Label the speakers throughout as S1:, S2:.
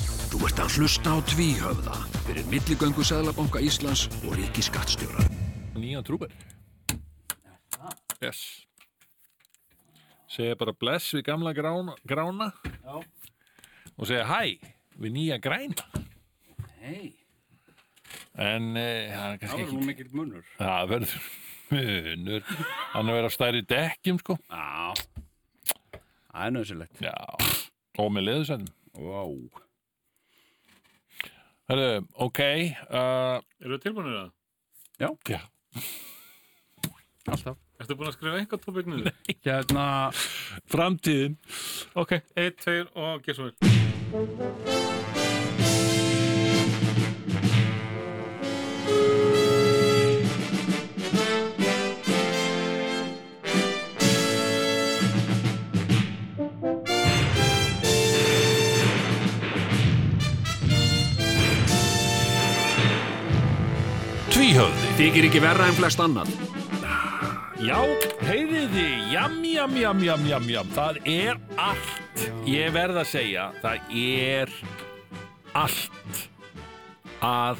S1: Þú ert að hlusta á tvíhöfða fyrir milligöngu Sæðlabanka Íslands og ríkiskattstjóra.
S2: Nýjan trúber Yes Segja bara bless við gamla grána, grána
S3: Já.
S2: og segja hæ við nýja græna
S3: Hei,
S2: en eh, það er
S3: það
S2: kannski
S3: var
S2: ekki
S3: nú mikill munur.
S2: Það verður munur Hann er verið af stærri dekkjum sko
S3: Já. Það er nöðsilegt.
S2: Já Og með leðusendum
S3: Vá. Wow.
S2: Herðu, ok uh,
S4: Eru það tilbúinir það?
S2: Já
S3: Alltaf.
S4: Ertu búin að skrifa eitthvað tópið niður?
S3: Hérna,
S2: Framtíðin
S4: Ok, 1, 2 og gerð svo vel.
S2: Tvíhöfði
S1: Þykir ekki verra en flest annan.
S2: Já, heyriði Jam, jam, jam, jam, jam, jam Það er allt Ég verð að segja Það er allt að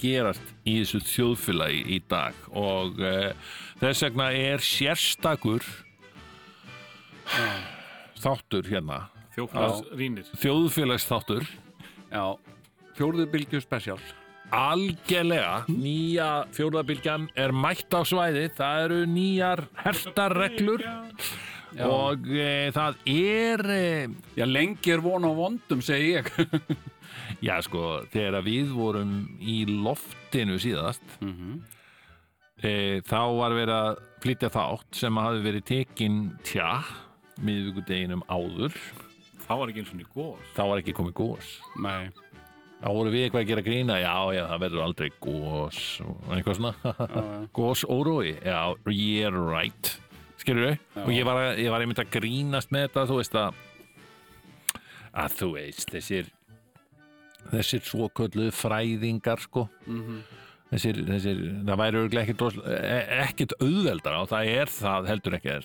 S2: gerast í þessu þjóðfélagi í dag og uh, þess vegna er sérstakur þáttur hérna
S4: Þjóknars rínir.
S2: þjóðfélagsþáttur
S3: já, fjórðu bylgju spesial.
S2: algjörlega nýja fjórðabilgjan er mætt á svæði það eru nýjar hertarreglur og e, það er e,
S3: Já, lengi er von á vondum, segi ég.
S2: já sko, þegar að við vorum í loftinu síðast e, þá var verið að flytja þátt sem hafði verið tekin tja, miðvíkudeginum áður
S4: Það var ekki eins og niður góð.
S2: þá var ekki komið gós
S3: Nei.
S2: þá voru við eitthvað að gera grína já, já, það verður aldrei gós og eitthvað svona gós órói, já, yeah right skilur við, og ég var, að- ég var einmitt að grínast með þetta, þú veist að að þú veist þessir þessir svo kölluðu fræðingar sko
S3: Mhm.
S2: þessir, þessir, það væri örgulega ekkit, rosal- e- ekkit auðveldara og það er það heldur ekki er.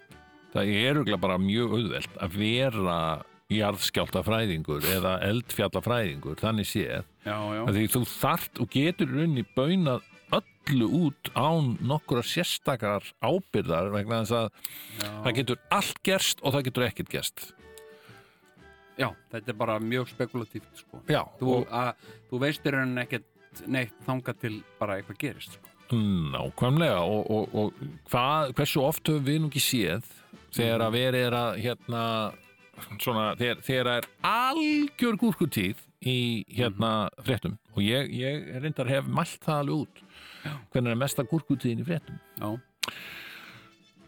S2: það er örgulega bara mjög auðveld að vera jarðskjálta fræðingur eða eldfjalla fræðingur þannig séð,
S3: Já, já.
S2: að því þú þart og getur runni bönað öllu út án nokkura sérstakar ábyrðar vegna þess að það getur allt gerst og það getur ekkert gerst
S3: Já, þetta er bara mjög spekulatíft, sko.
S2: Já,
S3: Þú,
S2: og
S3: að, þú veistir hann ekkert neitt þanga til bara eitthvað gerist, sko.
S2: Nákvæmlega og, og, og hvað, hversu oft höfum við nú ekki séð þegar að verið er að hérna, svona, þegar, þegar að er algjör gúrkutíð í hérna fréttum og ég, ég reyndar hef mælt það alveg út hvernig er mesta gúrkutíðin í fréttum
S3: Já.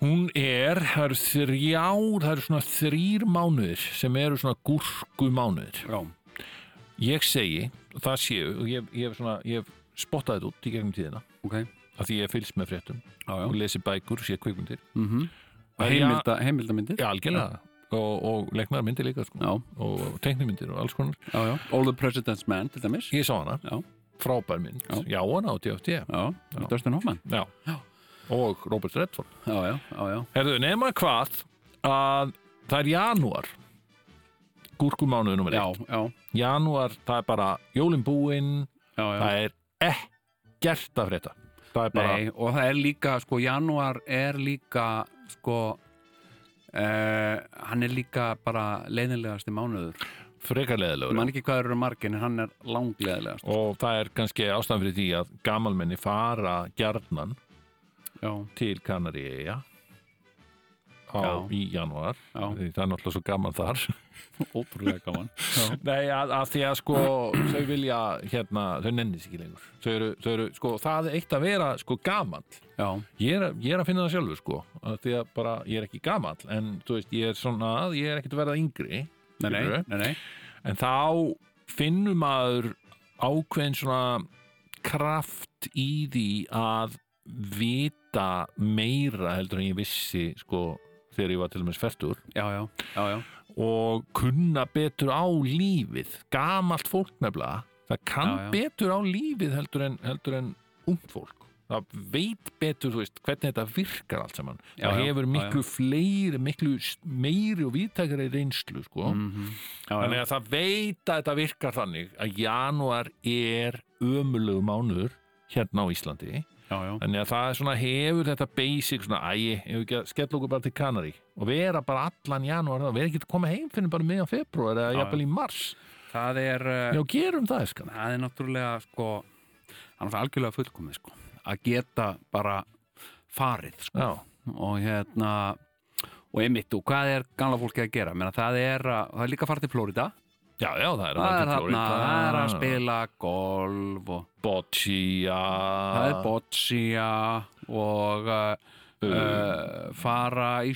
S2: Hún er, það eru þrjár, það eru svona þrýr mánuðir sem eru svona gúrkumánuðir
S3: Já.
S2: Ég segi, og það séu, og ég, ég hef svona, ég hef spottað þetta út í gegnum tíðina
S3: Ok.
S2: af því ég hef fylgst með fréttum
S3: Já, já.
S2: og lesi bækur, sé kvikmyndir
S3: Mm Heimilda, heimildamindir.
S2: Já, algjörlega og, og leiknar myndir líka sko.
S3: Já,
S2: og teiknumyndir og alls konar
S3: já, já. All the President's Man, til dæmis.
S2: Ég sá hana,
S3: Já.
S2: frábær mynd
S3: Já.
S2: Já, hana á DFT
S3: Já, já. Dustin Hoffman.
S2: Já.
S3: Já.
S2: Og Robert Redford
S3: Já, já, já, já.
S2: Herðu, nema hvað að það er janúar Gúrkumánuðu nummer
S3: Já, já,
S2: eitt Janúar, það er bara jólin búinn
S3: já, já.
S2: Það er ekkert af þetta Það er bara
S3: Nei, og það er líka, sko, janúar er líka, sko, uh, hann er líka bara leiðinlegasti mánuður.
S2: frekar
S3: Ég
S2: leðilegur
S3: man ekki hvað eru margin, en hann er langleiðilegast.
S2: Og það er kannski ástæðan fyrir því að gamalmenni fara gjarnan
S3: Já,
S2: til Kanaríja á,
S3: Já.
S2: í janúar
S3: Já.
S2: Því það er náttúrulega svo gaman þar
S4: Ótrúlega gaman.
S2: Nei, að, að því að sko þau vilja, hérna, þau nennis ekki lengur þau eru, þau eru, sko, það er eitt að vera sko gaman,
S3: já,
S2: ég er, að- ég er að finna það sjálfur sko, að því að bara, ég er ekki gaman en, þú veist, ég er svona, ég er ekkert að verða yngri,
S3: nei, nei,
S2: Skilurðu?
S3: nei, nei.
S2: en þá finnur maður ákveðin svona kraft í því að vita meira heldur en ég vissi sko þegar ég var til og með svertur
S3: Já, já, já, já,
S2: og kunna betur á lífið gamalt fólk nefnilega það kann
S3: Já, já.
S2: betur á lífið heldur en, heldur en ung fólk það veit betur, þú veist, hvernig þetta virkar allt saman.
S3: Já,
S2: það
S3: já,
S2: hefur
S3: já,
S2: miklu fleiri, miklu s- meiri og víðtækari reynslu, sko.
S3: Mm, Mhm. já,
S2: Þannig að það veit að þetta virkar þannig að janúar er ömulegu mánuður hérna á Íslandi.
S3: já, já,
S2: Þannig að það er svona hefur þetta basic svona, æ, hefur ekki að skella okkur bara til Kanarí og vera bara allan janúar og vera ekki að koma heim fyrir bara meðan februar eða jafnvel í mars.
S3: það er uh,
S2: Já, gerum það, skan.
S3: það er náttúrulega sko, það er náttúrulega algjörlega fullkomið sko, að geta bara farið sko,
S2: Já,
S3: og hérna og einmitt, og hvað er gamla fólki að gera Menna, það, er að, það er líka að fara til Flórida
S2: já, já, það er
S3: það er
S2: til
S3: þarna,
S2: Flórída.
S3: það er að spila golf og
S2: Boccia.
S3: það er boccia og uh, uh, fara í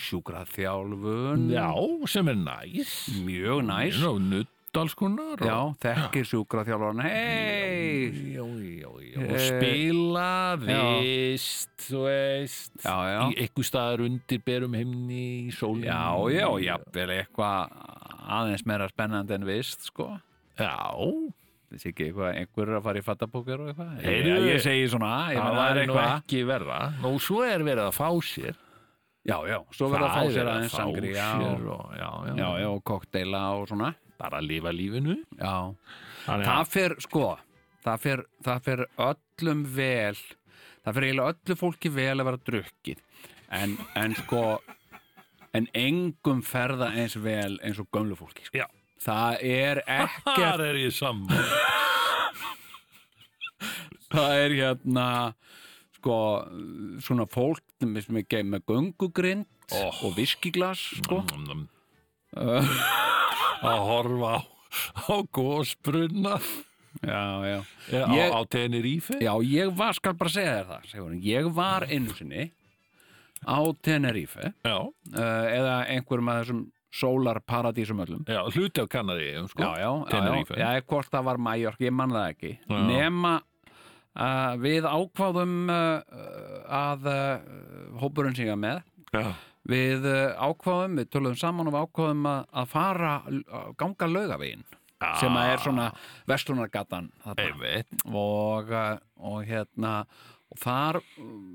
S3: sjúkraþjálfun
S2: Já, sem er næs.
S3: mjög næs
S2: Nú, nutt alls konar. og-
S3: já, þekkir sjúkraþjálfun hei
S2: Já, já, já.
S3: Eh,
S2: Og spila, vist, þú veist.
S3: já, já,
S2: Í einhver staðar undir berum himni, í sólinu.
S3: já, já, jafnvel eitthvað aðeins meira spennandi en vist sko
S2: Já,
S3: þessi ekki eitthvað, einhver er að fara í fattabókar og eitthvað
S2: Heyrðu,
S3: ég, ég segi svona, ég
S2: það
S3: meina,
S2: var
S3: það er
S2: nú
S3: eitthvað
S2: ekki verra. Nú, svo er verið að fá sér.
S3: já, já, svo verður að
S2: Það
S3: fá
S2: er
S3: sér
S2: verið
S3: aðeins
S2: fá
S3: sangri já,
S2: sér og, já, já,
S3: já, já, og kokteila og svona
S2: Bara að lifa lífinu.
S3: já,
S2: Þannig
S3: það fer sko það fer, það fer öllum vel það fer eiginlega öllu fólki vel að vera drukkið en, en sko en engum ferða eins vel eins og gömlu fólki sko.
S2: Já.
S3: það er ekkert
S2: Þar er ég saman.
S3: það er hérna sko svona fólk sem er með, með göngugrind
S2: Oh.
S3: og viskiglas sko
S2: Mm. Að horfa á, á gósbrunna
S3: já, já
S2: á,
S3: Ég-
S2: á Tenerife.
S3: Já, ég var, skal bara segja þér það Sigurinn. ég var einu sinni á Tenerife
S2: Já,
S3: uh, eða einhverjum af þessum sólarparadísum öllum
S2: já, hluti af Kanari, sko.
S3: já, já, já,
S2: Tenerife.
S3: já, já, hvort það var Mallorca, ég man það ekki
S2: Já.
S3: nema uh, við ákváðum uh, að uh, hópurinn sem ég var með
S2: já.
S3: við uh, ákváðum, við töluðum saman og við ákváðum að, að fara að ganga laugavegin sem að er svona vestlunargatan þarna
S2: Einmitt.
S3: og, uh, og hérna og þar uh,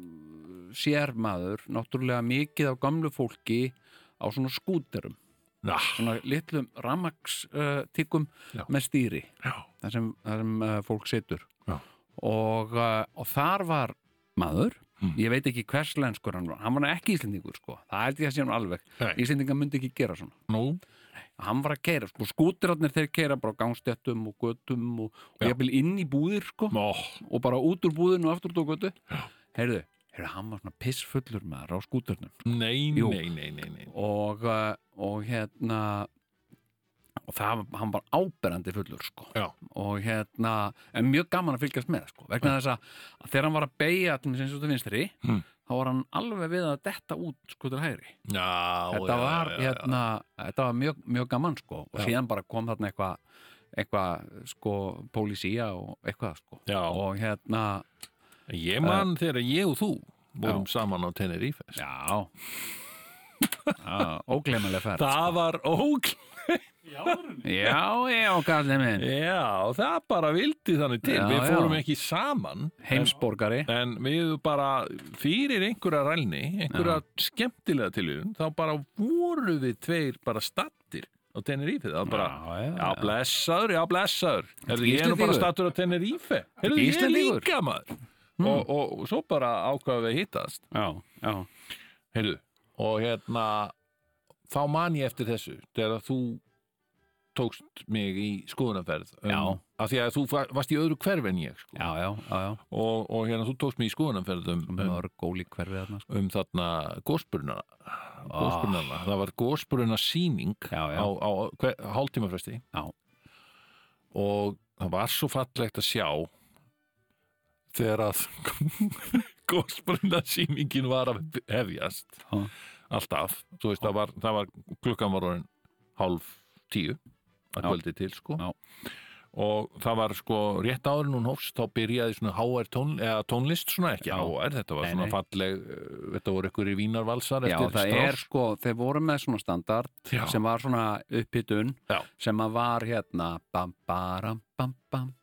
S3: sér maður náttúrulega mikið af gamlu fólki á svona skúterum
S2: Já,
S3: svona litlum rammakstíkum
S2: Já.
S3: með stýri
S2: já,
S3: þar sem, þar sem uh, fólk situr
S2: Já.
S3: og, uh, og þar var maður
S2: Mm.
S3: ég veit ekki hvers lenskur hann var hann var ekki íslendingur sko, það held ég að sé hann alveg
S2: Nei.
S3: íslendingar myndi ekki gera svona
S2: nú,
S3: hann var að keira, sko, skútirarnir þeir keira bara á gangstéttum og götum og, og
S2: Já. Mm.
S3: jafnvel inn í búðir sko
S2: ó,
S3: og bara út úr búðinu og aftur út á götu heyrðu, heyrðu, hann var svona pissfullur með þar á skúturnum
S2: nei,
S3: Jú.
S2: nei, nei, nei, nei.
S3: og, uh, og hérna og það, var- hann var áberandi fullur sko
S2: Já.
S3: og hérna, en mjög gaman að fylgjast með sko, vegna þess að, að þegar hann var að beigja til mér sem svo til vinstri
S2: Mm.
S3: þá var hann alveg við að detta út sko til hægri
S2: Já,
S3: þetta
S2: já,
S3: var,
S2: já, já.
S3: hérna, þetta var mjög, mjög gaman sko og
S2: Já.
S3: síðan bara kom þarna eitthvað eitthvað sko pólísía og eitthvað sko
S2: Já.
S3: og hérna,
S2: Ég man þegar ég og þú vorum saman á Tenerife. sko.
S3: Eh. já óglemalega ferð
S2: Það var ók.
S3: já, já, kallið minn
S2: Já, það bara vildi þannig til.
S3: Já,
S2: við fórum
S3: já.
S2: ekki saman,
S3: heimsborgari
S2: en við bara fyrir einhverja rælni, einhverja skemmtilega tilvíðun, þá bara voru við tveir bara stattir á Tenerife. Það var bara,
S3: Já, já,
S2: já,
S3: já.
S2: blessaður, já, blessaður. Herðu, ég er nú bara
S3: Íslendingur?
S2: stattur á Tenerife. Herðu, ég er
S3: Íslendingur?
S2: líka maður. Og, og, og svo bara ákvaðum við að hittast.
S3: já, já,
S2: Heyrðu, og hérna þá man ég eftir þessu þegar þú tókst mig í skoðunarferð um-
S3: Já.
S2: af því að þú var- varst í öðru hverf en ég sko.
S3: já, já, já, já.
S2: og, og hérna þú tókst mig í skoðunarferð um,
S3: með
S2: um,
S3: mörg ólík hverfið þarna sko.
S2: um þarna gósbruna gósbrunana, það var gósbruna síning
S3: Ah. Já, já.
S2: á, á hver, hálftímafresti
S3: Já.
S2: og það var svo fallegt að sjá þegar að gósbruna síningin var að hefjast
S3: Já.
S2: alltaf, þú veist það var, það var klukkan var orðin hálf tíu að
S3: Já.
S2: kvöldi til sko
S3: Já.
S2: og það var sko rétt áður en hún hófst þá byrjaði svona HR tón, eða tónlist svona ekki
S3: Já.
S2: HR, þetta var
S3: Nei,
S2: svona
S3: nei.
S2: falleg uh, þetta voru ykkur í Vínarvalsar
S3: já,
S2: eftir
S3: það er
S2: Strauss.
S3: sko, þeir voru með svona standard
S2: Já.
S3: sem var svona upphittun
S2: Já.
S3: sem að var hérna bam, baram, bam, bam, bam,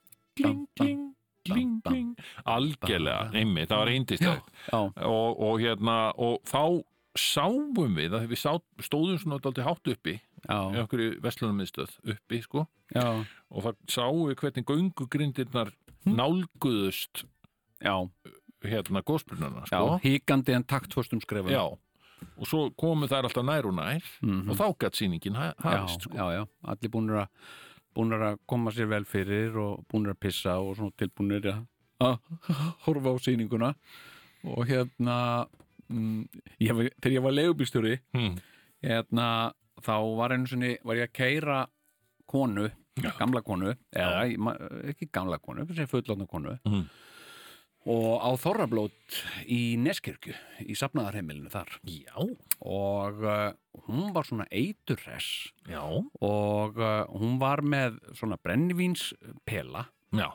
S3: bam.
S2: kling, kling, kling,
S3: bam.
S2: kling algjörlega, einmitt, það var eindislegt
S3: já,
S2: og, og hérna, og þá sáum við, að við sá, stóðum svona dálítið hátt uppi, í
S3: já,
S2: okkur í Vestlunarmiðstöð uppi, sko,
S3: já,
S2: og það sáum við hvernig göngugrindirnar
S3: Hm?
S2: nálguðust
S3: já,
S2: hérna gósbrunarna,
S3: já,
S2: sko
S3: híkandi en taktföstum skrefum
S2: Já. og svo komu þær alltaf nær og nær
S3: Mhm.
S2: og þá gætt sýningin ha- hafist, sko
S3: já, já, allir búnir að búnir að koma sér vel fyrir og búnir að pissa og svona tilbúnir að, að horfa á sýninguna og hérna mm, ég, hef- þegar ég var leigubílstjóri
S2: Hmm.
S3: hérna, þá var einu sinni var ég að keira konu gamla konu, eða ég ma- ekki gamla konu, sem fullotna konu
S2: Mhm.
S3: og á Þorrablót í Neskirkju, í safnaðarheimilinu þar
S2: Já,
S3: og uh, hún var svona eiturress
S2: já,
S3: og uh, hún var með svona brennivínspela
S2: já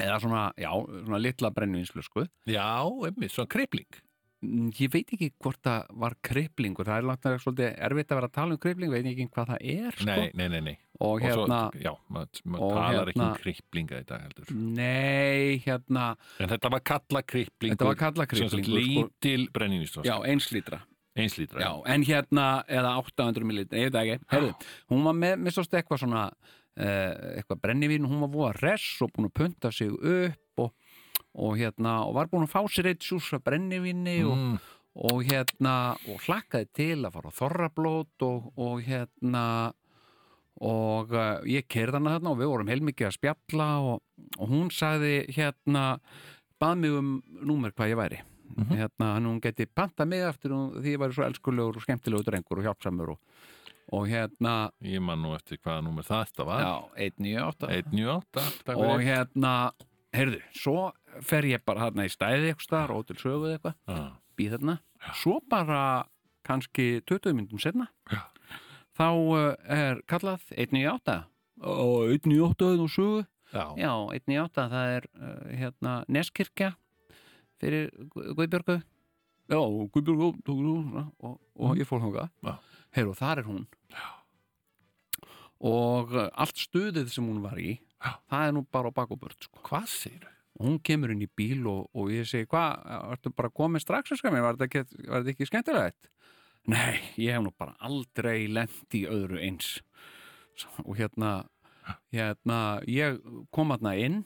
S3: eða svona, já, svona litla brennivínslösku
S2: Já, einmitt, svona kripling
S3: Mm, ég veit ekki hvort það var kriplingur það er langt að svolítið erfitt að vera að tala um kripling veit ekki hvað það er sko.
S2: Nei, nei, nei, nei
S3: og
S2: Og svo,
S3: hérna,
S2: já, maður mað
S3: og
S2: talar ekki um
S3: hérna-
S2: kriplinga í dag heldur
S3: nei, hérna
S2: En þetta var kalla kriplingur
S3: þetta var kalla
S2: sem sagt
S3: kriplingur sko.
S2: Lítil brennivínstóð,
S3: já, einslítra
S2: einslítra
S3: Já, en hérna, eða 800 millilitra, ég veit það ekki, herðu, hún var með, með svolítið eitthvað svona, eh, eitthvað brennivín, hún var voða hress og búin að punta sig upp og, og hérna, og var búin að fá sér eitt sjúsa brennivíni
S2: mm,
S3: og, og hérna, og hlakkaði til að fara á þorrablót og, og hérna, og uh, ég kerði hana þarna og við vorum heilmikið að spjalla og, og hún sagði hérna, bað mig um númer hvað ég væri
S2: Mhm.
S3: hérna, hann hún geti panta mig eftir hún, því ég væri svo elskulegur og skemmtilegur drengur og hjálpsamur og, og hérna,
S2: Ég man nú eftir hvaða númer þetta var
S3: já, 198
S2: 198 takk
S3: og
S2: fyrir.
S3: hérna, heyrðu svo fer ég bara hérna í stæði eitthvað staðar og til söguð eitthvað,
S2: Já.
S3: býð þarna svo bara kannski 20 myndum setna
S2: Já.
S3: þá uh, er kallað 198 og 198 og söguð
S2: Já.
S3: Já, 1.8, það er uh, hérna Neskirkja fyrir Gu- Guðbjörgu Já, Guðbjörgu tók nú svona, og, og ég fór þangað
S2: Já.
S3: Heyrðu, þar er hún Já. og uh, allt stuðið sem hún var í
S2: Já.
S3: það er nú bara á bakubörð sko.
S2: Hvað segir
S3: hún kemur inn í bíl og, og ég segi hvað, ertu bara komin strax að skamja, var þetta ekki, var þetta ekki skemmtilegt? Nei, ég hef nú bara aldrei lent í öðru eins S- og hérna hérna, ég kom hérna inn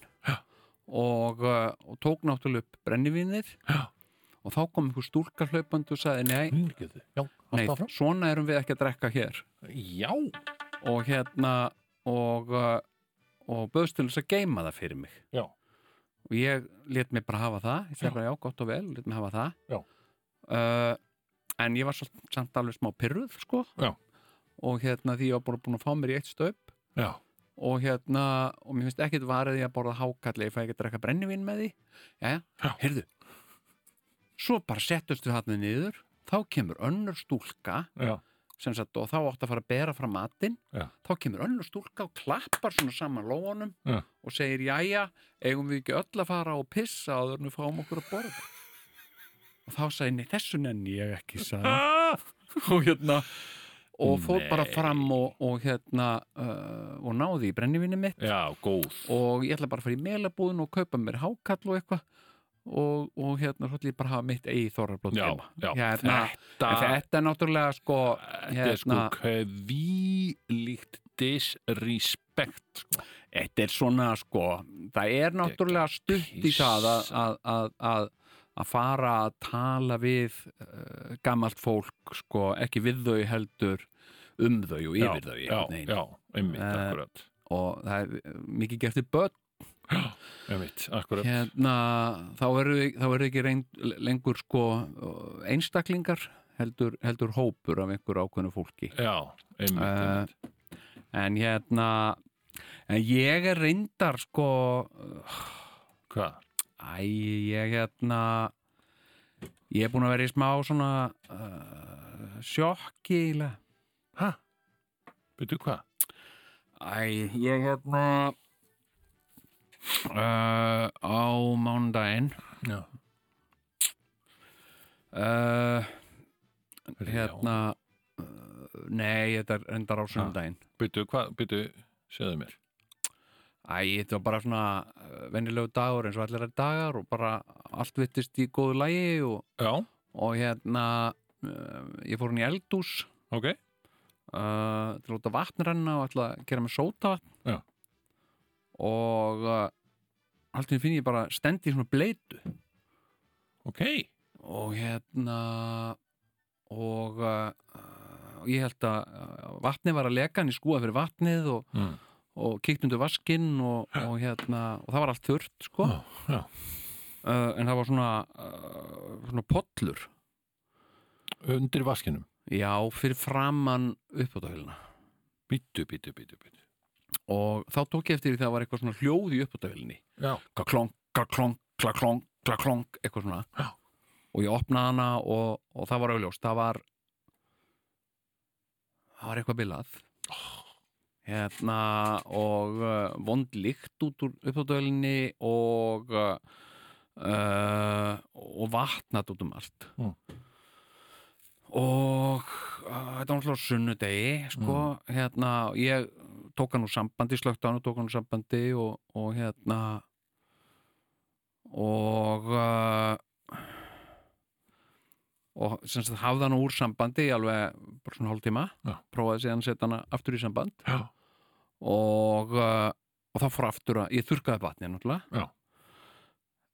S3: og, uh, og tók náttúrulega upp brennivínir
S2: Já.
S3: og þá kom einhver stúlka hlaupandi og sagði nei,
S2: þau? Já,
S3: nei
S2: haltu áfram.
S3: svona erum við ekki að drekka hér
S2: Já,
S3: og hérna og, uh, og bauðst til þess að geima það fyrir mig
S2: Já.
S3: og ég let mig bara hafa það ég segi bara já, gott og vel, let mig hafa það
S2: Já.
S3: uh, en ég var svo, samt alveg smá pyrruð sko
S2: Já.
S3: og hérna því ég var bara búin að fá mér í eitt stöp
S2: já,
S3: og hérna, og mér finnst ekkit varðið ég að borða hákalli, ég fæ ekki að drekka brennivín með því jæja,
S2: Já.
S3: heyrðu svo bara settust við hann niður þá kemur önnur stúlka
S2: já.
S3: sem sagt, og þá átt að fara að bera fram matinn
S2: Já.
S3: þá kemur önnur stúlka og klappar svona saman lóanum
S2: Já.
S3: og segir jæja, eigum við ekki öll að fara og pissa áður en við fáum okkur að borða og þá sagði henni, þessu nenni ég ekki sagði hún.
S2: Ah!
S3: og hérna og fór
S2: Nei.
S3: bara fram og, og hérna uh, og náði í brennivinni mitt
S2: Já, góð.
S3: og ég ætla bara að fara í melabúðin og kaupa mér hákall og eitthvað og, og hérna svo ætla ég bara að hafa mitt eigi þorrablót
S2: Já,
S3: heima.
S2: já.
S3: hérna, en þetta er náttúrulega sko hérna,
S2: Þetta er sko kvílíkt disrespect sko.
S3: Þetta er svona sko, það er náttúrulega stutt í það að, að, að, að, að fara að tala við uh, gamalt fólk sko, ekki við þau heldur um þau og yfir þau
S2: Já,
S3: einhvern veginn.
S2: já, einmitt,
S3: Eh,
S2: akkurat
S3: og það er eh, mikið gert í börn
S2: Einmitt, akkurat
S3: hérna, þá eru þau- þá eru ekki reynd, lengur sko eh, einstaklingar heldur, heldur hópur af einhver ákveðnu fólki
S2: Já, einmitt,
S3: Eh,
S2: einmitt.
S3: en hérna en ég er reyndar sko
S2: Hvað?
S3: Æ, ég hérna ég er búin að vera í smá svona uh, sjokki eiginlega.
S2: Hæ? Veitu hvað?
S3: Æ, ég hérna uh, á mánudaginn
S2: Já,
S3: uh,
S2: Heyrðu,
S3: hérna uh, nei, þetta er endar á sunnudaginn
S2: Veitu hvað, veitu, segðu mér
S3: Æ, þetta var bara svona eh, venjulegu dagur eins og allir er dagar og bara allt vittist í góðu lægi og,
S2: Já,
S3: og hérna uh, ég fór hún í eldús
S2: ok
S3: uh, til að láta vatn renna og ætla að gera með sótavatn
S2: Já.
S3: og uh, allt við finn ég bara stendi í svona bleitu
S2: Ok,
S3: og hérna og uh, og ég held að uh, vatnið var að leka en ég skúa fyrir vatnið og,
S2: Mm.
S3: og kíkt undir vaskinn og, og hérna og það var allt þurrt sko
S2: Já, já.
S3: Uh, en það var svona uh, svona pollur
S2: undir vaskinum
S3: já, fyrir framann uppátafélina
S2: Bítu, bítu, bítu, bítu
S3: og þá tók ég eftir því að það var eitthvað svona hljóð í uppáttavélinni
S2: Já,
S3: klaklong, klaklong, klaklong, klaklong eitthvað svona
S2: Já.
S3: og ég opnaði hana og, og það var auðljóst það var það var eitthvað bilað hérna og uh, vondlíkt út úr uppáttavélinni og uh, og vatnat út um allt
S2: Mm.
S3: og uh, þetta var náttúrulega á sunnudegi sko, hérna, ég tók hann úr sambandi, slögt á hann og tók hann úr sambandi og, og hérna og uh, og sem sagt hafði hann úr sambandi í alveg bara svona hálftíma
S2: Já.
S3: prófaði síðan að setja hann aftur í samband
S2: já,
S3: og, uh, og þá fór aftur að ég þurrkaði vatnið náttúrulega
S2: Já.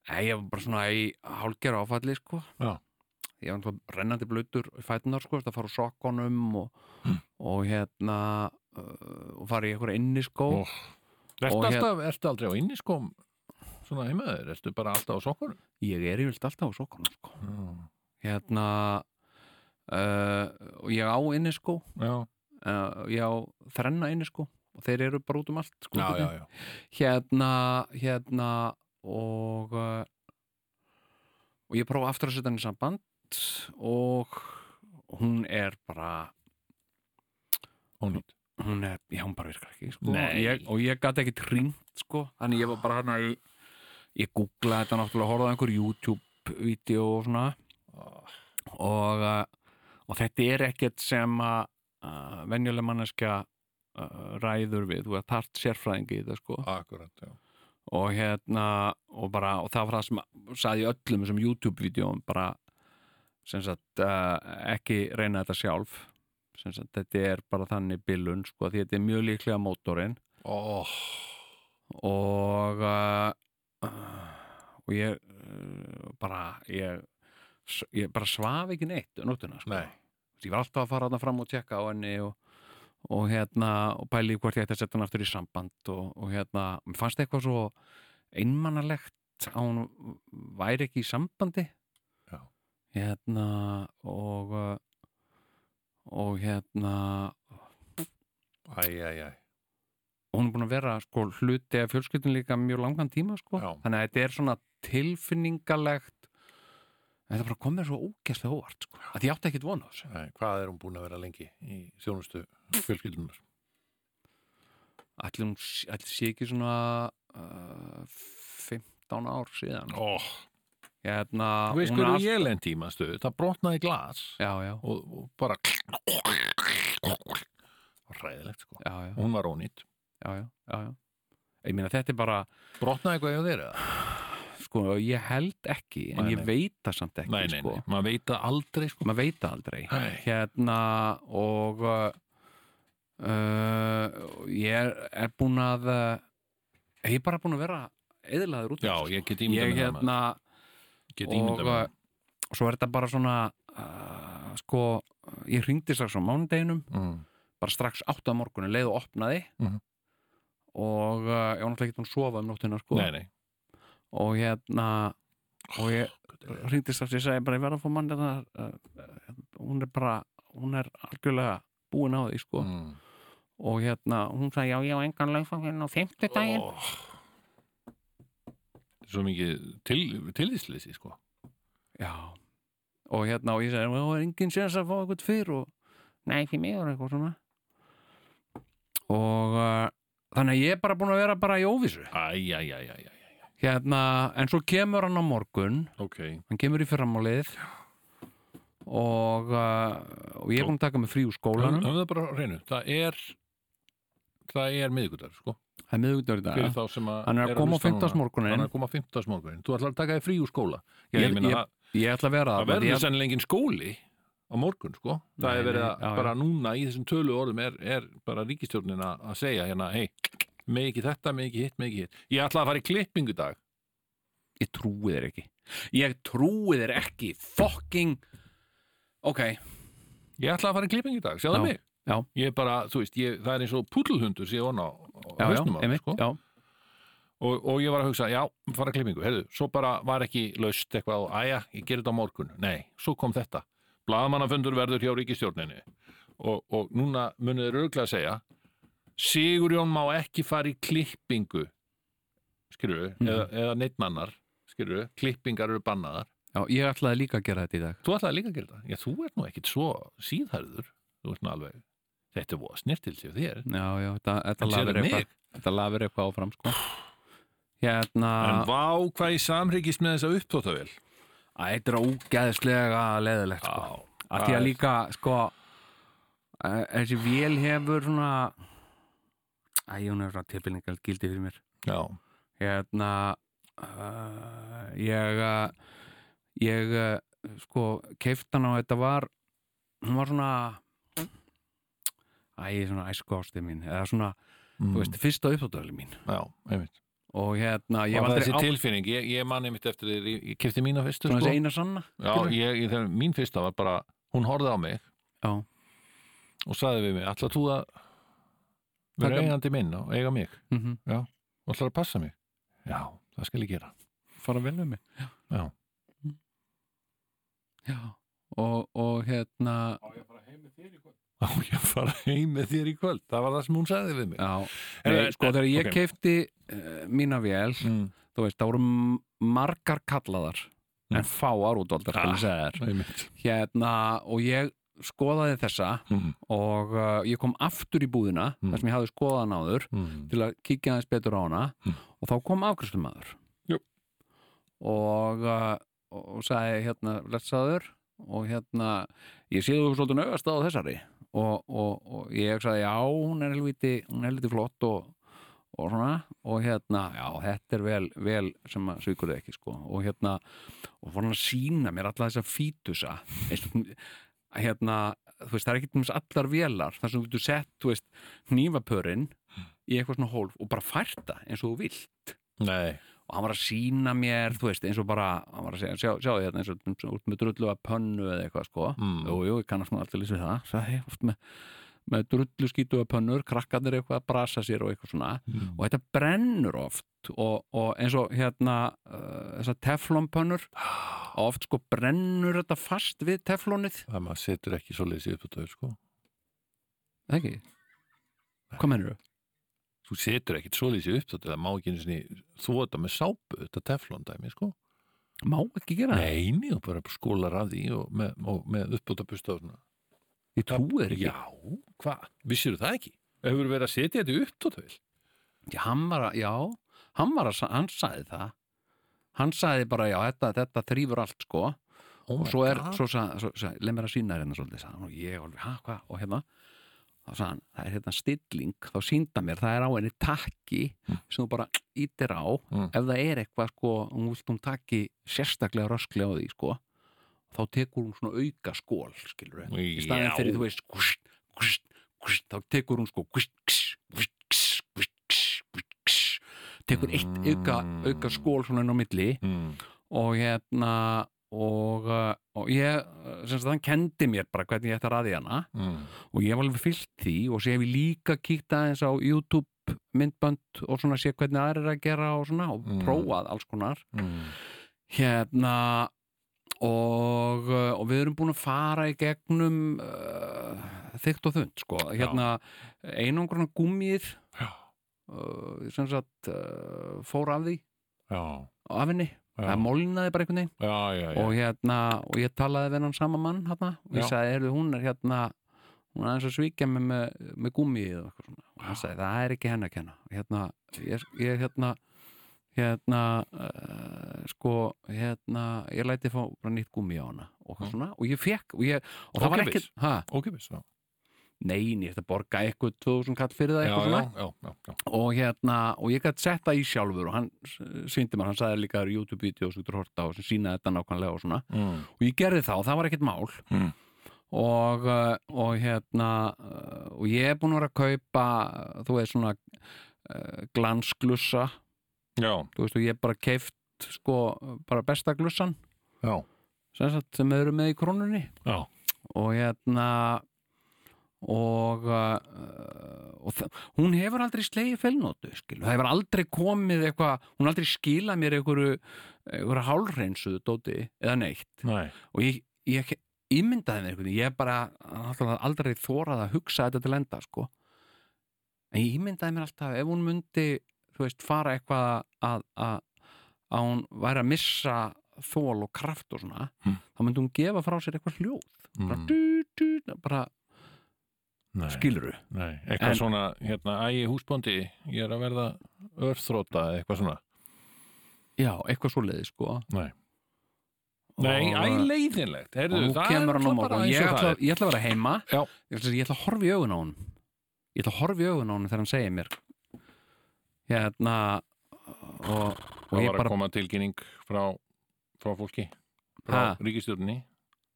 S3: Nei, ég var bara svona í hálgera áfalli sko
S2: Já.
S3: ég var náttúrulega rennandi blöytur í fætunar sko, það fara úr sokkunum og,
S2: Hm.
S3: og hérna uh, og fara í einhverja inniskó
S2: Ó. Ertu,
S3: Og hér-
S2: alltaf, ertu aldrei á inniskom svona heimaður, ertu bara alltaf á sokkunum
S3: ég er yfirlt alltaf á sokkunum sko
S2: Já,
S3: hérna uh, og ég á inniskó
S2: já,
S3: uh, ég á þrenna inniskó og þeir eru bara út um allt sko,
S2: já,
S3: einhvern
S2: já,
S3: veginn.
S2: já.
S3: hérna hérna og uh, og ég prófa aftur að setja hann í samband og hún er bara
S2: Ónýtt
S3: hún er, já hún bara virkar ekki sko.
S2: Nei.
S3: ég, og ég gat ekki tringt sko þannig ég var bara hann að ég googlaði þetta náttúrulega, horfði á einhver YouTube-vídeó og svona og, uh, og þetta er ekkert sem að uh, venjuleg manneskja uh, ræður við, þú er tart sérfræðingi í þetta sko
S2: Ah, Akkurat, já
S3: og hérna og, bara, og það var það sem saði í öllum þessum YouTube-vídeóum bara sem sagt uh, ekki reyna þetta sjálf sem sagt þetta er bara þannig bilun sko því þetta er mjög líklega mótorinn
S2: Ó,
S3: og uh, og ég uh, bara ég, ég bara svaf ekki neitt nótuna sko
S2: nei
S3: ég var alltaf að fara þarna fram og tjekka á henni og, og hérna og pæli í hvort ég ætti að setja hann aftur í samband og, og hérna, mér fannst eitthvað svo einmannalegt að hún væri ekki í sambandi
S2: Já.
S3: hérna og uh, og hérna
S2: Æ, æ, æ,
S3: hún er búin að vera sko hluti af fjölskyldun líka mjög langan tíma sko
S2: Já.
S3: þannig að þetta er svona tilfinningalegt þetta bara kom mér svo ógeðslega óvart sko, að ég átti ekkit vona á þessu
S2: nei, hvað er hún búin að vera lengi í þjónustu fjölskyldunar?
S3: Ætli hún ætli sé ekki svona uh, 15 ár síðan
S2: Ó,
S3: hérna,
S2: þú veist
S3: hún er
S2: hverju
S3: allt-
S2: Oh. ég lendi í maður stöðu, það brotnaði glas
S3: já, já,
S2: og, og bara ræðilegt sko
S3: já, já,
S2: hún var ónýtt,
S3: já, já, já, já. ég meina þetta er bara
S2: brotnaði eitthvað hjá þeir eða?
S3: sko, ég held ekki en
S2: Nei,
S3: ég
S2: nei.
S3: veit það samt ekki
S2: Nei, nei,
S3: sko.
S2: nei, maður veit það aldrei sko
S3: maður veit það aldrei
S2: Nei.
S3: hérna og uh, ég er, er búin að uh, ég er bara búin að vera eðlaður út af
S2: Já,
S3: þessu, sko.
S2: ég get ímynda
S3: ég
S2: með það maður.
S3: hérna
S2: Get
S3: og
S2: ímynda með það
S3: uh, svo er þetta bara svona uh, sko, ég hringdi strax á mánudeginum
S2: Mm.
S3: bara strax átt að morgunu, leið og opnaði
S2: Mhm.
S3: og uh, ég var náttúrulega ekki búin að sofa um nóttina sko
S2: Nei, nei
S3: og hérna og ég hringdi strax, ég sagði bara ég verða að fá mann þetta, uh, uh, hún er bara hún er algjörlega búin á því sko
S2: mm.
S3: og hérna, hún sagði já, ég á engan lögfang hérna á fimmtudaginn
S2: Ó. Svo mikið til, tilvísleysi sko
S3: Já Og hérna og ég sagði, það er engin séns að fá eitthvað fyrr og nei, fyrir mig og eitthvað svona og uh, þannig að ég er bara búin að vera bara í óvissu
S2: Æ, æ, æ, æ, æ, æ.
S3: hérna, en svo kemur hann á morgun
S2: Ok,
S3: hann kemur í fyrramálið og, uh, og ég er búin að taka mig frí úr
S2: höfum
S3: skólanum
S2: höfum það bara á hreinu Það er Það er miðgudagur sko
S3: það er miðugdagur í
S2: fyrir
S3: dag
S2: þá sem að
S3: Hann er að
S2: eru
S3: koma á
S2: hlusta núna.
S3: fimmtudagsmorguninn.
S2: Hann er að koma á fimmtasmorgunin Þú ætlar að taka þér frí úr skóla Ég,
S3: Ég-
S2: ég meina, það-
S3: ég ætla að vera
S2: það
S3: þarna, því
S2: verður
S3: að-
S2: sennilega engin skóli á morgun, sko Það
S3: Nei,
S2: er verið
S3: nei,
S2: að
S3: já,
S2: bara núna í þessum tölu orðum er, er bara ríkistjórnin að að segja hérna, hei, með ekki þetta, með ekki hitt, með ekki hitt Ég ætla að fara í klippingu í dag
S3: ég trúi þér ekki ég trúi þér ekki fucking ok,
S2: Ég ætla að fara í klippingu í dag,
S3: Já,
S2: sjáðu mig
S3: já.
S2: Ég er bara, þú veist, ég, það er eins og púllhundur sé on á, á
S3: já, já,
S2: hausnum á mér,
S3: einmitt
S2: sko.
S3: já,
S2: og, og ég var að hugsa, já, fara klippingu heyrðu, svo bara var ekki laust eitthvað og æja, ég gerir þetta á morgun, nei, svo kom þetta blaðamannafundur verður hjá ríkistjórninni og, og núna munið þeir örglega að segja Sigurjón má ekki fara í klippingu skilur,
S3: Mhm.
S2: eða, eða neittmannar skilur, klippingar eru bannaðar
S3: já, ég ætlaði líka að gera þetta í dag
S2: þú ætlaði líka að gera þetta, já, þú ert nú ekkit svo síðhærður, þú ert nú alveg þetta er voða snirtil sér þér
S3: já, já, þetta, þetta
S2: En
S3: lafir
S2: sérðu mig?
S3: eitthvað þetta lafir eitthvað áfram, sko hérna,
S2: en vá hvað ég samryggist með þessa upptóttavél
S3: Æ, þetta er ógeðslega leðilegt, sko
S2: já,
S3: að því
S2: Það
S3: að
S2: Ah, er-
S3: líka sko eh, þessi vél hefur svona æ, hún hefur svona tilbynningal gildi fyrir mér
S2: já,
S3: hérna uh, ég eh, ég eh, sko keift hann á þetta var hún var svona æ, svona æsku ásti mín eða svona,
S2: Mm.
S3: þú veist, fyrsta uppdóðali mín
S2: já, einmitt
S3: og hérna, ég
S2: Ég
S3: var
S2: var þessi
S3: aldrei á
S2: tilfinning, ég, ég manni mitt eftir því, ég kefti mína fyrstu
S3: svona
S2: sko.
S3: þessi eina sanna
S2: Já,
S3: skilur.
S2: ég, ég, þegar, mín fyrsta var bara, hún horfði á mig
S3: Já.
S2: og sagði við mig, ætla þú að vera
S3: Taka-
S2: eigandi minn og eiga mig
S3: mm -hmm.
S2: og ætlar að passa mig? Já, það skal ég gera.
S3: fara að vinna um mig
S2: Já,
S3: já, og, og hérna
S2: á ég að fara heim með þér í kvöld, það var það sem hún sagði við mig.
S3: Já,
S2: En-
S3: nei,
S2: en-
S3: sko þegar ég
S2: ok.
S3: okay. keipti uh, mína vél,
S2: Mm.
S3: þú veist, það voru m- margar kallaðar
S2: Mm. Ah.
S3: en fáar útvaldar skal ég segja þér. Hérna, og ég skoðaði þessa
S2: Mm.
S3: og uh, ég kom aftur í búðina
S2: Mm.
S3: þar sem ég hafði skoðað náður
S2: Mm.
S3: til að kíkja aðeins betur á hana
S2: Mm.
S3: og þá kom afgriðslumadur
S2: Jú.
S3: og, uh, og sagði hérna lettsaður og hérna ég sé þú svolítið nögast á þessari og, og, og ég sagði já, hún er helviti, hún er helviti flott og, og svona og hérna, já, þetta er vel, vel sem að svíkur þau ekki sko og hérna, og fór hann að sína mér alla þessa fítusa eins og hérna, þú veist, það er ekki til dæmis allar vélar þar sem þú getur sett, þú veist, hnífapörin í eitthvað svona hólf og bara fært það eins og þú vilt
S2: Nei,
S3: og hann var að sína mér, þú veist, eins og bara hann var að segja, sjá, sjá hérna eins og eins og út með drullu að pönnu eða eitthvað sko
S2: Mm.
S3: jú, jú, ég kannast nú alltaf lýsa við það sagði, ég, oft með, með drullu skítu að pönnur krakkarnir eitthvað að brasa sér og eitthvað svona
S2: Mm.
S3: og þetta brennur oft og, og eins og hérna uh, þessar teflonpönnur oft sko brennur þetta fast við teflonið
S2: það maður setur ekki svo leiðis í upptöðu, sko.
S3: Það ekki? Hvað mennur þau?
S2: Þú setur ekkit svo leiðis í upptöðu, það má ekki einu sinni, þú þetta með sápu, þetta teflon dæmi, sko.
S3: Má ekki gera það?
S2: Nei, nei, og bara skólar að því og með, og með uppbótabusta og svona.
S3: Ég trúi þér ekki.
S2: Já, hvað? Vissir það ekki? Hefur verið að setja þetta upp tóttuvel?
S3: Já, hann var að, já, hann var að, sa- hann sagði það. Hann sagði bara, já, þetta, þetta þrýfur allt, sko.
S2: Oh
S3: og
S2: my
S3: svo er,
S2: God.
S3: svo sagði, svo, sagði, leið mér að sína þér hérna svolítið, sagði hann og ég alveg, hæ, hvað, og hérna. Þá sagði hann, það er hérna stilling, þá sínda mér, það er á henni takki sem þú bara ítir á.
S2: Mm.
S3: Ef það er eitthvað, sko, hún vilt hún takki sérstaklega rösklega á því, sko. Þá tekur hún svona auka skól, skilur í staðin
S2: Já.
S3: fyrir þú veist kvist, kvist, kvist, þá tekur hún sko kvist, kvist, kvist, kvist, kvist, kvist, kvist, tekur eitt auka, auka skól svona inn á milli
S2: Mm.
S3: og hérna og, uh, og ég uh, sem sagt hann kendi mér bara hvernig ég ætti að ræði hana
S2: Mm.
S3: og ég hef alveg fyllt því og svo hef ég líka kíkt aðeins á YouTube myndbönd og svona sé hvernig aðrir eru að gera og svona og
S2: Mm.
S3: prófað alls konar
S2: Mm.
S3: hérna og, uh, og við erum búin að fara í gegnum uh, þykkt og þund sko, hérna einangruna gúmið
S2: Já.
S3: uh, sem sagt uh, fór af því,
S2: Já,
S3: af henni
S2: já,
S3: það molnaði bara einhvern veginn
S2: já, já, já.
S3: og hérna, og ég talaði við hann sama mann hérna, og ég
S2: Já.
S3: sagði, heyrðu, hún er hérna hún er aðeins að svíkja mig með, með gúmið og eitthvað svona, og hann sagði, það er ekki henni að kenna hérna, ég, ég hérna hérna uh, sko, hérna ég læti fá bara nýtt gúmi á hana og, eitthvað
S2: Mm.
S3: svona, og ég fekk og, ég, og það var
S2: Ókeypis.
S3: ekkert, ha,
S2: Ókipis, já.
S3: nein, ég ætti að borga eitthvað 2000 kall fyrir það eitthvað svona
S2: já, já, já.
S3: og hérna, og ég gæti sett það í sjálfur og hann síndi mér, hann sagði líka YouTube-vídeó sem þú getur horta á sem sínaði þetta nákvæmlega og svona
S2: Mm.
S3: og ég gerði það og það var ekkert mál
S2: Mm.
S3: og, uh, og hérna uh, og ég er búin að vera að kaupa uh, þú veist svona uh, glansglussa,
S2: já,
S3: þú veist og ég er bara keift sko, uh, bara besta glussan
S2: já,
S3: sem, sagt, sem eru með í krónunni
S2: já.
S3: og hérna og uh, og þa- hún hefur aldrei slegið felnótu skil, það hefur aldrei komið eitthvað hún hefur aldrei skilað mér einhverju einhverju hálreinsuðu dóti eða neitt
S2: Nei.
S3: og ég, ég ímyndaði mér einhvern veginn, ég bara náttúrulega aldrei þórað að hugsa þetta til enda sko en ég ímyndaði mér alltaf ef hún myndi þú veist, fara eitthvað að, að, að hún væri að missa þól og kraft og svona
S2: Mm.
S3: þá myndi hún gefa frá sér eitthvað hljóð bara,
S2: Mm.
S3: dú, dú, bara
S2: Nei.
S3: skiluru
S2: Nei. Eitthvað
S3: En-
S2: svona, hérna, ægi húsbóndi, ég er að verða örþróta eða eitthvað svona.
S3: já, eitthvað svo leiði sko
S2: Nei. Nei, æ,
S3: og,
S2: leiðinlegt.
S3: og
S2: Heyrðu,
S3: nú
S2: það er
S3: kemur hann á
S2: náttúrulega
S3: morgun
S2: bara eins
S3: ég
S2: og það
S3: ætla,
S2: er.
S3: ég ætla að vera heima
S2: Já.
S3: ég ætla, ég ætla að horfa í augun á hann ég ætla að horfa í augun á hann þegar hann segir mér hérna og, og
S2: Það
S3: ég
S2: var að
S3: bara
S2: koma tilkynning frá, frá fólki, frá
S3: Ha?
S2: ríkistjórninni.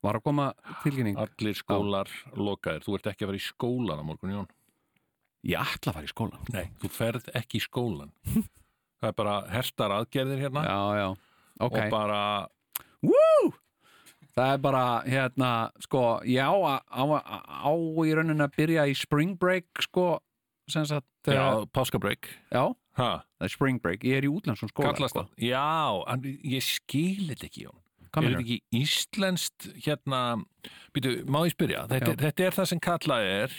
S3: var að koma tilkynning
S2: Allir skólar lokaðir. Þú ert ekki að fara í skólan á morgun, Jón.
S3: ég ætla að fara í skólan
S2: Nei. Þú ferð ekki í skólan. það er bara herstar aðgerðir hérna
S3: já, já, ok
S2: og bara,
S3: það er bara, hérna, sko ég á, að- á, á, á í rauninni að byrja í spring break sko, sem sagt
S2: já,
S3: eh,
S2: páskabrögg.
S3: já
S2: Ha,
S3: það er spring break, ég er í útlandsum skóla
S2: kallast
S3: sko.
S2: það. Já, en ég skil þetta ekki, Jón.
S3: Hvað
S2: er
S3: meinarðu?
S2: þetta ekki íslenskt hérna, býtu, má ég spyrja þetta,
S3: Já.
S2: þetta er það sem kallað er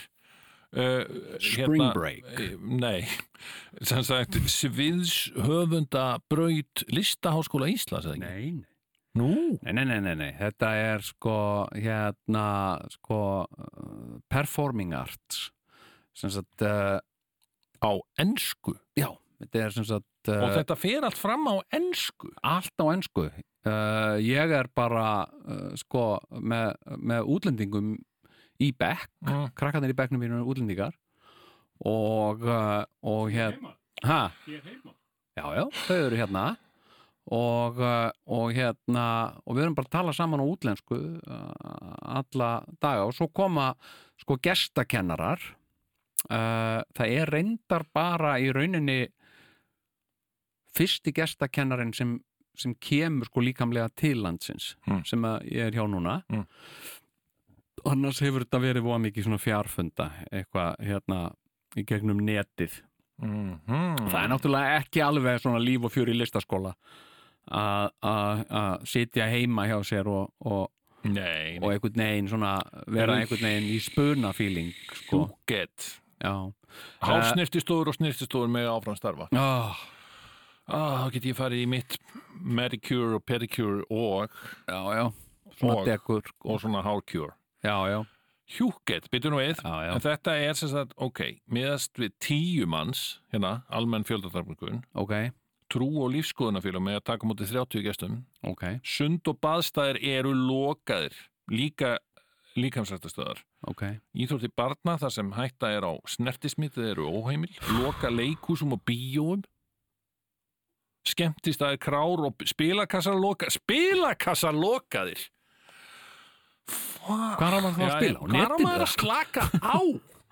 S2: uh,
S3: Spring break.
S2: eh, Nei, sem sagt sviðshöfunda braut listaháskóla Íslands eða ekki?
S3: Nei, nei.
S2: Nú?
S3: Nei, nei, nei, nei, nei, þetta er sko, hérna, sko, uh, performing arts, sem sagt, uh,
S2: Á ensku
S3: já, þetta er sem sagt,
S2: og
S3: uh,
S2: þetta fer allt fram á ensku
S3: allt á ennsku. Uh, ég er bara, uh, sko, með, með útlendingum í bekk,
S2: Mm.
S3: krakkarnir í bekknum mínum eru útlendingar og, uh, og
S4: Ég er
S3: hérna,
S4: heima,
S3: hæ?
S4: ég er heima.
S3: Já, já, þau eru hérna og, uh, og hérna og við erum bara að tala saman á útlensku uh, alla daga og svo koma sko gestakennarar uh, það er reyndar bara í rauninni fyrsti gestakennarinn sem, sem kemur sko líkamlega til landsins
S2: Mm.
S3: sem að ég er hjá núna
S2: Mm.
S3: annars hefur þetta verið voða mikið svona fjarfunda eitthvað hérna í gegnum netið
S2: mm
S3: það er náttúrulega ekki alveg svona líf og fjör í listaskóla að- að að sitja heima hjá sér og, og,
S2: Nei,
S3: og
S2: nei.
S3: einhvern veginn svona vera
S2: Nei.
S3: einhvern veginn í spuna feeling sko.
S2: Get.
S3: já
S2: Eh. Hálfsnirtistóður og snirtistóður með áfram starfa
S3: oh,
S2: ah, Þá get ég farið í mitt Medicure og pedicure og
S3: já, já, svona
S2: Og-
S3: dekur
S2: og svona hálfcure
S3: já, já,
S2: hjúkett, byttu nú við
S3: já, já,
S2: en þetta er sem sagt, ok, miðast við tíu manns, hérna, almenn fjöldatarfningun
S3: ok
S2: trú og lífskoðunafélag með að taka mútið 30 gestum
S3: ok,
S2: sund og baðstæðir eru lokaðir líka líkamsrættastöðar
S3: ok
S2: Íþrótti barna þar sem hætta er á snertismitið eru óheimil, loka leikúsum og bíóum skemmtistæðir krár og spilakassar loka spilakassar lokaðir Fuck
S3: hvað á maður þá að spila? Á
S2: Hvað á
S3: netinu
S2: maður
S3: eða?
S2: að slaka á?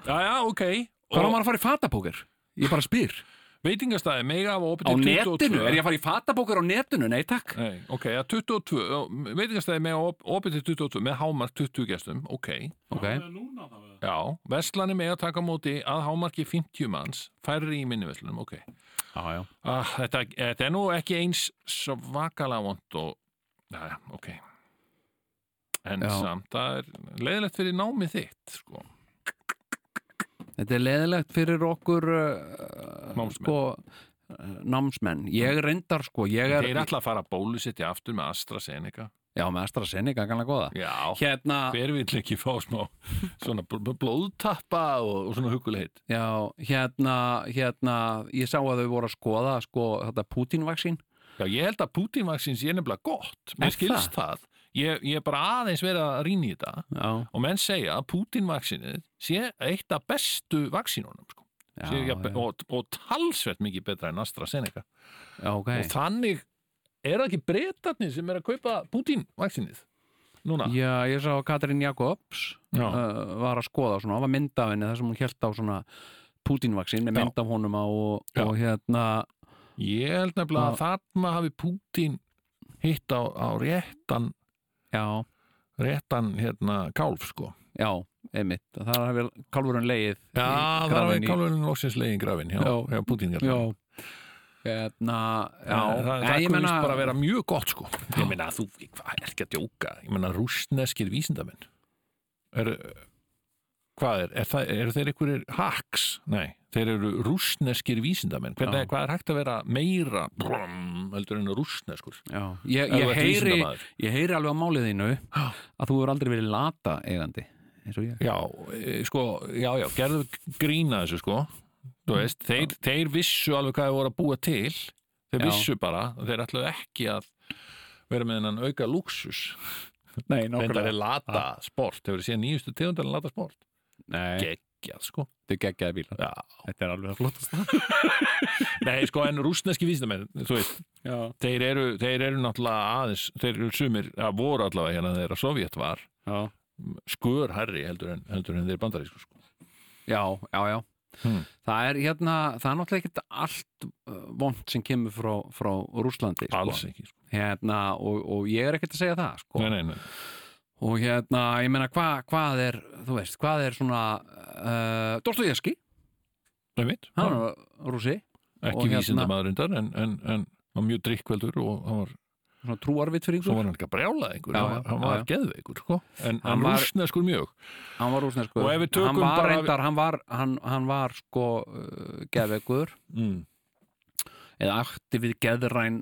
S2: já, já, ok
S3: hvað á
S2: Og
S3: maður að fara í fatabókir? ég bara spyr
S2: veitingastæði mega af opið
S3: á
S2: til 22
S3: netinu, er ég að fara í fatabókir á netinu? nei takk
S2: Nei, ok, ja, 22 já, Veitingastæði mega op- opið til 22 með hámark 20 gestum, ok
S3: ok,
S4: Það er núna það við.
S2: Já, veslanir mega taka á móti að hámarki 50 manns, færri í minni veslunum, ok
S3: já, já
S2: ah, þetta, þetta er nú ekki eins svakalega vond og Já, já, ok En
S3: Já.
S2: samt, það er leiðilegt fyrir námið þitt, sko
S3: Þetta er leðilegt fyrir okkur uh,
S2: Námsmenn.
S3: sko, uh, námsmenn. Ég reyndar sko, ég er
S2: Þeir ætla að fara að bólusetja aftur með AstraZeneca
S3: Já, með AstraZeneca, kannlega góða.
S2: Já,
S3: Hérna,
S2: hver vill ekki fá smá svona bl- bl- blóðtappa og, og svona huguleit
S3: já, hérna, hérna, ég sá að þau voru að skoða sko, þetta Putin-vaksín.
S2: Já, ég held að Putin-vaksins ég er nefnilega gott,
S3: Er
S2: mér skilst það Ég, ég er bara aðeins verið að rýna í þetta
S3: já,
S2: og menn segja að Putin-vaksinið sé eitt af bestu vaksinunum sko.
S3: já,
S2: Sé, ja,
S3: já,
S2: og, og talsvert mikið betra en AstraZeneca
S3: já, ok
S2: og þannig er það ekki breytarnir sem er að kaupa Putin-vaksinið núna
S3: Já, ég sá að Katrin Jakobs
S2: Já.
S3: uh, var að skoða svona, það var mynd af henni þar sem hún held á svona Putin-vaksin með
S2: Já.
S3: mynd af honum á og,
S2: Já.
S3: og hérna
S2: Ég held nefnilega að þarna hafi Pútín hitt á, á réttan,
S3: já,
S2: réttan hérna, kálf sko.
S3: já, einmitt þar hefur kálfurinn leið í
S2: það var
S3: grafinn
S2: við
S3: í-
S2: kálfurinn loksins legin grafin hjá,
S3: Já.
S2: hjá Pútín.
S3: Já, hérna já,
S2: það, það,
S3: Nei,
S2: það
S3: ég meina
S2: komist bara að vera mjög gott sko. Ég meina þú, hvað er ekki að djóka? Ég meina rústneskir vísindamenn. Er, hvað er, er það, eru þeir einhverjir hacks? Nei, þeir eru rústneskir vísindamenn. Hvernig,
S3: Já.
S2: hvað er hægt að vera meira brum, heldur en rústneskur?
S3: já, ég,
S2: Ef þú
S3: ég,
S2: ert
S3: heyri,
S2: vísindamaður.
S3: ég heyri alveg á málið þínu
S2: Já.
S3: að þú hefur aldrei verið lata eigandi eins og ég
S2: Já, e, sko, já, já, gerðu grína þessu, sko Þú veist, þeir, þeir vissu alveg hvað þeir voru að búa til Þeir
S3: Já.
S2: vissu bara, og þeir ætluðu ekki að vera með hennan auka lúksus
S3: Nei,
S2: Þetta er lata sport, hefur séð nýjustu tegundar en lata sport
S3: Nei,
S2: Geggjað, sko
S3: þetta er geggjaði bíla
S2: já.
S3: Þetta er alveg að flottast
S2: Nei, sko, en rúsneski vísindamenn, þú veist
S4: Já.
S2: Þeir eru, þeir eru náttúrulega aðeins, þeir eru sumir, að voru allavega hérna þegar að Sovjet var
S3: Já,
S2: Skur herri heldur en, heldur en þeir bandarísku, sko
S3: já, já, já.
S2: Hmm.
S3: Það er hérna, það er náttúrulega ekkert allt uh, vond sem kemur frá, frá Rúslandi
S2: Alls
S3: sko.
S2: ekki, sko
S3: hérna, og, og ég er ekkert að segja það sko.
S2: Nei, nei, nei
S3: og hérna, ég meina hva, hvað er þú veist, hvað er svona uh, Dostoyevski,
S2: Nei, mitt
S3: hann er rúsi Og
S2: ekki
S3: hérna-
S2: vísindamaður undar en, en, en hann var mjög drikkveldur og hann var,
S3: svona trúarvit fyrir
S2: svo
S3: ykkur
S2: var hann ekki að brjála einhver,
S3: Já,
S2: hann var,
S3: já,
S2: hann
S3: já,
S2: var
S3: já.
S2: geðveikur sko. en
S3: Hann
S2: hann
S3: var-
S2: rúsneskur mjög
S3: hann var rúsneskur,
S2: Og ef við
S3: hann
S2: tökum
S3: var
S2: bara-
S3: reyndar hann var, hann, hann var sko uh, geðveikur,
S2: mm.
S3: eða akti við geðræn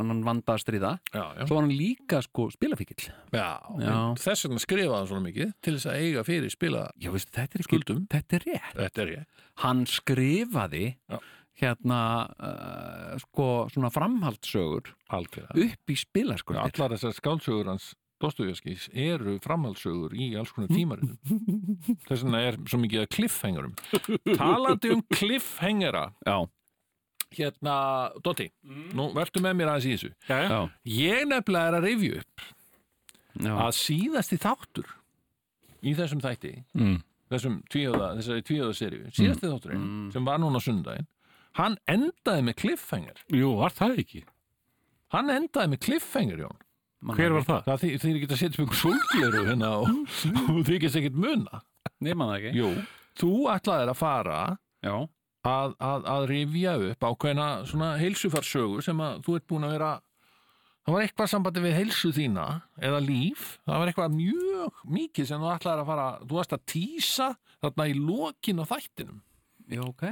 S3: hann vanda að stríða
S2: já, já.
S3: svo var hann líka sko spilafíkil
S2: Já,
S3: Já.
S2: þess vegna skrifaði hann svona mikið til þess að eiga fyrir spila
S3: já veist, þetta er ekki,
S2: skuldum
S3: þetta er rétt
S2: þetta er ég
S3: hann skrifaði
S2: Já.
S3: hérna uh, sko svona framhaldssögur
S2: algjörða
S3: upp í spilaskuldir
S2: allar þessar skálsögur hans Dostoyevskis eru framhaldsögur í alls konar tímaritum þess vegna er svo mikið að kliffhengurum talandi um kliffhengara
S3: já,
S2: hérna, Dotti, nú vertu með mér aðeins í þessu
S4: Já, já.
S3: já,
S2: Ég nefnilega er að rifju upp
S3: já,
S2: að síðasti þáttur í þessum þætti,
S3: mm.
S2: þessum tvíóða, þessari tvíóða seríu, síðasti þátturinn sem var núna á sundaginn, hann endaði með cliffhanger.
S4: Jú, var það ekki?
S2: Hann endaði með cliffhanger, Jón.
S4: Hver var það?
S2: Það þið, þið er ekki að setja sem einhver sólgleru hérna og, og þið ekki að segja muna.
S3: nema það ekki
S2: Jú, þú ætlaðir að fara
S3: já,
S2: að, að, að rifja upp ákveðna svona heilsufarsögu sem að þú ert búin að vera það var eitthvað sambandi við heilsu þína eða líf, það var eitthvað mjög mikið sem þú ætlaðir að fara þú varst að týsa þarna í lokin á þættinum
S3: já, ok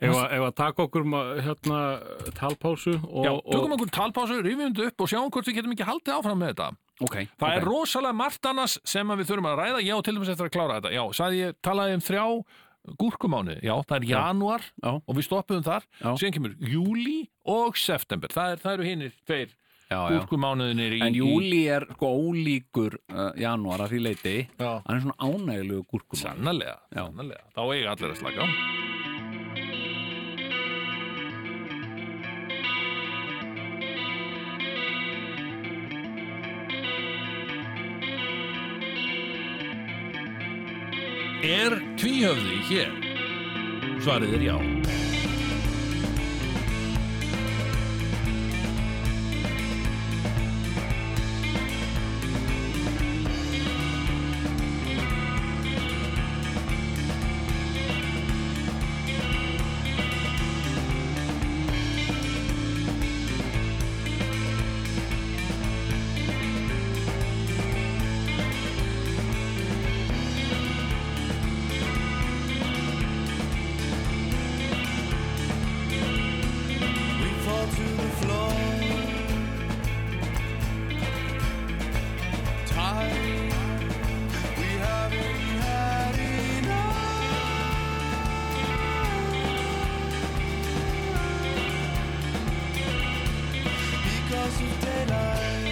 S4: Ef að- ef að taka okkur um að, hérna, talpásu og,
S2: Já, tökum
S4: og
S2: okkur talpásu, rifjum þetta upp og sjáum hvort við getum ekki haldið áfram með þetta
S3: ok,
S2: Það
S3: ok.
S2: er rosalega margt annars sem að við þurfum að ræða, já, til dæmis eftir að klára þetta Já, sagði ég, talaði um þrjá gúrkumánu, já, það er janúar
S3: Já.
S2: og við stoppuðum þar,
S3: Já.
S2: síðan kemur júli og september, það, er, það eru hinnir tveir
S3: já, já.
S2: gúrkumánuðinir í
S3: en júli er sko ólíkur uh, janúar að því leiti
S2: Já.
S3: hann er svona ánægilegu gúrkum
S2: Sannarlega,
S3: Já.
S2: sannarlega, þá eiga allir að slaka á Er tvíhöfði hér? Svarið er já.
S5: We fall to the floor, tired. We haven't had enough because of daylight.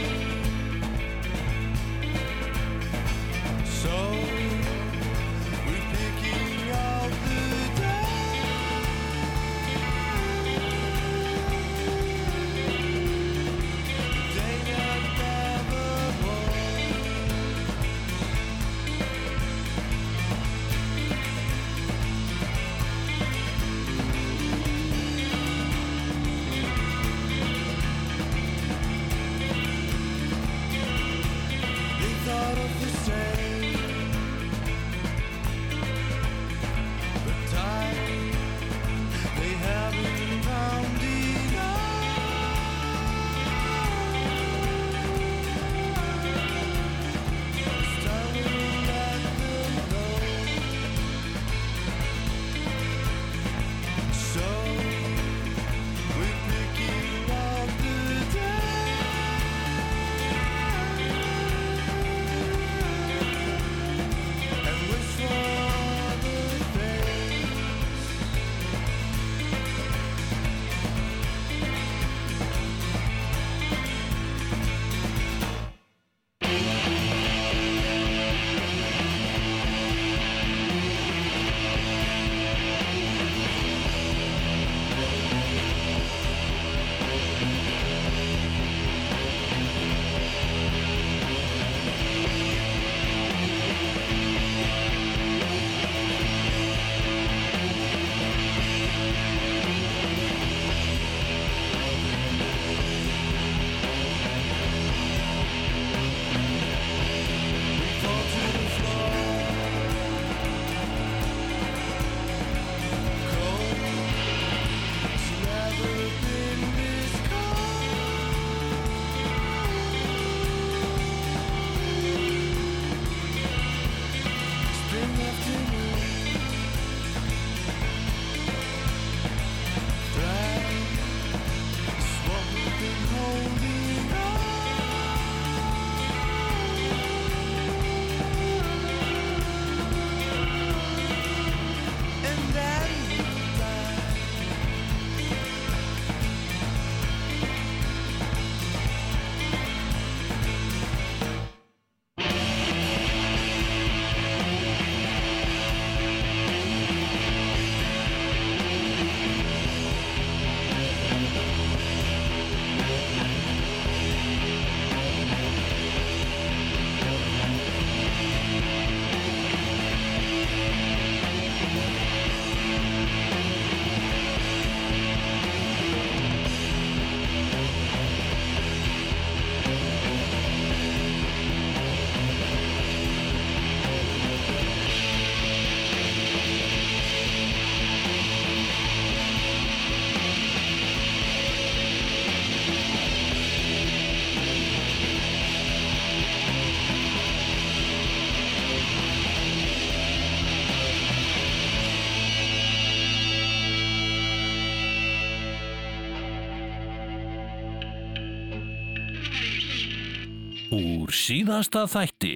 S2: Úr síðasta þætti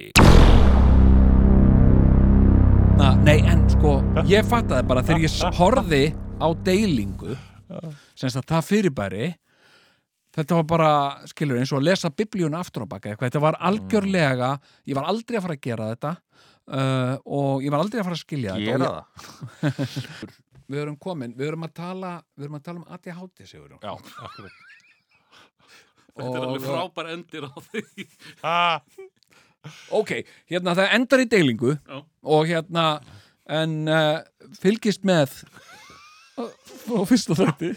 S1: Na, nei, en sko, ég fattaði bara þegar ég s- horfði á deilingu sem sagt það fyrirbæri þetta var bara, skilur eins og að lesa biblíuna aftur á baka eitthvað, þetta var algjörlega ég var aldrei að fara að gera þetta uh, og ég var aldrei að fara að skilja þetta og ég,
S6: það
S1: við erum komin, við erum að tala við erum að tala um ADHD, Sigurjón
S6: Já, akkurat
S4: Þetta er alveg
S1: Og-
S4: frábær endir á því.
S6: ah,
S1: Ok, hérna það endar í deilingu
S4: Já.
S1: og hérna en uh, fylgist með og fyrsta þætti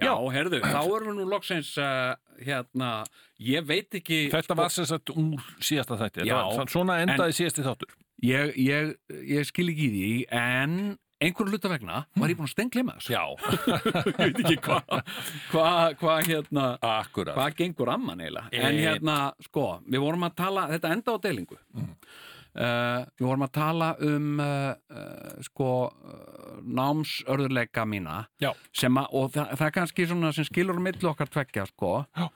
S3: Já, herðu, þá erum við nú loksins uh, hérna, ég veit ekki
S2: Þetta var sem sagt úr síðasta þætti
S3: Já.
S2: Þetta var- Svona endaði síðasti þáttur
S3: ég, ég, ég skil ekki í því en einhverju hluta vegna var ég búin að stenglema þessu
S2: Já,
S3: ég veit ekki hvað hvað hva, hérna,
S2: akkurat
S3: hvað gengur amman eiginlega en
S2: Eh.
S3: hérna, sko, við vorum að tala þetta enda á deilingu
S2: Mm.
S3: uh, við vorum að tala um uh, uh, sko uh, námsörðuleika mína
S2: Já.
S3: sem að, og það, það er kannski svona sem skilur á milli okkar tveggja, sko Já.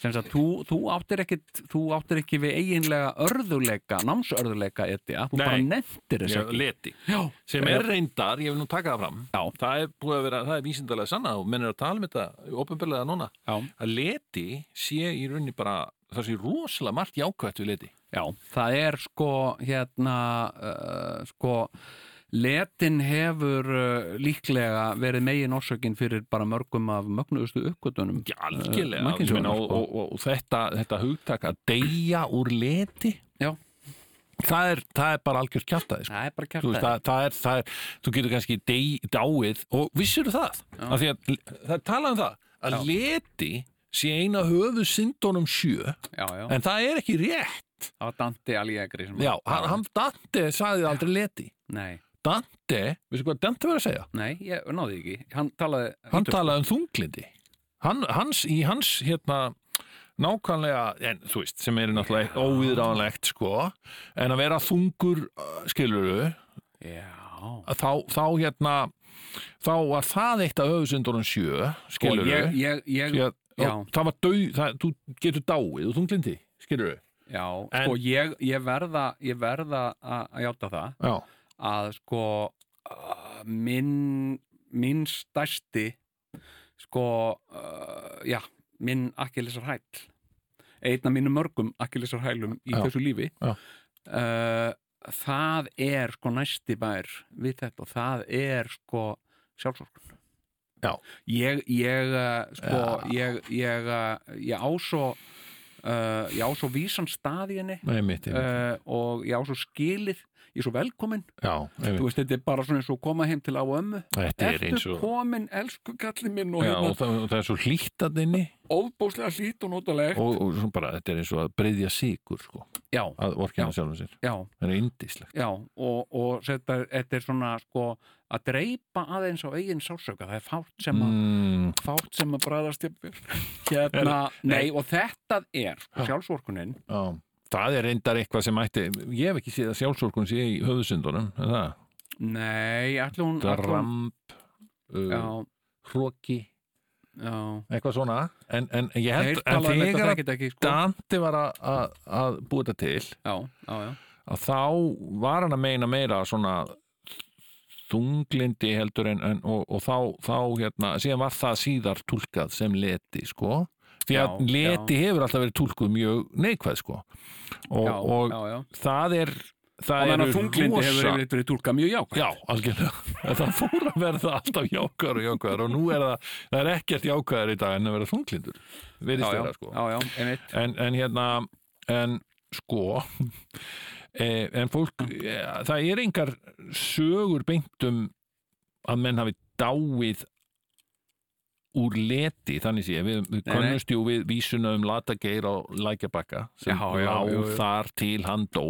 S3: sem að þú, þú áttir ekkit þú áttir ekki við eiginlega örðuleika námsörðuleika etja, þú
S2: Nei.
S3: bara nefndir þess
S2: Ég
S3: ekki
S2: leti
S3: Já,
S2: sem er reyndar, ég vil nú taka það fram
S3: Eh, Já.
S2: það er búið að vera, það er vísindalega sanna og menn er að tala um þetta ofinbjörlega núna
S3: Já.
S2: að leti sé í rauninni bara það sé rosalega margt jákvætt við leti
S3: Já, það er sko hérna uh, sko letin hefur uh, líklega verið megin orsökin fyrir bara mörgum af mögnuðustu uppgötunum
S2: Já, algjörlega
S3: Eh,
S2: Ég meina,
S3: sko.
S2: og, og, og, og þetta, þetta hugtak að deyja úr leti
S3: Já.
S2: það er, það er bara algjör kjartaði sko.
S3: Það er bara
S2: þú,
S3: kjartaði
S2: veist, það, það, er, það er, þú getur kannski dey, dáið og vissir það af því að það er talað um það að
S3: Já.
S2: leti sé eina höfu syndunum sjö
S3: Já, já,
S2: en það er ekki rétt
S3: það var Dante Alighieri sem-
S2: Já, hann, hann Dante sagði aldrei leti
S3: Nei,
S2: Dante, veistu hvað Dante var að segja?
S3: nei, ég náði því ekki Hann talaði
S2: Hann
S3: Ítölsku.
S2: talaði um þunglindi hann, hans, Í hans hérna nákvæmlega, en þú veist sem er náttúrulega óviðránlegt sko en að vera þungur uh, skiluru,
S3: Já
S2: að þá, þá hérna þá var það eitt af höfusundunum sjö
S3: Sko,
S2: skiluru
S3: ég, ég, ég,
S2: Því að-
S3: já.
S2: og það var dau, það, þú getur dáið og þunglindi, skiluru
S3: já,
S2: En-
S3: sko, ég, ég verða, ég verða að að játa það
S2: Já,
S3: að sko uh, minn, minn stærsti sko uh, já, minn akkilesar hæll einn af mínum mörgum akkilesar hælum í
S2: Já,
S3: þessu lífi
S2: já.
S3: Uh, það er sko næsti bær við þetta og það er sko sjálfsorkun
S2: Já.
S3: ég, ég uh, sko ég, ég, uh, ég á svo uh, ég á svo vísan stað í henni
S2: nei mitt, einmitt.
S3: uh, og ég á svo skilið ég er svo velkomin
S2: já, einmitt.
S3: þú veist, þetta er bara svona eins og koma heim til á ömmu
S2: þetta er eins
S3: Ertu
S2: og
S3: komin, elsku kallið minn og
S2: Já, og
S3: hérna,
S2: það, og það er svo hlýtt að þinni
S3: óbóðslega hlýt og notalegt
S2: og, og svona bara, þetta er eins og að breyðja sigur sko,
S3: Já,
S2: að orkina sjálfum sér
S3: já,
S2: það er indislegt
S3: já og, og þetta, þetta er svona sko að dreipa aðeins á eigin sásöka það er fátt sem að,
S2: mm,
S3: fátt sem að bræðast jafnir hérna, nei, og þetta er sko, sjálfsvorkunin
S2: já. það er reyndar eitthvað sem ætti ég hef ekki séð að sjálfsorgun sé í höfðusundunum er það,
S3: nei, allir hún ætli hún-
S2: dramp
S3: já,
S2: uh, hróki,
S3: já
S2: eitthvað svona en, en ég held,
S3: Þeir
S2: en
S3: tala um þetta
S2: þegar að
S3: þekkit ekki sko.
S2: Dante var að, að, að búa þetta til
S3: Já, já, já
S2: að þá var hann að meina meira svona þunglindi heldur en, en og, og þá, þá hérna, síðan var það síðar túlkað sem leti sko því að
S3: Já,
S2: leti hefur alltaf verið túlkuð mjög neikvæð sko og,
S3: Já,
S2: og
S3: já, já.
S2: það er
S3: og
S2: það
S3: meðan
S2: eru
S3: að þunglindi hefur
S2: rosa-
S3: yfirleitt verið tólkað mjög jákvæmt
S2: Já, algjörlega. Það fór að verða alltaf jákvæður og jákvæður og nú er það, það er ekkert jákvæður í dag en að vera þunglindur. Verðist
S3: já,
S2: vera,
S3: já,
S2: sko
S3: já, já, einmitt
S2: en, en hérna en sko eh, en fólk eh, það er engar sögur beint um að menn hafi dáið úr leti þannig sé, við, við
S3: nei.
S2: könnust jú við vísuna um latageir á lækjabakka sem
S3: Já, já,
S2: lá
S3: jú, jú.
S2: þar til hann dó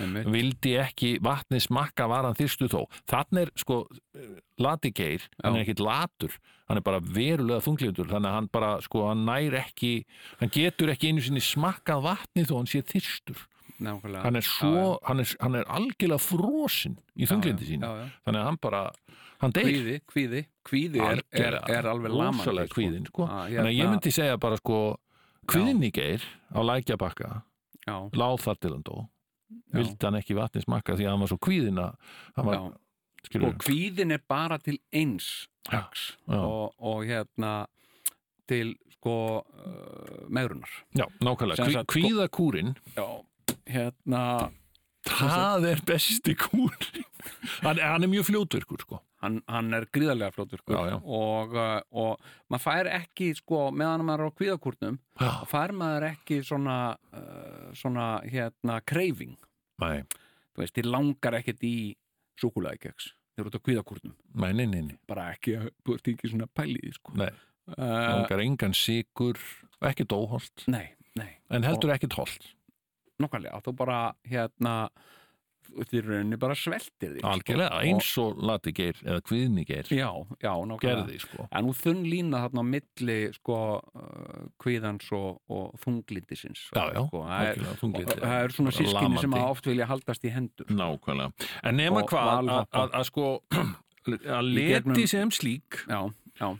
S3: Einmitt.
S2: vildi ekki vatni smakka var hann þyrstu þó þannig er sko latigeir, hann
S3: Já.
S2: er ekkit latur hann er bara verulega þunglindur þannig að hann bara, sko, hann nær ekki hann getur ekki einu sinni smakkað vatni þó hann sé þyrstur
S3: Nákvæmlega.
S2: hann er, svo, hann er, hann er algjörlega frosinn í þunglindi sín
S3: já, já.
S2: þannig að hann bara, hann deyr
S3: kvíði, kvíði, kvíði er, er,
S2: Algjörlega.
S3: er alveg lamandi
S2: Rosalega kvíðin, sko.
S3: Að,
S2: þannig að ég
S3: hérna,
S2: myndi segja bara sko Kvinnigeir á lækjabakka
S3: já,
S2: láð þar til hann dó
S3: já.
S2: vildi hann ekki vatni smakka því að hann var svo kvíðina hann var,
S3: já.
S2: skilur
S3: og kvíðin er bara til eins
S2: Já,
S3: dags
S2: já.
S3: og, og hérna til sko uh, meðrunar
S2: já, nákvæmlega,
S3: Sem
S2: Kví,
S3: sagt, sko-
S2: kvíðakúrin
S3: já, hérna
S2: það er besti kúrin hann, hann er mjög fljótvirkur sko
S3: hann, hann er gríðarlega flótur
S2: Já, já.
S3: og, uh, og maður fær ekki sko, meðan maður er á kvíðakúrnum
S2: Já,
S3: fær maður ekki svona uh, svona hérna kreifing
S2: nei,
S3: þú veist, þið langar ekkert í súkulæðikeks, þið eru út á kvíðakúrnum
S2: nei, nei, nei, nei.
S3: bara ekki, þú ert ekki svona pælið sko.
S2: nei.
S3: uh,
S2: langar engan sigur ekki dóholt,
S3: Eh, nei, nei
S2: en heldur ekki tólt
S3: nokkanlega, þú bara hérna þú þið rauninni bara sveltir þig sko.
S2: algjörlega, eins og latigeir eða kvíðnigeir
S3: já, já, nokkanlega
S2: gerði sko
S3: en nú þunn lína þarna á milli sko, uh, kvíðans og, og þunglindisins
S2: já, já,
S3: sko, það er,
S2: algjörlega, þunglindi.
S3: og það er svona sískinni sem
S2: Lamandi.
S3: að oft vilja haldast í hendur
S2: nákvæmlega, en nema
S3: Og
S2: hvað að-
S3: valhoppa.
S2: að- að sko að
S3: Í gegnum-
S2: leti sem slík
S3: já, já,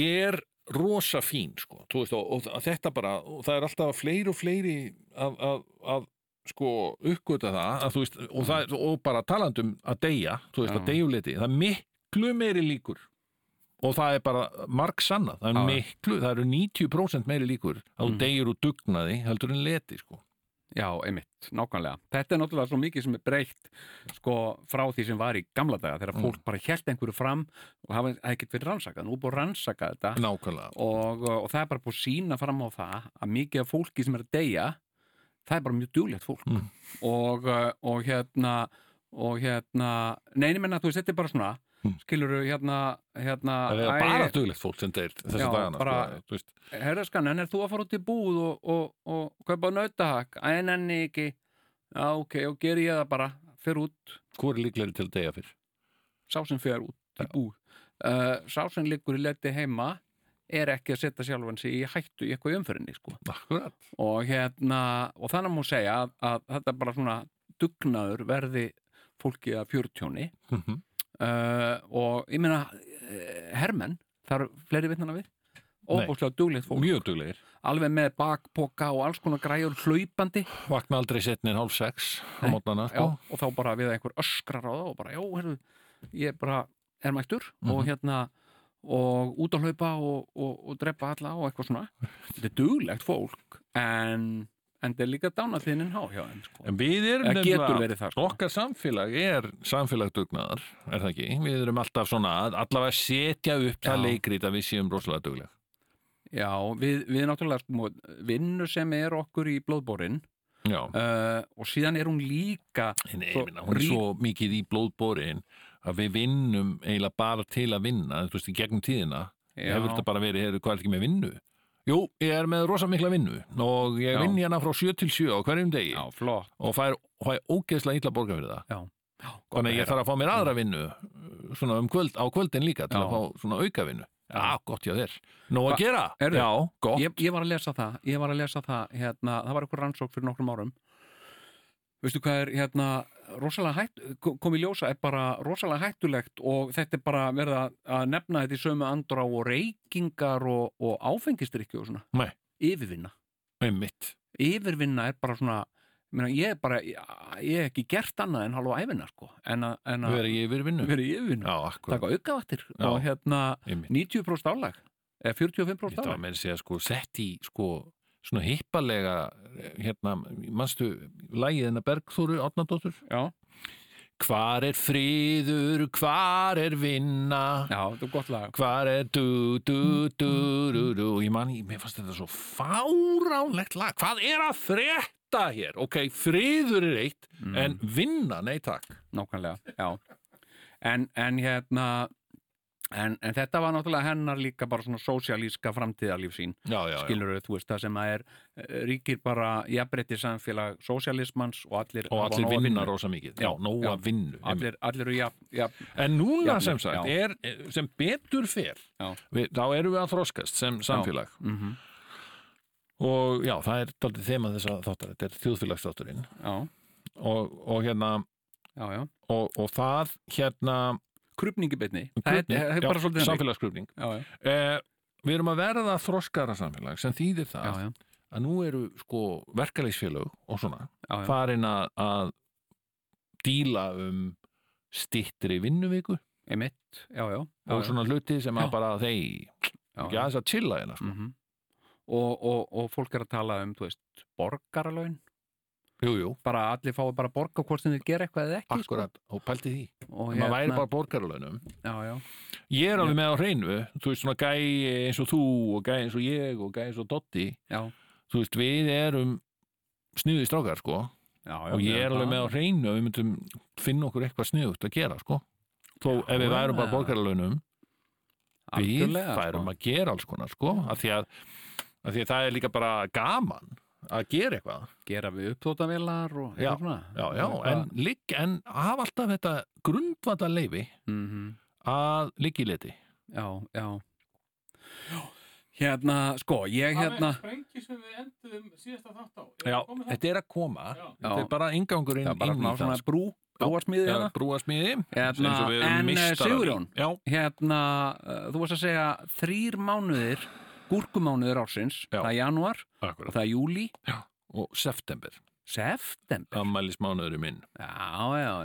S2: er rosa fín sko. Þú veist, og, og þa- þetta bara og það er alltaf fleiri og fleiri að, að, að sko uppgöta það, að, þú veist, og, það, og bara talandum að deyja, þú veist,
S3: Já.
S2: að deyjuliti það er miklu meiri líkur og það er bara marg sannað það er
S3: Já, já.
S2: miklu, það eru 90% meiri líkur að þú
S3: Mhm.
S2: deyjur og dugnaði heldur en leti sko.
S3: já, einmitt nákvæmlega, þetta er náttúrulega svo mikið sem er breytt sko frá því sem var í gamla daga þegar
S2: Mm.
S3: fólk bara hjælt einhverju fram og hafa ekkert verið rannsakað, nú er búið að rannsaka þetta
S2: nákvæmlega
S3: og, og það er bara búið að sína fram á það að mikið af fólki sem er að deyja það er bara mjög duglegt fólk
S2: Mm.
S3: og, uh, og hérna og hérna, neini menna þú veist þetta er bara svona,
S2: Mm.
S3: skilur hérna, hérna
S2: það er bara duglegt fólk sem deyr þessi
S3: Já,
S2: dagana
S3: bara-
S2: sko, þú veist,
S3: herraskan, en er þú að fara út í búð og, og, og, kaupa nautahakk, að en enni ekki já ok, og geri ég það bara fer út,
S2: hvor er líklegri til að deyja fyrr
S3: sá sem fer út í búð uh, sá sem liggur í leti heima er ekki að setja sjálfan sig í hættu í eitthvað í umfyrinni sko
S2: akkurat
S3: og hérna og þannig má segja að, að þetta bara svona dugnaður verði fólki að fjörtjóni
S2: Mhm.
S3: uh, og ég meina eh, hermenn, það eru fleiri vitnana við óbúslega duglegt fólk
S2: mjög duglegir
S3: alveg með bakpoka og alls konar græjur hlaupandi
S2: vakna aldrei setni en hálf sex á
S3: Nei.
S2: mótnana
S3: já,
S2: sko.
S3: og þá bara við einhver öskrar á það og bara, já, herru, ég bara er mættur
S2: Mhm.
S3: og hérna og út að hlaupa og, og, og drepa alla og eitthvað svona þetta er duglegt fólk en, en þetta er líka dánatíðnin há hjá þeim sko.
S2: en við erum
S3: Eða getur
S2: nefnilega
S3: verið það sko.
S2: okkar samfélag er samfélag dugnaðar, er það ekki? Við erum alltaf svona að allavega setja upp það
S3: Já.
S2: leikrit að við séum rosalega dugleg
S3: Já, við, við náttúrulega sko, vinnu sem er okkur í blóðbórin
S2: Já,
S3: uh, og síðan er hún líka
S2: en
S3: svo
S2: ég minna, hún er
S3: rík-
S2: svo mikið í blóðborin að við vinnum eiginlega bara til að vinna, þú veist, í gegnum tíðina
S3: Já,
S2: hefur þetta bara verið, heyrðu, hvað er ekki með vinnu? Jú, ég er með rosa mikla vinnu og ég
S3: Já.
S2: vinn hérna frá 7 til 7 á hverjum degi
S3: já flott
S2: og fær, fær ógeðslega illa borga fyrir það
S3: já, gott að
S2: Þannig að ég
S3: heyra.
S2: þarf að fá mér aðra vinnu uh, svona um kvöld, á kvöldin líka til
S3: Já.
S2: að fá svona auka vinnu. Já, gott hjá þér. Nó að
S3: Hva-
S2: gera?
S3: Heyrðu,
S2: Já, gott.
S3: ég, ég var að lesa það, ég var að lesa það hérna, það var eitthvað rannsók fyrir nokkrum árum veistu hvað er hérna rosalega hætt, kom í ljósa er bara rosalega hættulegt og þetta er bara verið að- að nefna þetta í sömu andrá og reykingar og, og áfengistrykju og svona,
S2: Nei.
S3: yfirvinna
S2: Einmitt.
S3: yfirvinna er bara svona ég meina, ég er bara, ég, ég hef ekki gert annað en halva æfina sko, en að, en að
S2: Við erum yfir vinnu.
S3: vera í
S2: Já,
S3: yfirvinna,
S2: akkurat.
S3: taka aukavattir
S2: Já.
S3: og hérna
S2: Einmitt.
S3: 90% álag eða 45%
S2: Þetta var
S3: álag
S2: með að segja sko sett í sko svona hippalega eh, hérna, manstu, lægið hennar Bergþóru Átnandóttur?
S3: já,
S2: Hvar er friður, hvar er vinna?
S3: já, þetta er gott lag
S2: Hvar er du, du, du, du, du Ég man, ég- mér fannst þetta svo fáránlegt lag Hvað er að frétta hér? Ok, friður er eitt
S3: Mm.
S2: En vinna, nei takk
S3: Nákvæmlega, já En, en hérna en, en þetta var náttúrulega hennar líka bara svona sósialíska framtíðarlíf sín
S2: Já, já,
S3: skilur þú veist það sem að er eh, ríkir bara jafnbreytti samfélag sósialismans og allir
S2: Og
S3: hafa
S2: allir
S3: nóg að
S2: vinna
S3: vinna.
S2: rosa mikið
S3: Já,
S2: Já, nóa
S3: já.
S2: vinnu einmitt.
S3: allir, allir eru jafn, jafn
S2: En núna
S3: Jafnir,
S2: sem sagt,
S3: já.
S2: er, eh, sem betur fer
S3: Já.
S2: við, Þá erum við að þroskast sem samfélag
S3: mm
S2: Og já, það er daldið þema þess að þáttar Þetta er þjóðfélagsþátturinn
S3: já,
S2: og, og hérna
S3: já, já
S2: Og, og það hérna
S3: Krupningi beinni, það er,
S2: krufning,
S3: það er
S2: já,
S3: bara svolítið þannig.
S2: samfélagsskrufning
S3: já, já.
S2: eh, við erum að verða þroskara samfélag sem þýðir það
S3: já, já,
S2: að nú eru sko verkalýsfélög og svona
S3: já, já.
S2: farin að, að díla um stittri vinnuviku
S3: Einmitt, já, já, já,
S2: og
S3: já.
S2: svona hluti sem að
S1: Já.
S2: bara þeir
S3: já,
S2: ekki
S3: já.
S2: aðeins að chilla hérna sko.
S3: Mhm. og, og, og fólk er að tala um, þú veist, borgaralaun
S2: jú, jú,
S3: bara að allir fái bara borga hvort sem þeir gera eitthvað eða ekki
S2: akkurat og pælti því,
S3: sko. og hérna-
S2: maður væri bara borgarlönum
S3: já, já,
S2: ég er alveg með á hreinu þú veist svona gæi eins og þú og gæi eins og ég og gæi eins og Dotti
S3: já,
S2: þú veist við erum sniði strákar sko
S3: já, já hérna,
S2: og ég er alveg með á
S3: það.
S2: hreinu að við myndum finna okkur eitthvað sniðugt að gera sko þó ef við værum bara
S3: já.
S2: borgarlönum við
S3: Algjörlega,
S2: færum
S3: sko.
S2: að gera alls konar sko af því að, af því að það er líka bara gaman að gera eitthvað
S3: gera við uppþótavélar og
S2: Já,
S3: hérna.
S2: já, já, en, ligg, en hafa alltaf þetta grundvata leifi
S3: Mhm,
S2: að liggi leti
S3: já, já hérna, sko, ég hérna
S4: sprengi sem við endum síðasta þátt á
S2: þetta er að koma
S4: Já.
S2: þetta er bara ingangurinn
S3: það sko. er bara
S2: inn
S3: svona
S2: í það
S3: svona brú, brúarsmiði
S2: Já,
S3: hérna
S2: brúasmiði
S3: Hérna,
S2: eins og við
S3: en,
S2: erum
S3: eh,
S2: meistarar í.
S3: Sigurjón?
S2: Já,
S3: hérna, uh, þú varst að segja þrýr mánuðir, gúrkumánuðir ársins,
S2: Já.
S3: það er janúar og
S2: akkurat
S3: það er júli,
S2: og september,
S3: september
S2: Um, ammælismánuðurinn minn
S3: já, já,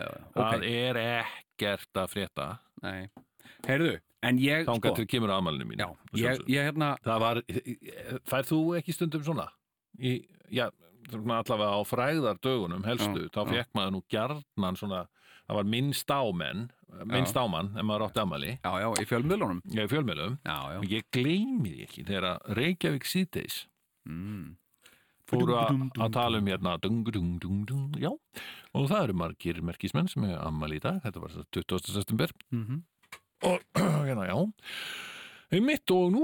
S3: já,
S2: það
S3: ok,
S2: er ekkert að frétta
S3: nei heyrðu, en ég,
S2: þángat
S3: sko
S2: til kemur ammælinu mín
S3: já, ég, ég hérna,
S2: það var, fær þú ekki stundum svona í, já, svona allavega á fræðar dögunum helstu,
S3: Já,
S2: þá
S3: já.
S2: fekk maður nú gjarnan svona, það var minnst ámenn minnst ámann, ef maður átti ammæli
S3: já, já, í fjölmiðlunum
S2: ég er fjölmjölum,
S3: já, já,
S2: og ég gleymi því ekki þegar að Reykjavík síðdeis
S3: mm.
S2: fóru að að tala um hérna dung, dung, dung, dung, já, og það eru margir merkismenn sem er ammæli í dag þetta var 20. september
S3: Mm
S2: og hérna, já einmitt og nú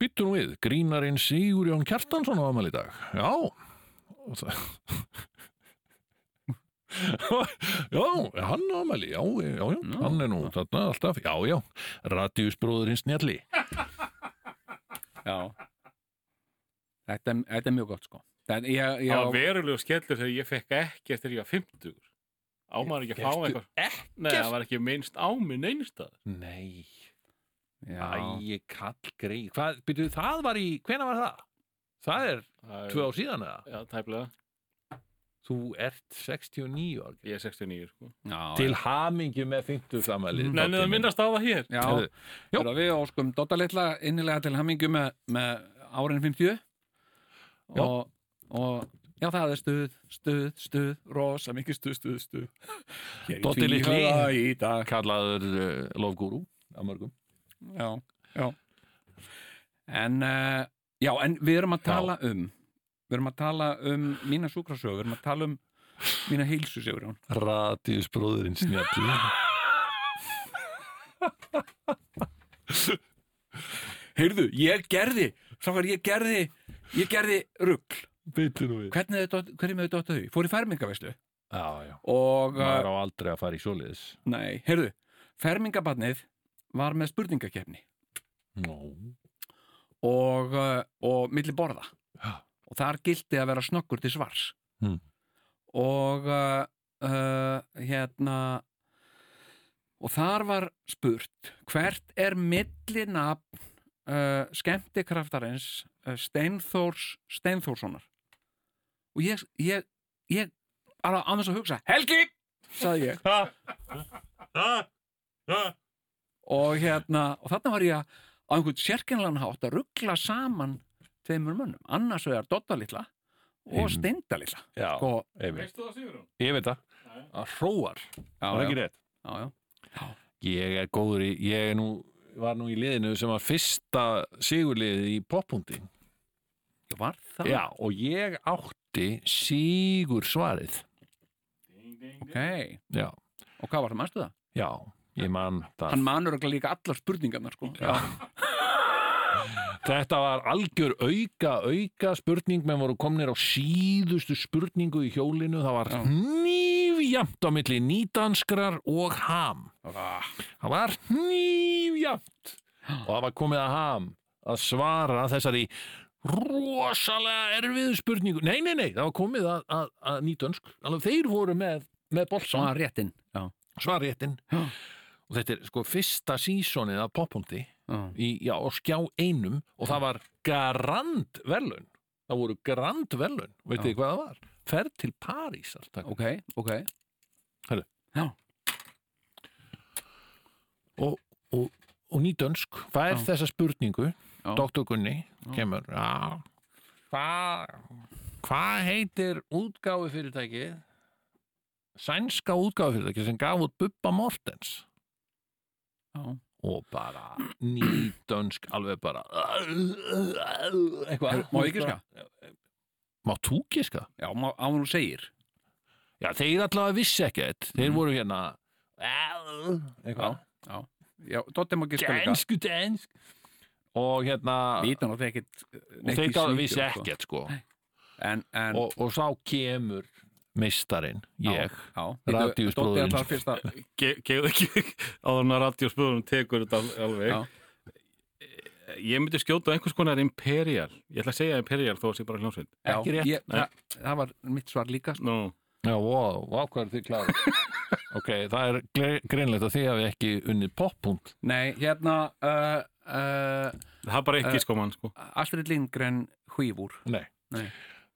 S2: byttu nú við grínarinn Sigurjón Kjartansson á amal í dag já og það já, hann á amali já, já, já, hann er nú þarna alltaf, já, já, radíusbróðurinn snjalli
S3: já þetta, er- þetta er mjög gott, sko það, ég,
S4: Það
S3: ég,
S4: var verulegu skellur þegar ég fekk ekki eftir ég var 50 Á maður ekki að fá
S2: Fékkstu
S4: eitthvað Nei, það var ekki minnst á minn einstað
S2: nei,
S3: já,
S2: æ, kall grei hvað, byrju, það var í, hvena var það? það er tvö ár síðan eða
S4: Já, tæplega,
S2: þú ert 69 ár
S4: ég er 69 sko.
S3: já,
S2: til hamingju með 50 samalið
S4: Nei, en það minnast á það hér
S3: já,
S2: Heyrðu, já.
S3: já. við óskum Dotta litla innilega til hamingju með, með árin 50
S2: Já.
S3: og, og já, það er stuð, stuð, stuð rosa mikið stuð, stuð, stuð Hér í
S2: Doddi litli.
S3: tvíhöfða í dag
S2: kallaður uh, lofgúrú að mörgum
S3: já, já en uh, já, en við erum að
S2: Já.
S3: tala um við erum að tala um mína sjúkrasögu við erum að tala um mína heilsu segur hún
S2: Radius bróðurinn snjalli
S3: heyrðu, ég gerði, sákar, ég gerði ég gerði rugl
S2: Byttu nú við
S3: hvernig þau, hvernig með þau dottu þau, fór í fermingaveislu
S2: Já, já
S3: og,
S2: Maður
S3: uh,
S2: á aldrei að fara í svoleiðis
S3: nei, heyrðu fermingabarnið var með spurningakefni
S2: Nó
S3: og, uh, og milli borða
S2: Já.
S3: og þar gildi að vera snöggur til svars
S2: Hmm.
S3: og uh, uh, hérna og þar var spurt hvert er milli nafn uh, skemmtikraftarins uh, Steinþórs Steinþórssonar og ég, ég, ég alveg aðeins að hugsa Helgi, sagði ég og hérna, og þarna var ég að á einhvern sérkenlan hátt að ruggla saman tveimur mönnum, annars vegar Dotta litla og
S2: Einmitt.
S3: Steinda litla
S2: Já,
S3: sko,
S2: einmitt
S4: Veistu það Sigurðun?
S2: Ég veit það Að hróar
S3: já,
S2: Var
S3: já,
S2: ekki rétt
S3: já, já.
S2: Ég er góður í Ég er nú var nú í liðinu sem var fyrsta sigurliðið í poppundi
S3: Ég var það
S2: Já, og ég átti sigur svarið
S3: ok,
S2: Já,
S3: og hvað var það, manstu það?
S2: já, ég man það
S3: hann manur ekki líka allar spurningarnar sko. já.
S2: Þetta var algjör auka, auka spurning menn voru komnir á síðustu spurningu í hjólinu, það var
S3: Já.
S2: nýfjamt á milli nýdanskrar og ham.
S3: Ah,
S2: Það var nýfjamt og það var komið að ham að svara þessari rosalega erfiðu spurningu. Nei, nei, nei, það var komið að, að, að nýdansk. Alveg þeir voru með, með
S3: svona
S2: bolsan,
S3: réttin já,
S2: svaréttin.
S3: Já.
S2: Og og þetta er sko fyrsta sísonið af poppundi í, já, á skjá einum og það var grand verðlaun það voru grand verðlaun, veitir þið hvað það var ferð til París alltaf
S3: ok, ok
S2: Herðu.
S3: já,
S2: og, og, og nýdönsk hvað er
S3: Já.
S2: þessa spurningu
S3: Já.
S2: Dr. Gunni kemur já. hvað hvað heitir útgáfu fyrirtækið sænska útgáfu fyrirtækið sem gaf út Bubba Mortens
S3: já,
S2: og bara nýdönsk alveg bara eitthvað
S3: má ég giska?
S2: má þú giska?
S3: já, má- áður en þú segir
S2: já þeir allavega vissi ekkert þeir voru hérna eitthvað
S3: já, já, Dotti má giska líka
S2: densku densk og hérna
S3: Lítan og þeir ekkit
S2: og þeir gáðu vissi ekkert sko
S3: En, en
S2: og, og sá kemur meistarinn, ég
S3: já,
S2: radíusbróðirinn.
S3: Dotti er það fyrsta
S4: Gefðu ekki áður að radiospöðunum tekur þetta al- alveg. Eh,
S3: Já.
S4: Ég myndi skjóta á einhvers konar imperial. Ég ætla að segja imperial þó að sé bara hljómsveit.
S3: Já,
S2: Ekki rétt.
S3: ég, það, það var mitt svar líka sko.
S4: Nú,
S2: já, wow, wow, hvað er þið kláður ok, það er gre- greinlegt að þið hafi ekki unnið poppunt
S3: Nei, hérna uh, uh,
S4: það er bara ekki sko mann sko.
S3: Astrid Lindgren hýfur
S2: Nei.
S3: Nei.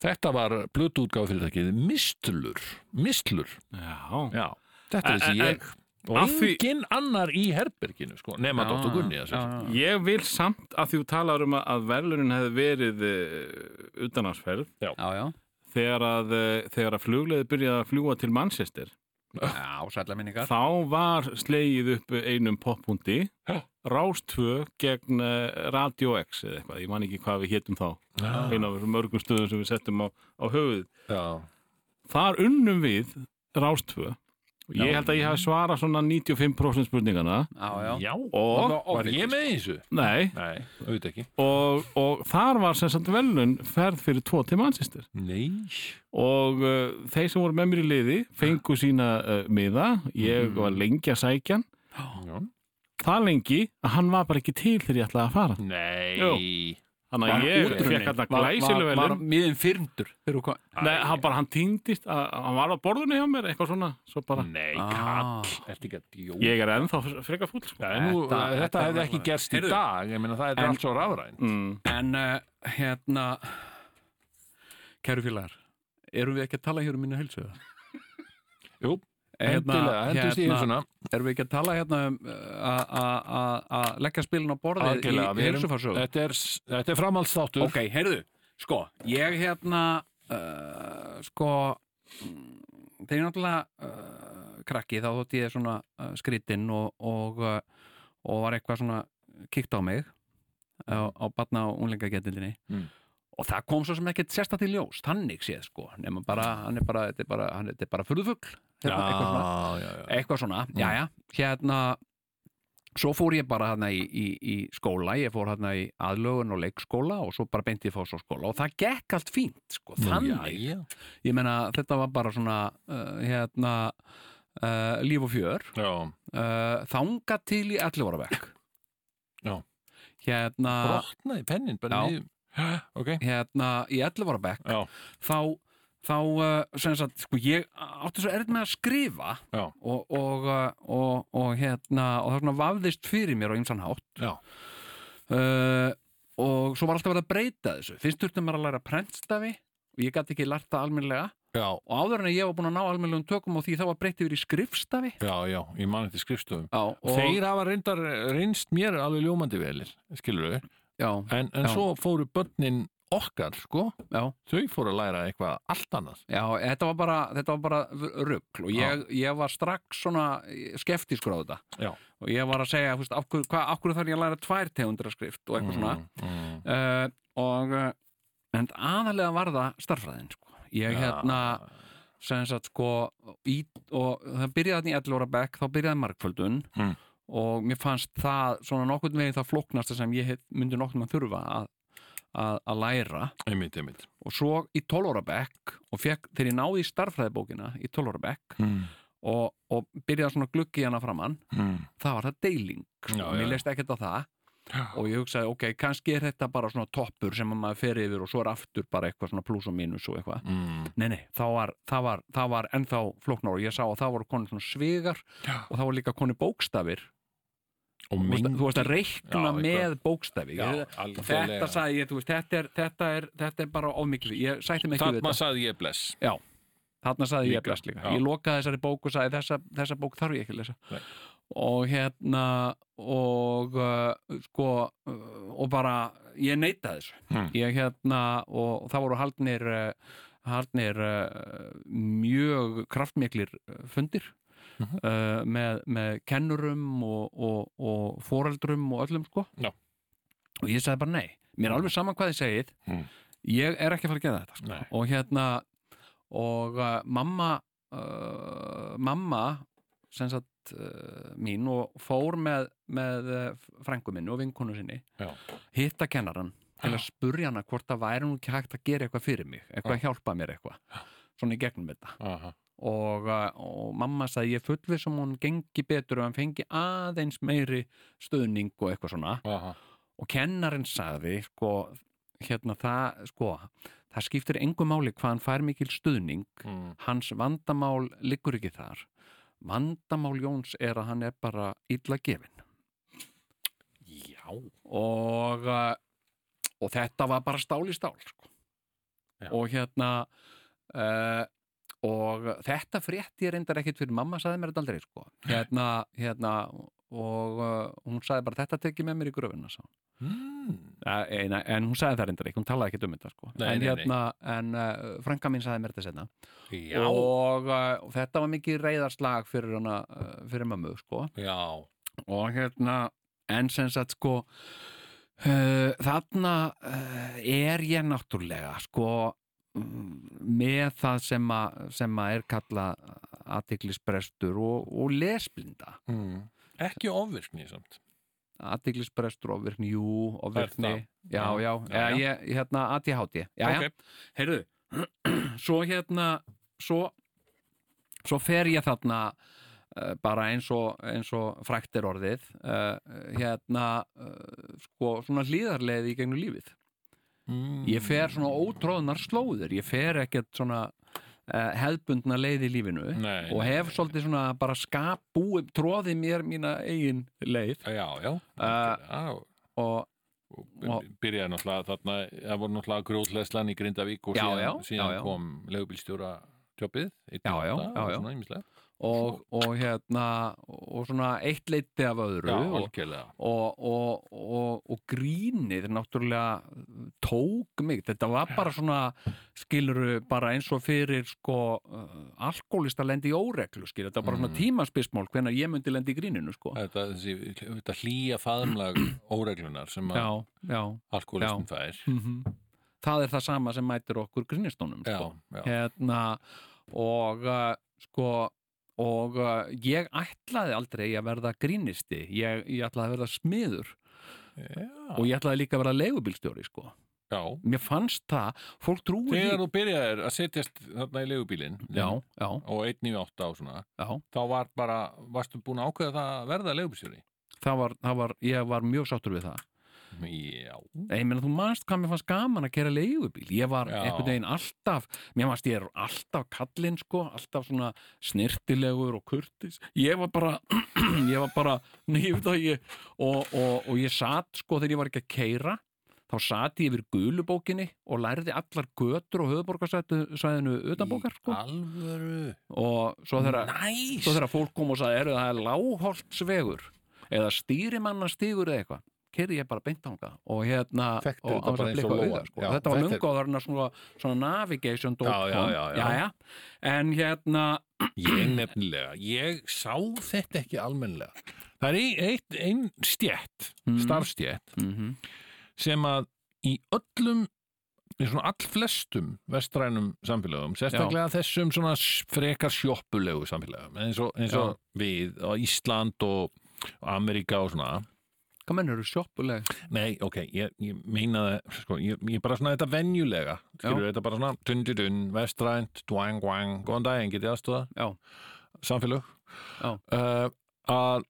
S2: þetta var blötuútgáð fyrirtækið Mistlur, Mistlur
S4: Já.
S2: já, þetta er þessi
S4: En- en-
S2: ég og
S4: af því-
S2: enginn annar í herberginu sko, nema Dr. Gunni að segja
S3: já,
S4: Ég vil samt að því þú talar um að- að verðlunin hefði verið uh, utanásferð
S3: já, já,
S4: þegar að, uh, þegar að flugleði byrjaði að fljúa til Manchester.
S3: já sætla minningar
S4: Þá var slegið upp einum poppundi, Rástfö gegn uh, Radio X eða eitthvað, ég man ekki hvað við hétum þá einu af þessum mörgum stöðum sem við settum á, á höfuð.
S2: já,
S4: Þar unnum við Rástfö og ég held að ég hafi svarað svona 95% spurningana
S3: Já, já,
S2: já.
S4: og,
S3: það
S2: var ég með í þessu?
S4: nei,
S2: Nei, auðvitað ekki
S4: og, og þar var sem sagt velun ferð fyrir tvo til Manchester
S2: Nei
S4: og uh, þeir sem voru með mér í liði fengu sína uh, miða ég var lengi að sækja hann
S2: Mhm. Já.
S4: það lengi að hann var bara ekki til þegar ég ætlaði að fara
S2: Nei
S4: þannig að ég fekk hann að glæsilu
S3: Var
S4: velun
S3: miðin fyrndur þegar þú kom-
S4: um. Nei, hann bara, hann týndist, að, hann var á borðunni hjá mér, eitthvað svona, svo bara,
S2: Nei,
S3: Ah.
S2: kall, ertu ekki að djóka
S4: ég er ennþá frekar fúll, sko.
S2: Já, en nú,
S3: Þetta-
S2: þetta,
S3: þetta
S2: hefði
S3: var
S2: ekki
S3: svona-
S2: gerst í
S3: Heyrðu.
S2: dag ég meina það er
S3: En-
S2: allt svo rafræn
S4: Mm.
S3: En uh, hérna Kæru félagar Erum við ekki að tala hér um minni heilsuða?
S2: Jú, endilega, hendust í svona
S3: hérna, Erum hérna, við ekki að tala hérna um uh, að- að- að- að leggja spilin á borðið
S2: algjörlega,
S3: í
S2: við erum-
S3: heilsufarsögu?
S2: þetta er, s- þetta er framhaldsþáttur
S3: Ok, heyrðu, sko, ég hérna uh, sko mm, þegar ég náttúrulega uh, krakki þá þótt ég svona uh, skrítinn og, og, uh, og var eitthvað svona kíkt á mig uh, á batna og unglingagetildinni
S2: Mm.
S3: og það kom svo sem ekkert sérstætt í ljós þannig séð sko, nema bara hann er bara, þetta er bara, hann þetta er bara furðufugl
S2: já,
S3: hérna, eitthvað svona
S2: já, já.
S3: eitthvað svona,
S2: Mm.
S3: jæja, hérna svo fór ég bara hérna í, í, í skóla, ég fór hérna í aðlögun og leikskóla og svo bara beinti ég fósóskóla og það gekk allt fínt sko,
S2: Nú,
S3: þannig,
S2: já,
S3: ég meina þetta var bara svona, uh, hérna uh, líf og fjör
S2: já.
S3: uh, þanga til í 11 ára vekk
S2: Já.
S3: hérna
S2: brotnaði pennin bara
S3: Já.
S2: niður Hæ, ok,
S3: hérna í 11 ára bekk
S2: Já.
S3: þá, þá uh, sem sagt, sko, ég átti svo erð með að skrifa
S2: Já.
S3: og, og, uh, og, og hérna og það svona vafðist fyrir mér á ymsan hátt
S2: Já.
S3: uh, og svo var alltaf verið að breyta þessu fyrst þurfti maður að læra prentstafi og ég gæti ekki lært það almennlega
S2: já,
S3: og áður en ég var búin að ná almennlegum tökum og því þá var breytið yfir í skrifstafi
S2: já, já ég man eftir skrifstofum
S3: Já, og,
S2: þeir hafa reyndar, reynst mér alveg ljómandi velir skilur við,
S3: já,
S2: en, en
S3: Já.
S2: svo fóru börnin okkar, sko
S3: já,
S2: þau fóru að læra eitthvað allt annað
S3: já, þetta var bara, þetta var bara rugl og ég, ég var strax svona skeftiskur á þetta
S2: já,
S3: og ég var að segja, þú veist, af hverju, hva, af hverju þarf ég að læra tvær tegundra skrift og eitthvað svona
S2: mm.
S3: uh, og uh, en aðalega var það starfræðin sko. ég
S2: Já.
S3: hérna sem sagt sko í, og það byrjaði þarna í 11 ára bekk þá byrjaði markföldun
S2: Mm.
S3: og mér fannst það svona nokkurn veginn það flóknasta sem ég hef, myndi nokkurn að þurfa að, að, að læra
S2: einmitt, einmitt
S3: og svo í 12 ára bekk og fekk, þegar ég náði í starfræðibókina í 12 ára bekk
S2: mm.
S3: og, og byrjaði svona gluggi hana framann
S2: Mm.
S3: það var það deiling sko.
S2: Já,
S3: og
S2: já,
S3: mér
S2: já.
S3: leist ekkert á það og ég hugsaði, ok, kannski er þetta bara svona toppur sem að maður fer yfir og svo er aftur bara eitthvað svona plus og mínus og eitthvað
S2: mm.
S3: Nei, nei, það var, það var, það var ennþá flóknar og ég sá að það voru konir svona svigar
S2: Já.
S3: og það voru líka konir bókstafir
S2: og
S3: Þú veist-
S2: mengi
S3: Þú veist að reikna
S2: Já,
S3: með
S2: eitthvað.
S3: bókstafi
S2: Já,
S3: Ég-
S2: algjörlega.
S3: Þetta sagði ég, þú veist, þetta er, þetta er, þetta er bara ofmikið, ég sætti mig ekki við
S2: þarna
S3: þetta
S2: sagði ég bless
S3: Þarna sagði ég
S2: Líka,
S3: bless líka,
S2: já.
S3: ég lokaði þessari bók og sagði þessa, þessa bók þarf ég ekki að lesa
S2: Nei.
S3: og hérna og uh, sko uh, og bara, ég neitaði þessu
S2: Hmm.
S3: ég hérna og það voru haldnir uh, haldnir uh, mjög kraftmiklir uh, fundir
S2: Mhm.
S3: uh, með, með kennurum og, og, og foreldrum og öllum sko
S2: Já.
S3: og ég sagði bara nei mér er alveg saman hvað þið segið
S2: Mm.
S3: ég er ekki að fara að gera þetta sko.
S2: Nei.
S3: og hérna og uh, mamma uh, mamma sem sagt uh, mín og fór með, með frængu minni og vinkonu sinni
S2: Já.
S3: hitta kennaran til að spurja hana hvort það væri nú ekki hægt að gera eitthvað fyrir mig eitthvað að hjálpa mér eitthvað svona í gegnum þetta
S2: Aha.
S3: og, uh, og mamma sagði ég fullvið sem hún gengi betur og hann fengi aðeins meiri stöðning og eitthvað svona
S2: Aha.
S3: og kennarinn sagði sko, hérna það sko, það skiptir engu máli hvað hann fær mikil stuðning
S2: Mm.
S3: hans vandamál liggur ekki þar vandamál Jóns er að hann er bara illa gefin
S2: já
S3: og uh, og þetta var bara stál í stál sko.
S2: Já.
S3: og hérna uh, og þetta frétt ég reyndar ekkit fyrir mamma sagði mér þetta aldrei sko. hérna, hérna og uh, hún sagði bara þetta tekið með mér í gröfinna sá
S2: mm.
S3: en, eh, en hún sagði það reyndar ekki, hún talaði ekki um þetta sko.
S2: Nei,
S3: en,
S2: nei, nei.
S3: hérna, en uh, frænka mín sagði mér þetta setna
S2: já
S3: og, uh, og þetta var mikið reyðarslag fyrir hana, uh, fyrir mömmu sko.
S2: já
S3: og hérna en sem sagt sko uh, þarna uh, er ég náttúrulega sko mm, með það sem að, sem að er kalla aðtiklisbrestur og, og lesblinda
S2: mm. ekki ofvirkni samt
S3: aðtiklisbrestur, ofvirkni, jú
S2: Það
S3: ofvirkni,
S2: er
S3: já,
S2: Já,
S3: já,
S2: já,
S3: já, Ég, hérna ADHD, já, já,
S2: Ok.
S3: heyrðu svo hérna svo, svo fer ég þarna uh, bara eins og, eins og frækt er orðið uh, hérna uh, sko svona hlýðarleið í gegnum lífið
S2: mm.
S3: ég fer svona ótróðnar slóðir ég fer ekkert svona uh, hefðbundna leið í lífinu
S2: Nei,
S3: og
S2: nei,
S3: hef
S2: nei,
S3: svolítið svona bara skap búið, tróðið mér mína eigin leið
S2: já já
S3: Uh,
S2: já
S3: og
S2: og byrjaði náttúrulega þarna það voru náttúrulega grjóðleslan í Grindavík og
S3: Já,
S2: síðan,
S3: já,
S2: síðan
S3: já, já.
S2: kom legubílstjóra jobbið
S3: Já, já, já, já.
S2: svona ímislega
S3: og, og hérna og svona eitt leiti af öðru
S2: já,
S3: og,
S2: algjörlega
S3: og, og, og, og grínið náttúrulega tók mig þetta var bara svona skiluru bara eins og fyrir sko uh, alkoholista lendi í óreglu skilur, þetta var bara
S2: Mm.
S3: svona tímaspismál hvenær ég myndi lendi í gríninu sko
S2: þetta, þessi, þetta hlýja faðumlag óreglunar sem að
S3: já, já Mhm.
S2: alkoholistin fær
S3: það er það sama sem mætir okkur grínistónum
S2: já,
S3: sko.
S2: já,
S3: hérna og uh, sko og uh, ég ætlaði aldrei að verða grínisti, ég, ég ætlaði að verða smiður
S2: já,
S3: og ég ætlaði líka að verða leigubílstjóri sko.
S2: já.
S3: mér fannst það, fólk trúir
S2: þegar þú byrjaðir að setjast þarna í legubílin
S3: já, já,
S2: og einn í átta og svona
S3: já,
S2: þá var bara, varstu búin að ákveða það að verða legubílstjóri
S3: það var, það var ég var mjög sáttur við það
S2: já,
S3: Nei, ég meina, þú manst hvað mér fannst gaman að kera leigubíl ég var
S2: Já.
S3: einhvern veginn alltaf mér fannst ég er alltaf kallinn sko alltaf svona snirtilegur og kurtis ég var bara ég var bara nýfð að ég og, og, og ég satt sko þegar ég var ekki að keira þá satt ég yfir gulubókinni og lærði allar götur og höfuborgarsæðinu utanbókar sko
S2: alvöru
S3: og svo þegar
S2: næs
S3: svo þegar fólk kom og sagði, eru það er láholtsvegur eða stýrimannastígur eða eitthvað kerði ég bara beint ánga og hérna
S2: Þekkti
S3: og
S2: þetta
S3: án þess að
S2: bara eins og
S3: blikka
S2: lóan.
S3: auða, sko.
S2: Já,
S3: þetta var
S2: þetta er-
S3: lungaðurinn svona, svona navigation.com
S2: Já, já, já, já.
S3: en hérna
S2: Ég nefnilega, ég sá þetta ekki almennlega. Það er ein, ein, ein stjætt,
S3: Mhm.
S2: starfstjætt,
S3: mm
S2: sem að í öllum, í svona allflestum vestrænum samfélögum, sérstaklega þessum svona s- frekar sjoppulegu samfélögum, eins og, eins og við og Ísland og Amerika og svona.
S3: hvað mennur eru sjoppuleg
S2: Nei, ok, ég, ég meina það, sko, ég, ég bara svona þetta venjulega, skilur þetta bara svona dundudun, vestrænt, dwang, dwang, góðan daginn, getið aðstóða,
S3: Já.
S2: samfélög,
S3: Já.
S2: uh, að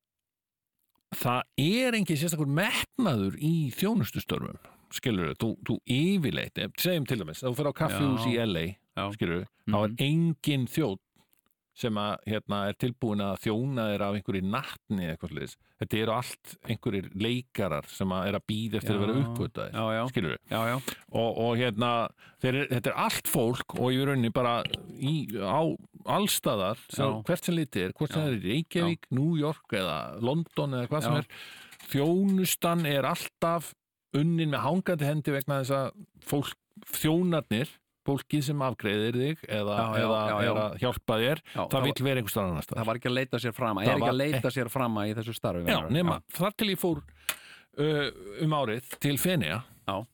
S2: Eh, það er engin sérstakur metnaður í þjónustustörfum skilur þú, þú yfirleitt eh, segjum til dæmis, ef þú fyrir á kaffihús í
S3: Já.
S2: LA
S3: Já.
S2: skilur þá er
S3: Mhm.
S2: engin þjóð sem að, hérna, er tilbúin að þjóna þér af einhverju nattni eða eitthvað sliðis þetta eru allt einhverjir leikarar sem að er að býða eftir að vera
S3: Já.
S2: uppgötaðir
S3: Já, já.
S2: skilur
S3: já, já,
S2: og, og hérna þeir, þetta er allt fólk og í rauninni bara í, á allstaðar sem,
S3: Já.
S2: hvert sem litið er, hvort sem
S3: Já.
S2: það er í Reykjavík, New York eða London eða hvað sem
S3: Já.
S2: er þjónustan er alltaf unnin með hangandi hendi vegna þess að fólk, þjónarnir fólkið sem afgreiðir þig eða,
S3: Já, já, já,
S2: eða
S3: já.
S2: er að hjálpa þér
S3: já
S2: það
S3: var-
S2: vill vera einhvers staðar annars staðar
S3: það var ekki að leita sér frama
S2: Það
S3: er ekki
S2: var
S3: að leita sér frama í þessu starfi
S2: Já,
S3: meinar.
S2: nema, þar til ég fór uh, um árið til Fenja
S3: Já.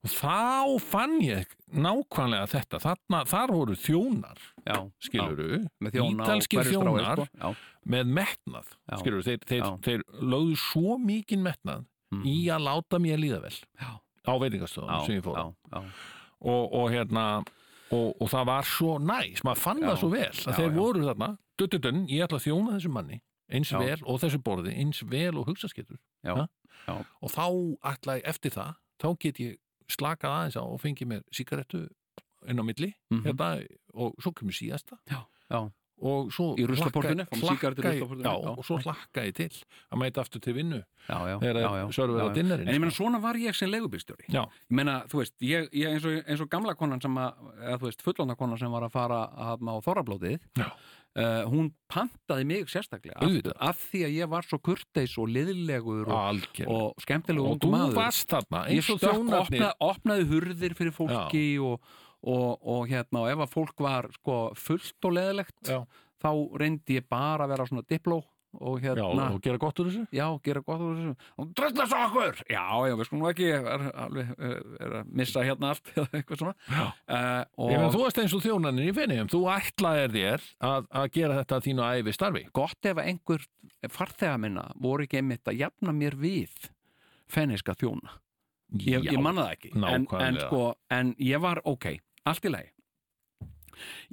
S2: og þá fann ég nákvæmlega þetta Þarna, þar voru þjónar,
S3: já, já,
S2: skiluru
S3: með þjóna á
S2: ítalskir
S3: hverju strái,
S2: þjónar
S3: sko. já,
S2: með metnað,
S3: Já.
S2: skiluru þeir, þeir,
S3: Já.
S2: þeir lögðu svo mikinn metnað
S3: Mhm.
S2: í að láta mér líða vel
S3: Já.
S2: á veitingastöðum sem ég fór á.
S3: já,
S2: og, og hérna og, og það var svo næs, maður fann
S3: Já.
S2: það svo vel að
S3: Já,
S2: þeir
S3: já.
S2: voru þarna, duttutun, ég ætla að þjóna þessum manni eins
S3: Já.
S2: vel og þessu borði, eins vel og hugsaskettur
S3: Já,
S2: Ha?
S3: já.
S2: og þá ætla ég eftir það þá get ég slakað aðeins á og fengið mér sigarettu inn á milli
S3: Mhm.
S2: hérna, og svo kemur síðasta
S3: Já, já.
S2: og svo
S3: Í ruslaportinu, fá mér
S2: hlakka,
S3: sígarettu í
S2: hlakka,
S3: ruslaportinu,
S2: já, já,
S3: já.
S2: og svo hlakka ég til að mæta aftur til vinnu
S3: já, já,
S2: þegar
S3: já, já,
S2: að sörfið
S3: já,
S2: að
S3: já.
S2: dinnerinn
S3: en ég meina
S2: sko.
S3: svona var ég sem leigubílstjóri
S2: Já.
S3: ég meina, þú veist, ég, ég eins, og, eins og gamla konan sem að, eða þú veist, fullonda konan sem var að fara að á þorrablótið
S2: Já.
S3: eh, hún pantaði mig sérstaklega
S2: Auðvitað.
S3: af því að ég var svo kurteis og liðlegur og,
S2: algjörlega og,
S3: og skemmtilegu
S2: og
S3: ungu
S2: þú
S3: maður
S2: varst þarna
S3: ég
S2: eins og
S3: stökk,
S2: þjónarnir
S3: opna, opnaði hurðir fyrir fólki og, og, og hérna, og ef að fólk var sko fullt og leðilegt
S2: Já.
S3: þá reyndi ég bara að vera svona dipló og
S2: Já,
S3: hérna,
S2: og gera gott úr þessu
S3: já, gera gott úr þessu og drölla svo okkur, já, já, við skulum nú ekki er, alveg, eh, er að missa hérna allt eða eitthvað svona
S2: Já.
S3: uh, og
S2: Ég meina, þú varst eins og þjónanir í Fenniðum, þú ætlaðir þér að, að gera þetta að þínu æfi starfi.
S3: gott ef að einhver farþega minna voru ekki einmitt að jafna mér við fenniska þjóna ég,
S2: Já.
S3: ég manna það ekki en, en,
S2: Nákvæmlega.
S3: sko, en ég var ok, allt í lagi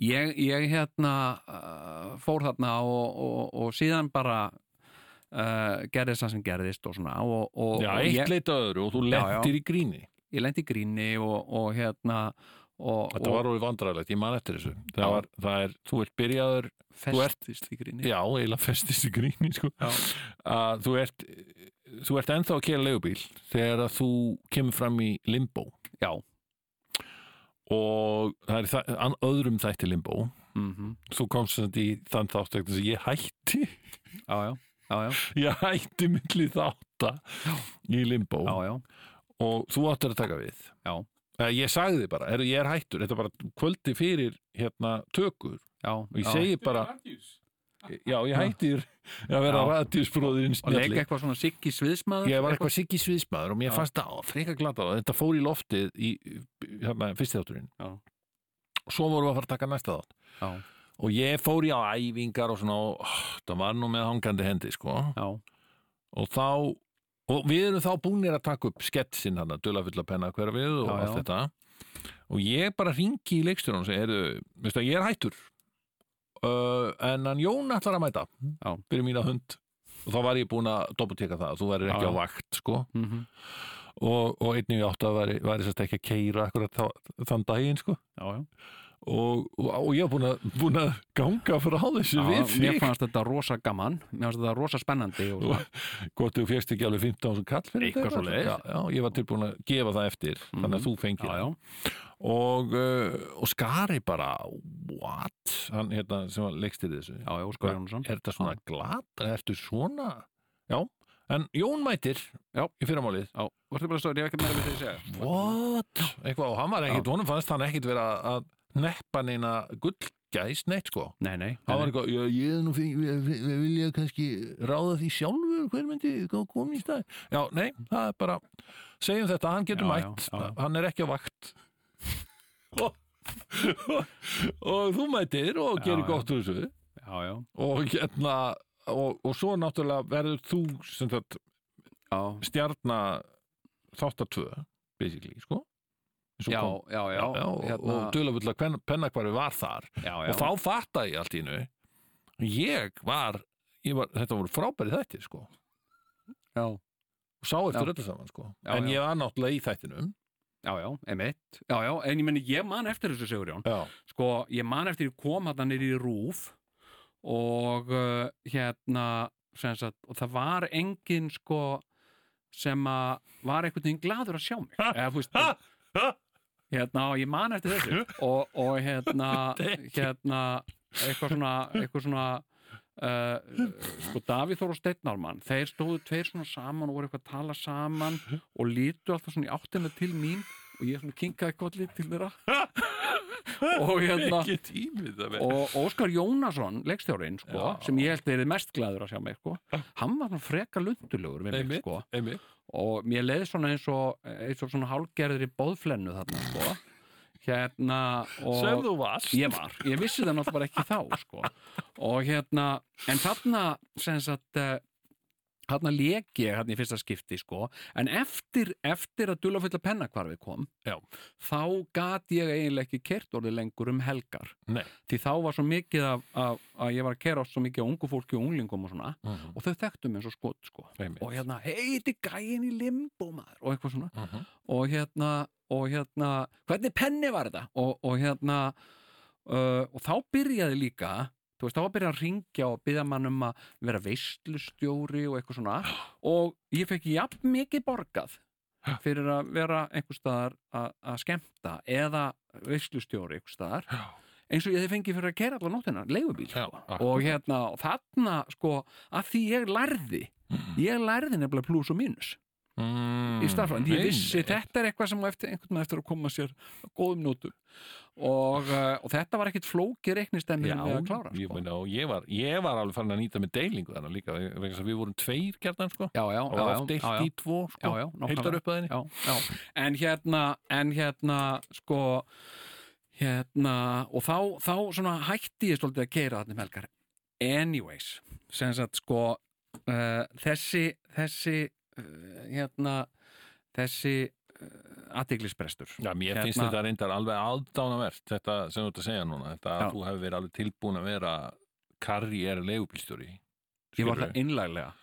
S3: ég, ég hérna uh, fór þarna og, og, og síðan bara uh, gerðist það sem gerðist og svona og, og,
S2: Já,
S3: og
S2: eitt
S3: ég,
S2: leita öðru og þú
S3: Já, já.
S2: lentir í gríni.
S3: ég lendi í gríni og, og hérna og,
S2: Þetta
S3: og
S2: var orðið vandræðilegt, ég man eftir þessu.
S3: Já.
S2: Það, var, það er, þú ert byrjaður,
S3: festist í gríni
S2: já, eiginlega festist í gríni, sko. Að þú ert, þú ert ennþá að kera leigubíl þegar að þú kemur fram í limbo
S3: já.
S2: og það er það, an, öðrum þætti limbo.
S3: mhm,
S2: Þú komst sem þetta í þann þátt vegna þess að ég hætti,
S3: já, já, já, já,
S2: ég hætti milli þátta í limbo.
S3: já, já.
S2: og þú áttir að taka við
S3: Já.
S2: Eh, ég sagði þið bara, er, ég er hættur þetta er bara kvöldi fyrir hérna, tökur
S3: Já,
S2: og ég
S3: já.
S2: segi bara já, ég hættir að vera
S3: Já.
S2: ræðtíðsbróðurinn
S3: og leika
S2: snjalli
S3: eitthvað svona siggi sviðsmaður
S2: ég var eitthvað siggi sviðsmaður og mér
S3: Já.
S2: fannst það freka glata á þetta fór í loftið í hérna, fyrsti þátturinn
S3: Já.
S2: og svo vorum við að fara að taka næsta þátt
S3: já,
S2: og ég fór í á æfingar og svona og, oh, það var nú með hangandi hendi sko
S3: já,
S2: og þá og við erum þá búinir að taka upp sketsin hann að dula fulla penna hverfið og
S3: Já,
S2: allt
S3: já.
S2: þetta og ég bara ringi í leikstjóran og segi, heyrðu, veistu að ég er hættur uh, en hann Jón ætlar að mæta
S3: Já.
S2: fyrir mína hund og þá var ég búin að dopputeka það þú værir ekki
S3: Já, já.
S2: á vakt sko
S3: mhm
S2: og, og einnig við átt að væri, væri sérst ekki að keira akkurat þá, þann daginn sko
S3: já, já.
S2: og, og, og ég var búin að, búin að ganga frá þessu
S3: Já,
S2: við
S3: mér
S2: þig
S3: fannst þetta rosa gaman mér fannst þetta rosa spennandi og, svona.
S2: hvort þú fjast ekki alveg 15 sem kall fyrir
S3: Eitthvað
S2: þetta.
S3: svoleiðis. Mhm.
S2: já, já, ég var tilbúin að gefa það eftir þannig að þú fengir
S3: já, já,
S2: það. og, uh, og skari bara what, hann hérna sem var leikstir þessu,
S3: já, já, Óskar Jónsson
S2: er þetta svona glata, ertu svona já, en Jón mætir já. í fyrramálið,
S3: já, varstu bara stóri, ég hef ekki meira við þig að segja
S2: what eitthvað, og hann var ekkit, honum fannst hann ekkit vera að neppa neina gullgæs neitt sko,
S3: nei, nei,
S2: Það
S3: nei,
S2: var eitthvað, já, ég er nú fyrir, við, við, við vilja kannski ráða því sjálfur, hver myndi koma í stað? Já, nei, það er bara, segjum þetta, hann getur
S3: Já, já,
S2: mætt,
S3: já, já.
S2: hann er ekki á vakt. og, og, og þú mætir og
S3: Já,
S2: gerir
S3: já.
S2: gott úr þessu
S3: já, já,
S2: og hérna, og, og svo náttúrulega verður þú sem þetta
S3: já,
S2: stjarna þáttatvö, basically, sko. Eins og
S3: já,
S2: kom.
S3: já, já,
S2: já, og,
S3: hérna,
S2: og dulafulla pennakvarfi var þar
S3: já, já,
S2: og þá fattaði ég allt í hennu ég var, ég var þetta voru frábæri þættir sko
S3: já,
S2: og sá eftir
S3: Já.
S2: öllu saman sko
S3: Já,
S2: en
S3: já.
S2: ég var náttúrulega í þættinum
S3: já, já, einmitt já, já, en ég meni, ég man eftir þessu Sigurjón
S2: já,
S3: sko, ég man eftir ég kom að það nýri í rúf og uh, hérna sem sagt, og það var engin sko sem að var einhvern veginn gladur að sjá mig eða, þú veist, hérna, og ég man eftir þessu og, og hérna, hérna eitthvað svona, eitthvað svona uh, sko Davíð Þór og Steinnarmann þeir stóðu tveir svona saman og voru eitthvað að tala saman og lítu alltaf svona í áttina til mín og ég svona kinkaði kolli til þeirra og hérna
S2: ekki tímið það með
S3: og Óskar Jónasson, leikstjórin sko,
S2: Já.
S3: sem ég held að er mest glæður að sjá mig sko. hann var svona freka lundulegur við mig,
S2: Einmitt.
S3: sko.
S2: einmitt,
S3: og mér leiði svona eins og, eins og svona hálgerðir í bóðflennu þarna sko. hérna
S2: sem
S3: og
S2: þú varst
S3: ég var, ég vissi það náttúrulega bara ekki þá sko. og hérna en þarna sem sagt eh, þarna lék ég hérna í fyrsta skipti sko. en eftir, eftir að dulafullar pennakvarfi kom
S2: Já.
S3: þá gat ég eiginlega ekki kert orðið lengur um helgar
S2: Nei.
S3: því þá var svo mikið af, af, að ég var að kera á svo mikið af ungu fólki og unglingum og svona
S2: Mhm,
S3: og þau þekktu mig eins og skot sko.
S2: einmitt.
S3: og hérna, heiti gæin í limbo maður og eitthvað svona
S2: Mhm.
S3: og hérna, og hérna hvernig penni var þetta og, og hérna uh, og þá byrjaði líka þú veist, þá var byrjað að ringja og byrja mann um að vera veislustjóri og eitthvað svona og ég fekk jafn mikið borgað fyrir að vera einhvers staðar að að skemmta eða veislustjóri einhvers staðar
S2: Já.
S3: eins og ég þið fengi fyrir að kera allar nóttina, leigubíl
S2: Já, akkurat.
S3: og hérna, og þarna sko, að því ég lærði ég lærði nefnilega plus og mínus
S2: Mm,
S3: í starfræðin, ég vissi
S2: einmitt.
S3: þetta er eitthvað sem á eftir, einhvern veginn eftir að koma sér að góðum nótum og, eh, og þetta var ekkit flóki reiknistemmi
S2: Já,
S3: með að klára
S2: ég,
S3: sko.
S2: meina, og ég, var, ég var alveg farin að nýta með deilingu þannig líka, vegna þess að við vorum tveir gerðan sko,
S3: já, já, já,
S2: og var
S3: já, já, já.
S2: oft deilt í tvo sko,
S3: Já, já, nákvæmlega.
S2: heildar upp að henni
S3: já, já. en hérna en hérna sko hérna og þá, þá svona hætti ég stoltið að keira þarna um helgar anyways sem sagt sko uh, þessi þessi uh, hérna þessi uh, aðdeglisbrestur
S2: Já, mér
S3: Hérna-
S2: finnst þetta reyndar alveg aðdánavert þetta sem þú ert að segja núna
S3: Já.
S2: þetta að þú hefur verið alveg tilbúin að vera karriér leigubílstjóri
S3: ég var það innlæglega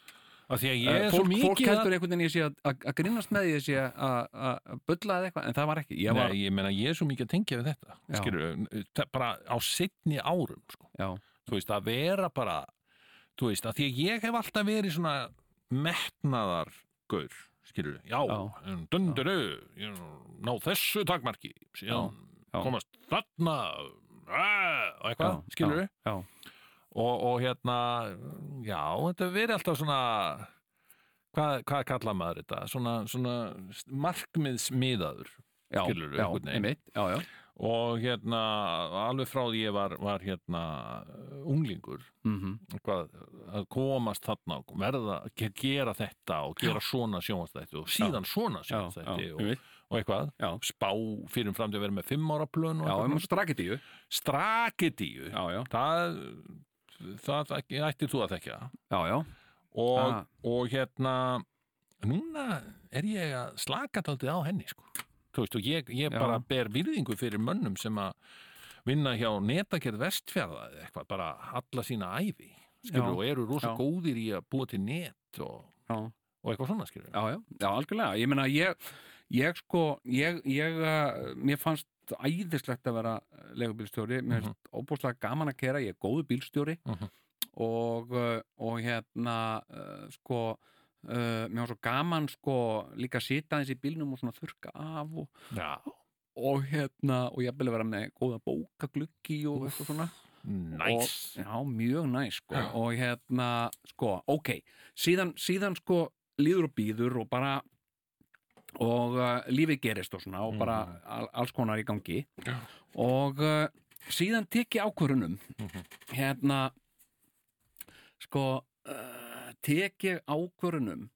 S2: af því að ég
S3: Eh,
S2: er svo
S3: fólk, fólk
S2: mikið að-
S3: heldur einhvern veginn ég sé að, að, að grínast með því, ég sé að- að að bulla eða eitthvað en það var ekki ég var,
S2: Nei, ég meina ég er svo mikið að tengja við þetta
S3: Já.
S2: skilur, bara á sittni árum sko.
S3: já,
S2: þú veist, að vera bara þú veist, að því að ég hef alltaf verið svona metnaðar gaur, skilur, já,
S3: Já.
S2: já. dunduru ég ná þessu takmarki síðan
S3: Já. Já.
S2: komast þarna äh, og eitthvað,
S3: Já.
S2: skilur
S3: Já.
S2: Og, og hérna já, þetta hefur verið alltaf svona hvað, hvað kalla maður þetta svona, svona markmiðsmiðaður
S3: já,
S2: Skilurðu,
S3: já,
S2: einhvern veginn.
S3: einmitt, já, já,
S2: og hérna alveg frá því ég var, var hérna unglingur
S3: mm
S2: Mhm. hvað, að komast þarna og verða að ge- gera þetta og gera svona sjónastætti og síðan svona
S3: já,
S2: sjónastætti
S3: já,
S2: og,
S3: einmitt.
S2: og eitthvað
S3: Já.
S2: spá fyrir um framtíð að vera með fimm ára plön og
S3: já,
S2: eitthvað
S3: um
S2: svona.
S3: straketíu
S2: strakedíu
S3: já, já,
S2: það, það ætti- ættir þú að þekja
S3: já, já,
S2: og,
S3: Ah.
S2: og hérna núna er ég að slaka taldið á henni sko Þú veist, og ég, ég
S3: Já.
S2: bara ber virðingu fyrir mönnum sem að vinna hjá netakerð vestfjörða eða eitthvað, bara alla sína æfi skilur,
S3: Já.
S2: og eru rosa
S3: Já.
S2: góðir í að búa til net og,
S3: já.
S2: og eitthvað svona skilur
S3: já, já, já, algjörlega ég meina, ég, ég sko ég, ég, uh, mér fannst æðislegt að vera legubílstjóri mér finnst óbúslega gaman að kera, ég er góðu bílstjóri
S2: Mhm.
S3: og, uh, og hérna uh, sko uh, mér var svo gaman sko líka að sita eins í bílnum og svona þurrka af og,
S2: Já,
S3: og hérna, og ég byrja vera með góða bókagluggi og eitthvað svona
S2: næs
S3: Já, mjög næs sko. og hérna, sko, ok síðan, síðan sko líður og býður og bara og uh, lífið gerist og svona og bara al, alls konar í gangi og uh, síðan tek ég ákvörunum hérna sko uh, tek ég ákvörunum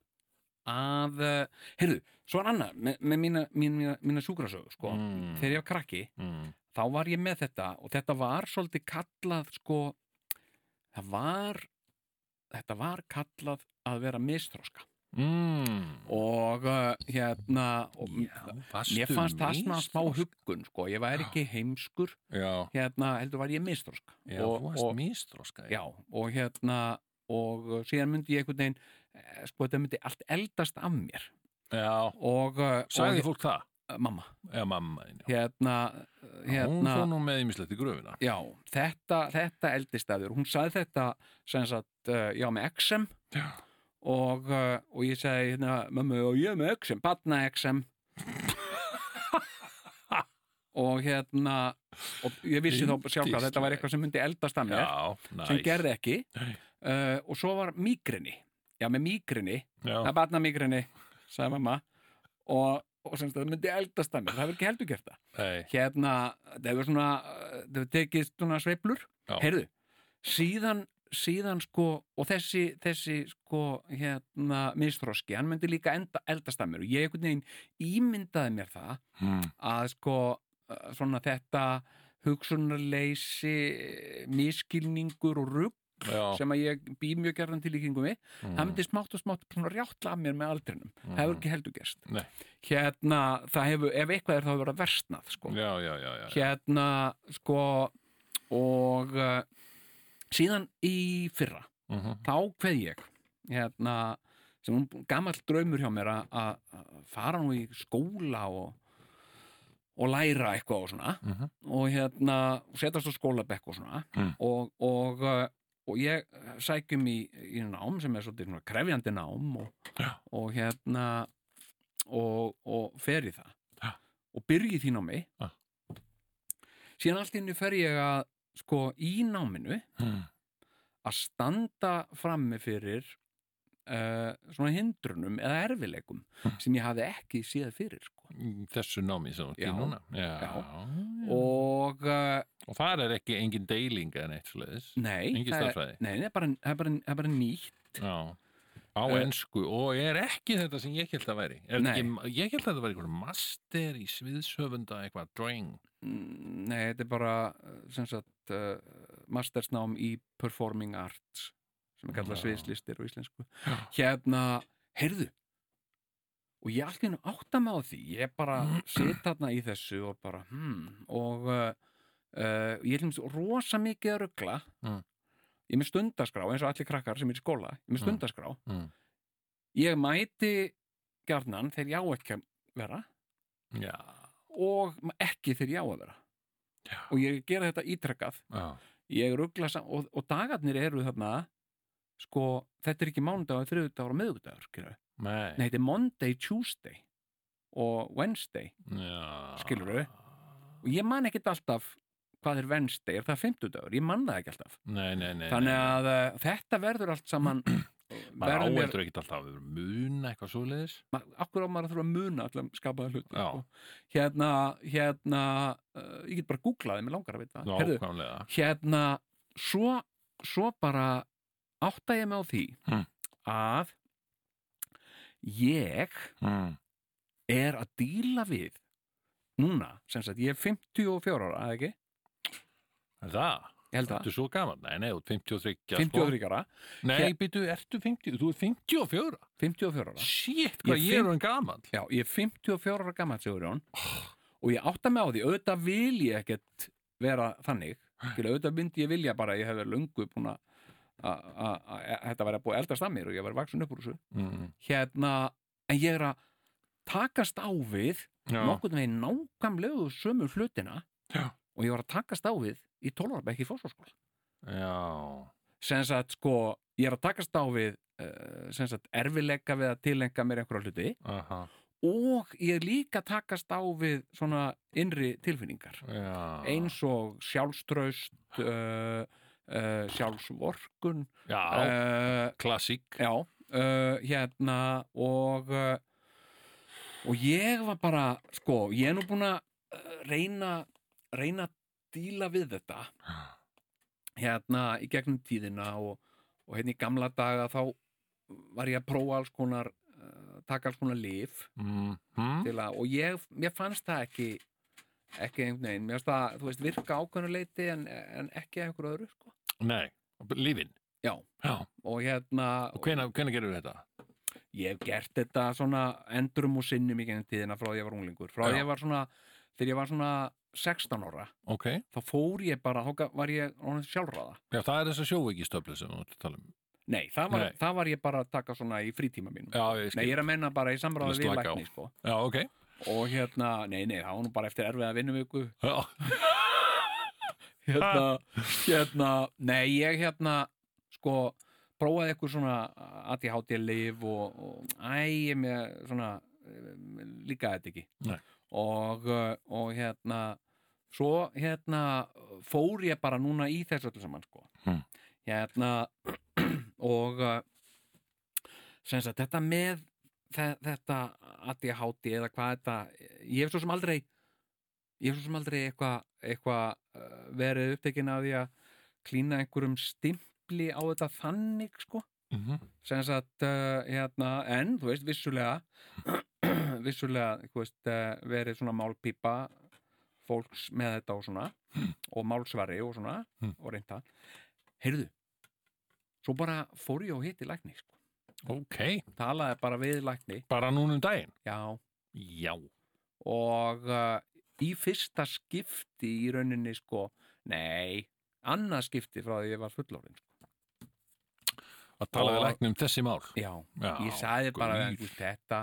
S3: að, uh, heyrðu, svo er annað með, með mína, mína, mína sjúkrasögu sko,
S2: Mm.
S3: þegar ég var krakki
S2: mm.
S3: þá var ég með þetta og þetta var svolítið kallað sko það var þetta var kallað að vera misþróska
S2: Mm.
S3: og uh, hérna og mér fannst það svona smá
S2: misþroska?
S3: huggun sko, ég var ekki heimskur
S2: Já,
S3: hérna heldur var ég misþróska
S2: já
S3: og,
S2: þú varst
S3: og,
S2: mistróska
S3: já, og hérna og uh, síðan myndi ég einhvern veginn eh, sko, þetta myndi allt eldast af mér
S2: Já,
S3: og, eh,
S2: sagði
S3: og
S2: fólk það?
S3: mamma
S2: Já, mamma þín, já.
S3: hérna,
S2: Hún
S3: hérna
S2: fór nú með ímislegt í gröfina
S3: já, þetta, þetta eldist af þér hún sagði þetta sem sagt uh, já, með XM
S2: Já.
S3: og, uh, og ég sagði hérna, mamma, og ég er með XM, batna XM og hérna og ég vissi þá sjálf hvað þetta var eitthvað sem myndi eldast af mér
S2: Já, næs
S3: sem gerði ekki
S2: Nei.
S3: uh, og svo var migrini já með migrini,
S2: Já,
S3: það er batna migrini sagði mamma og, og sem sagt, það myndi eldast af mér, það hefur ekki heldur gert það
S2: nei,
S3: hérna, það hefur svona uh, það hefur tekið svona sveiflur
S2: Já.
S3: heyrðu, síðan síðan sko, og þessi, þessi sko, hérna, misþroski hann myndi líka enda, eldast af mér og ég einhvern veginn ímyndaði mér það
S2: Hmm,
S3: að sko uh, svona þetta hugsunarleysi miskilningur og rugg
S2: já
S3: sem að ég bý mjög gerðan til í kringum mig
S2: mm,
S3: það myndi smátt og smátt svona rjátla af mér með aldrinum það hefur ekki heldur gerst
S2: Nei.
S3: hérna, það hefur, ef eitthvað er það hefur verið að versnað sko.
S2: Já, já, já, já
S3: hérna, sko og uh, síðan í fyrra
S2: Mhm.
S3: þá kveð ég hérna, sem hún gamall draumur hjá mér að- að að fara nú í skóla og, og læra eitthvað og svona
S2: Mhm.
S3: og hérna setjast á skólabekk og svona
S2: Mm.
S3: og, og, uh, og ég sækjum í, í nám sem er svolítið svona krefjandi nám og, og hérna og, og fer í það
S2: Já.
S3: og byrgi því námi
S2: Já.
S3: síðan allt í henni fer ég að sko í náminu
S2: Hmm,
S3: að standa frammi fyrir uh, svona hindrunum eða erfileikum
S2: Hmm.
S3: sem ég hafði ekki séð fyrir sko.
S2: Mm, Þessu námi sem þú ert í
S3: Já,
S2: núna Já,
S3: já.
S2: já.
S3: og uh,
S2: Og það er ekki engin deiling en eitt sliðis
S3: nei,
S2: Engin
S3: það er,
S2: stærðfræði.
S3: nei það, er bara, það, er bara, það er bara nýtt
S2: Já Á
S3: Eh,
S2: ensku og er ekki þetta sem ég held að væri Er
S3: Nei.
S2: ekki, Ég held að þetta væri einhver master í sviðshöfunda eitthvað drawing
S3: Mm, nei, þetta er bara eh, sem sagt uh, mastersnám í performing arts sem er kallað
S2: Já.
S3: sviðslistir og íslensku hérna, heyrðu og ég allir átta mig á því ég bara sit þarna í þessu og bara, hmm, og uh, uh, ég er hljumst rosa mikið að ruggla
S2: Mm.
S3: ég er með stundaskrá eins og allir krakkar sem er í skóla ég er með
S2: Mm.
S3: stundaskrá
S2: Mm.
S3: ég mæti gjarnan þegar ég á ekki að vera
S2: Já,
S3: og ekki þegar ég á að vera
S2: Já.
S3: og ég gera þetta ítrekkað
S2: já.
S3: ég ruggla saman og, og dagarnir eru þarna sko, þetta er ekki mánudagur, þriðudagur og miðugudagur skilur
S2: Nei,
S3: Nei, þetta er Monday, Tuesday og Wednesday
S2: Já.
S3: Skilurðu? og ég man ekkert alltaf hvað er Wednesday, er það 50 dagur? Ég man það ekki alltaf
S2: Nei, nei, nei
S3: þannig að uh, þetta verður allt saman
S2: maður
S3: verður mér
S2: áheldur ekkert alltaf að vera muna eitthvað svoleiðis
S3: ma- akkur á maður að þurfa að muna allan skapaða hluti
S2: Já.
S3: sko. hérna, hérna uh, ég get bara googlað þeim, ég langar að vita það. Ah, Heyrðu,
S2: Nákvæmlega
S3: hérna, svo, svo bara átta ég mig á því
S2: Hmm.
S3: að ég
S2: mm.
S3: er að díla við núna, sem sagt, ég er 54 ára, eða ekki?
S2: Er það?
S3: Ég held það,
S2: Ertu svo gaman? Nei, nei, þú ert 53 sko.
S3: 53 ára
S2: Nei,
S3: Hér-
S2: býtu, ertu 50? Þú ert 54
S3: 54 ára
S2: Shit, hvað
S3: Ég
S2: ég er
S3: finn-
S2: hann gaman
S3: Já, ég er 54 ára gammal, Sigurjón og ég átta mig á því, auðvitað vil ég ekkert vera þannig
S2: Hm.
S3: til auðvitað myndi ég vilja bara, að ég hef verið löngu búin að að- að- að þetta væri að búið að eldast að mér og ég væri vaksin upp úr þessu
S2: mm.
S3: hérna, en ég er að takast á við
S2: Já,
S3: nokkurn veginn nákvæmlegu sömu hlutina
S2: Já.
S3: og ég var að takast á við í 12 ára bekk í fósforskóla
S2: já,
S3: sem sagt sko ég er að takast á við uh, sem sagt erfileika við að tilengja mér einhverja hluti
S2: aha,
S3: og ég er líka að takast á við svona innri tilfinningar
S2: já
S3: eins og sjálfstraust uh, uh, sjálfsvorkun
S2: Já,
S3: uh,
S2: klassík
S3: já uh, hérna og uh, og ég var bara sko ég er nú búin að uh, reyna reyna að díla við þetta hérna í gegnum tíðina og, og hérna í gamla daga þá var ég að prófa alls konar uh, taka alls konar lif
S2: mm. hm?
S3: til að, og ég, mér fannst það ekki ekki einhvern veginn, mér fannst það þú veist, virka ákveðnu leiti en, en ekki að einhverju öðru, sko
S2: Nei, lífin
S3: Já.
S2: já.
S3: og hérna,
S2: Og hvenær, hvenær gerir þetta?
S3: ég hef gert þetta svona endurum og sinnum í gegnum tíðina frá því ég var unglingur, frá
S2: Já.
S3: því ég var svona þegar ég var svona 16 ára
S2: Ok,
S3: þá fór ég bara, þá ga- var ég orðin sjálfráða
S2: já, það er þess að sjóveikistöflu sem þú ert að tala um
S3: Nei, það var,
S2: Nei.
S3: Það var ég bara að taka svona í frítíma mínum.
S2: Já, ég skil.
S3: Nei, ég er að menna bara í samráði
S2: Til
S3: við
S2: að slaka á.
S3: lækni, sko.
S2: Já, ok.
S3: Og hérna, nei, nei, það var nú bara eftir erfiða vinnuviku.
S2: Já,
S3: Hérna, hérna, nei, ég hérna, sko, prófaði eitthvað svona ADHD-lif og, og æ, ég með svona, um, líka þetta ekki.
S2: Nei.
S3: Og, uh, og hérna, svo hérna fór ég bara núna í þessu öllu saman, sko.
S2: Hmm.
S3: Hérna, og uh, sem sagt, þetta með þe- þetta ADHD eða hvað þetta, ég hef svo sem aldrei ég hef svo sem aldrei eitthvað eitthva, verið upptekinn af því að klína einhverjum stimpli á þetta þannig sko
S2: Mhm.
S3: sem sagt, uh, hérna, en þú veist, vissulega vissulega, þú veist, uh, verið svona málpípa fólks með þetta og svona og málsvari og svona
S2: Hmm.
S3: og reynda, heyrðu svo bara fór ég og hitti lækni sko.
S2: ok.
S3: talaði bara við lækni,
S2: Bara núna um daginn?
S3: já
S2: Já.
S3: og uh, í fyrsta skipti í rauninni sko, nei annað skipti frá því ég var fullorinn sko.
S2: Að tala við
S3: Og-
S2: læknum um þessi mál.
S3: já,
S2: Já,
S3: ég sagði bara
S2: guð.
S3: við hann, þú veist, þetta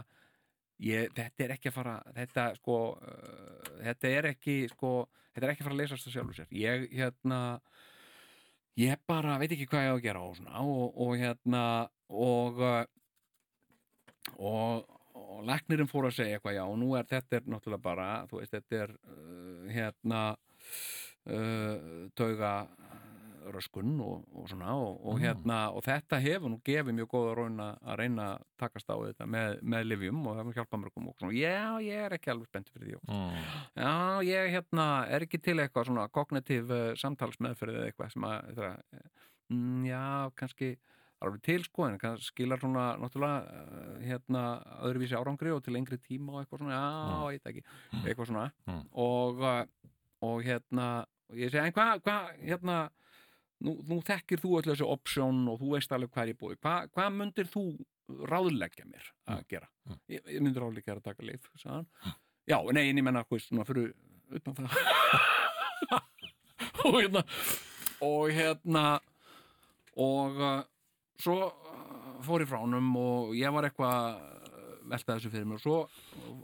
S3: ég, þetta er ekki að fara þetta sko uh, þetta er ekki sko þetta er ekki að fara að lesast það sjálfur sér ég hérna ég bara veit ekki hvað ég á að gera og svona og, og hérna og uh, og, og læknirinn fór að segja eitthvað já og nú er þetta er náttúrulega bara þú veist þetta er uh, hérna uh, tauga röskun og, og svona og, og hérna og þetta hefur nú gefið mjög góða raun að að reyna að takast á þetta með, með livjum og það mun hjálpa mörgum og svona já ég er ekki alveg spenntur fyrir því og
S2: Mm.
S3: Já, ég hérna er ekki til eitthvað svona kognitív uh, samtalsmeðferðið eða eitthvað sem að, það, uh, mm, já, kannski alveg til sko, en kannski skilar svona náttúrulega uh, hérna öðruvísi árangri og til lengri tíma og eitthvað svona, já, ég veit ekki, eitthvað svona
S2: Mm.
S3: og, uh, og hérna og ég segi, en hvað, hva, hérna nú, nú þekkir þú öll þessi option og þú veist alveg hvað er í búið, hvað hva myndir þú ráðleggja mér að gera?
S2: Mm.
S3: Ég, ég myndir ráðleggja þér að taka leif, sagði hann Já, nei, en ég menna hvað, svona fyrir utan það og hérna og hérna og uh, svo uh, fór ég frá honum og ég var eitthvað uh, velta þessu fyrir mér og svo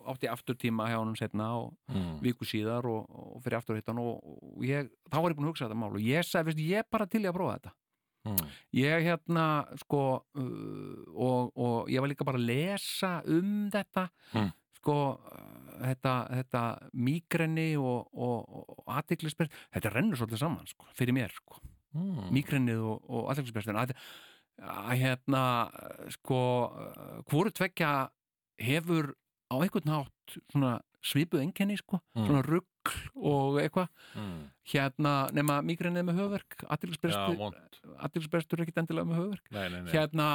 S3: átti ég aftur tíma hjá honum setna og
S2: Mm.
S3: viku síðar og, og fyrir aftur hittan og, og ég, þá var ég búin að hugsa þetta mál og ég sagði, veist, ég er bara til í að prófa þetta
S2: Mm.
S3: ég hérna sko uh, og, og ég var líka bara að lesa um þetta
S2: Mm.
S3: sko uh, þetta, þetta migrenni og, og, og aðtiklisbert, þetta rennur svolítið saman sko, fyrir mér sko,
S2: Mm.
S3: migrennið og, og aðtiklisbert að, að hérna uh, sko uh, hvoru tvekja hefur á einhvern hátt svona svipuð enkenni sko,
S2: Mm.
S3: svona rugg og eitthvað,
S2: Mm.
S3: hérna nema migrennið með höfverk,
S2: Já,
S3: aðtiklisbert
S2: vond.
S3: aðtilsbrestur ekkit endilega með höfverk
S2: Nei, nei, nei.
S3: hérna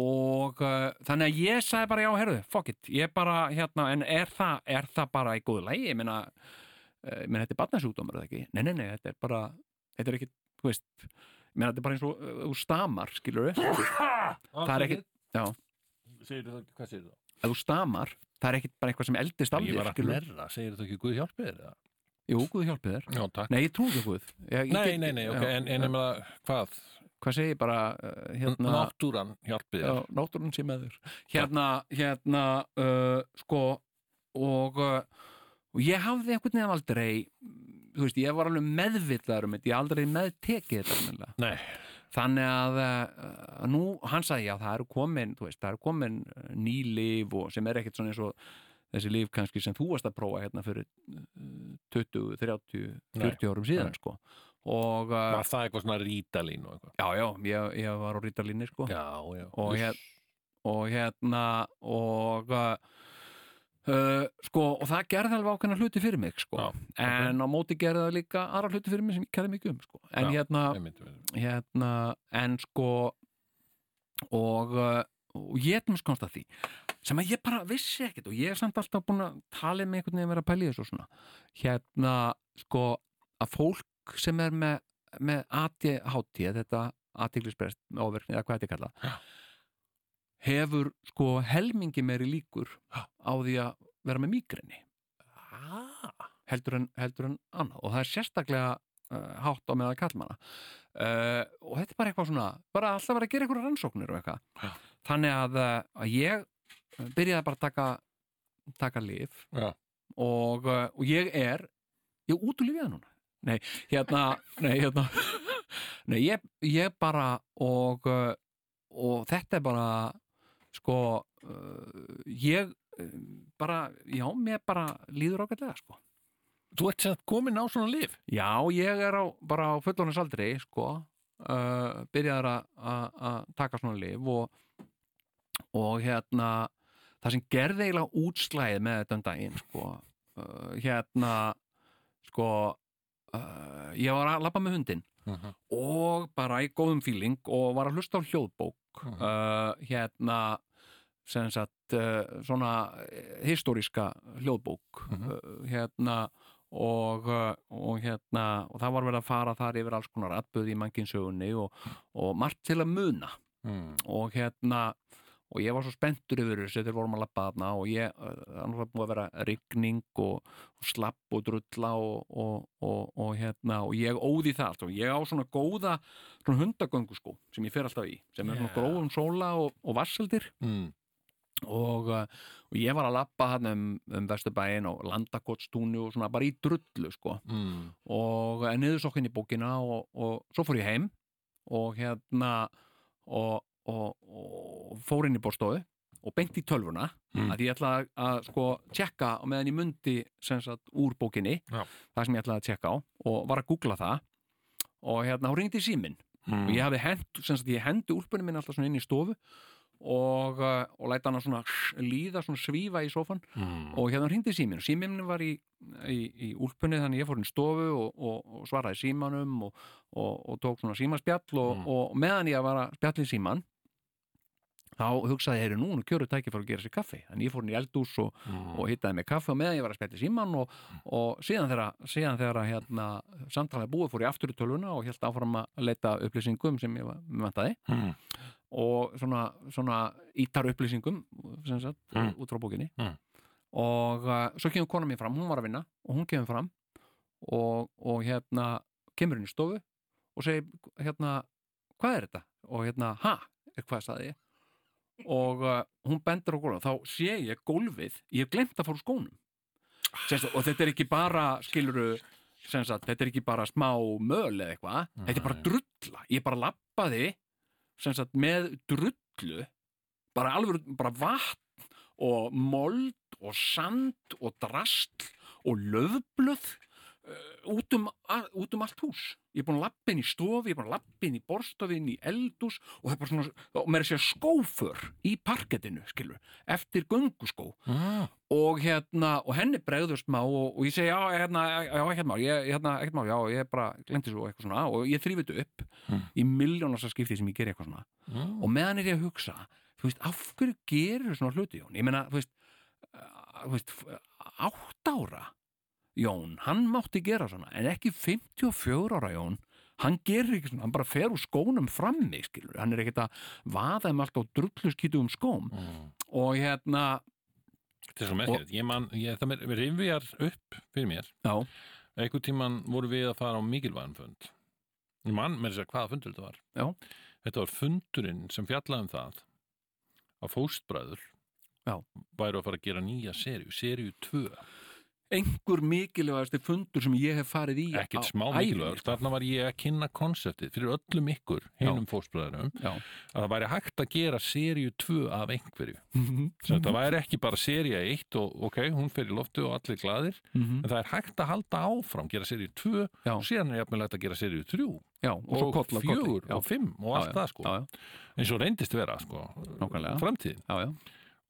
S3: og uh, þannig að ég sagði bara já, herðu, fuck it ég bara, hérna, en er það, er það bara í góðu lægi, ég meina uh, ég meina, þetta er barnasjúkdómur, eða ekki? Nei, nei, nei, þetta er bara, þetta er ekki, þú veist ég meina, þetta er bara eins og uh, þú stamar, skilur við það er ekki, já,
S2: Segir þú það, hvað segir þú?
S3: ef þú stamar það er ekki bara eitthvað sem eldist af
S2: Ég
S3: þér,
S2: var að
S3: skilur
S2: hnerra, segir þú ekki Guð hjálpið þér? eða?
S3: Jú, Guð hjálpi þér
S2: Já, takk.
S3: Nei, ég trúi ekki á Guð ég, ég
S2: Nei,
S3: get-
S2: nei, nei, ok,
S3: já,
S2: en, en um að, hvað?
S3: Hvað segi ég bara, uh, hérna
S2: Náttúran hjálpið þér?
S3: Já, náttúrun sé með þér hérna, hérna uh, sko og, uh, og ég hafði einhvern veginn aldrei mm, þú veist, ég var alveg meðvitlaður um þetta, ég aldrei meðtekið þetta almennilega.
S2: Nei,
S3: þannig að uh, nú, hann sagði já, það eru komin þú veist, það eru komin uh, ný líf og sem er ekkert svona eins og þessi líf kannski sem þú varst að prófa hérna fyrir uh, 20, 30, 40 árum síðan
S2: nei.
S3: sko og uh,
S2: var það eitthvað svona rítalín og eitthvað?
S3: já, já, ég, ég var á rítalínni sko
S2: Já, já.
S3: og, hér, og hérna og uh, sko, og það gerði alveg ákveðna hluti fyrir mig sko,
S2: Já,
S3: en á móti gerði það líka aðra hluti fyrir mig sem ég kæði mikið um sko. en
S2: Já,
S3: hérna,
S2: Einmitt, einmitt.
S3: hérna en sko og, uh, og ég er mjög skonst að því sem að ég bara vissi ekkert og ég er samt alltaf búin að tala með einhvern veginn að vera að pæla í þessu og svona hérna, sko, að fólk sem er með, með ADHD, þetta aðtiklisbrest áverkni, eða hvað þetta er kallað hefur sko helmingi meiri líkur á því að vera með migrini heldur en, heldur en annað og það er sérstaklega uh, hátt á meða kallmanna uh, og þetta er bara eitthvað svona bara alltaf að vera að gera einhverja rannsóknir og
S2: Já.
S3: eitthvað þannig að, uh, að ég uh, byrjaði bara að taka taka lif
S2: Já.
S3: og, uh, og ég er ég er út úr lifiða núna nei, hérna, nei, hérna nei, ég, ég bara og, uh, og þetta er bara sko uh, ég uh, bara, já, mér bara líður ágætlega sko
S2: Þú ert sem að komin á svona lif
S3: Já, ég er á, bara á fullónasaldri sko, uh, byrjaður að- að að taka svona lif og, og hérna það sem gerði eiginlega útslæðið með þetta um daginn sko, uh, hérna sko uh, ég var að labba með hundin og bara í góðum fíling og var að hlusta á hljóðbók
S2: Mhm.
S3: uh, hérna sem sagt uh, svona eh, historíska hljóðbók
S2: Mhm.
S3: uh, hérna og, uh, og hérna og það var verið að fara þar yfir alls konar atböð í mannkinsögunni og, og margt til að muna
S2: mm.
S3: og hérna og ég var svo spenntur yfir þessu þegar við vorum að lappa þarna og ég, uh, það er náttúrulega búið að vera rigning og, og slapp og drulla og, og, og, og hérna og ég óði það allt og ég á svona góða svona hundagöngu sko sem ég fer alltaf í sem er svona
S2: Já.
S3: grófum sóla og, og vassaldir
S2: Mm.
S3: og, uh, og ég var að lappa hann um, um Vesturbæin og landakotstúni og svona bara í drullu sko
S2: Mm.
S3: og niður sokkinn í bókina og, og svo fór ég heim og hérna og, og, og fór inn í borstofu og beint í tölvuna
S2: Mm.
S3: að ég ætlaði að sko tjekka á meðan ég mundi sem sagt úr bókinni
S2: Já.
S3: það sem ég ætlaði að tjekka á og var að googla það og hérna hún ringdi í síminn
S2: mm,
S3: og ég hafði hent, sem sagt ég hendi úlpunni minn alltaf svona inn í stofu og, uh, og læta hana svona líða svona svífa í sofan
S2: Mm.
S3: og hérna hringdi síminn og síminn var í, í, í úlpunni þannig ég fór inn í stofu og, og, og svaraði símanum og, og, og tók svona símaspjall og,
S2: Mm.
S3: og meðan ég var að spjalla í síman þá hugsaði ég, heyri, nú er kjöru tæki fyrir að gera sér kaffi þannig ég fór inn í eldús og,
S2: Mm.
S3: og hittaði mig kaffi og meðan ég var að spjalla í síman og, og síðan þegar, síðan þegar að, hérna, samtalið búið fór ég aftur í tölvuna og held áfram að leita upplýsingum sem ég var, vantaði
S2: Mm.
S3: og svona, svona ítar upplýsingum sem sagt,
S2: Mm.
S3: út frá bókinni
S2: Mm.
S3: og uh, svo kemur konan mér fram, hún var að vinna og hún kemur fram og, og hérna kemur hún í stofu og segir hérna, hvað er þetta? og hérna, ha, er hvað sagði ég og uh, hún bendur á gólfið þá sé ég gólfið, ég hef glemt að fara úr skónum Sérst, og þetta er ekki bara skiluru sagt, þetta er ekki bara smá möl eða eitthvað þetta er bara
S2: Nei.
S3: drulla, ég bara lappaði sem sagt með drullu bara alveg, bara vatn og mold og sand og drastl og löfblöð uh, út, um, a- út um allt hús ég er búin að lappa inn í stofi, ég er búin að lappa inn í borstofi, inn í eldús og það er bara svona, og mér er að segja skóför í parkettinu, skilur, eftir gönguskó
S2: Ah.
S3: og hérna, og henni bregður smá og, og ég segi, já, hérna, já, ekkert mál ég, hérna, ekkert mál, já, ég bara glemti svo eitthvað svona og ég þrýfið þetta upp
S2: Mm.
S3: í miljónasa skipti sem ég geri eitthvað svona
S2: Mm.
S3: og meðan er ég að hugsa, þú veist, af hverju gerir svona hluti, Jón? Ég meina, þú veist, uh, þú veist, f- átt ára Jón, hann mátti gera svona, en ekki 54 ára Jón hann gerir ekki svona, hann bara fer úr skónum frammi, skilur, hann er ekkert að vaða um allt á drulluskýtu um skóm
S2: Mm.
S3: og hérna,
S2: Þetta er svo merkilegt, ég man, ég, það með rifjar upp fyrir mér
S3: já,
S2: einhvern tíman vorum við að fara á mikilvæðan fund ég man með þess að segja hvaða fundur þetta var
S3: Já.
S2: þetta var fundurinn sem fjallaði um það að fóstbræður
S3: Já.
S2: væru að fara að gera nýja seríu, seríu 2
S3: einhver mikilvægasti fundur sem ég hef farið í á
S2: ekkert smá
S3: ævinni,
S2: mikilvægur,
S3: sko.
S2: þarna var ég að kynna konseptið fyrir öllum ykkur, hinum fóstbræðurum
S3: Já.
S2: að það væri hægt að gera seríu 2 af einhverju
S3: Mhm,
S2: Sem þetta væri ekki bara seríu 1 og ok, hún fer í loftu og allir glaðir
S3: mhm,
S2: en það er hægt að halda áfram, gera seríu 2
S3: Já.
S2: og síðan er jafnilega hægt að gera seríu 3
S3: já, og, svo
S2: og,
S3: koll af kolli.
S2: fjögur
S3: já,
S2: og fimm og allt það sko
S3: já, já,
S2: eins og reyndist vera sko
S3: Nákvæmlega.
S2: framtíðin
S3: já, já.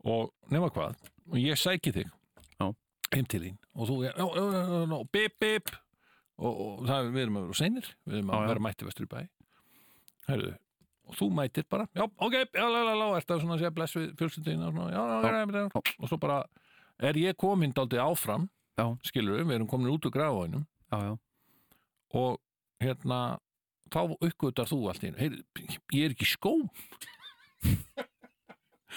S2: og nema hvað og ég sæki þig
S3: Já.
S2: heim til þín og þú já, já, já, já, já, já, bip bip og, og það við erum að vera seinir við erum
S3: Já,
S2: að
S3: já.
S2: vera mætti vestur í bæ Heyrðu, og þú mætir bara já ok, já já já, já, ert að svona að segja bless við fjölskyldina og svona já já, já, já, já, og svo bara er ég komin dálítið áfram
S3: Já.
S2: skilur við, við erum komin út úr grafaðinum
S3: já, já.
S2: og hérna þá uppgötar þú allt í einu hey, ég er ekki í skóm,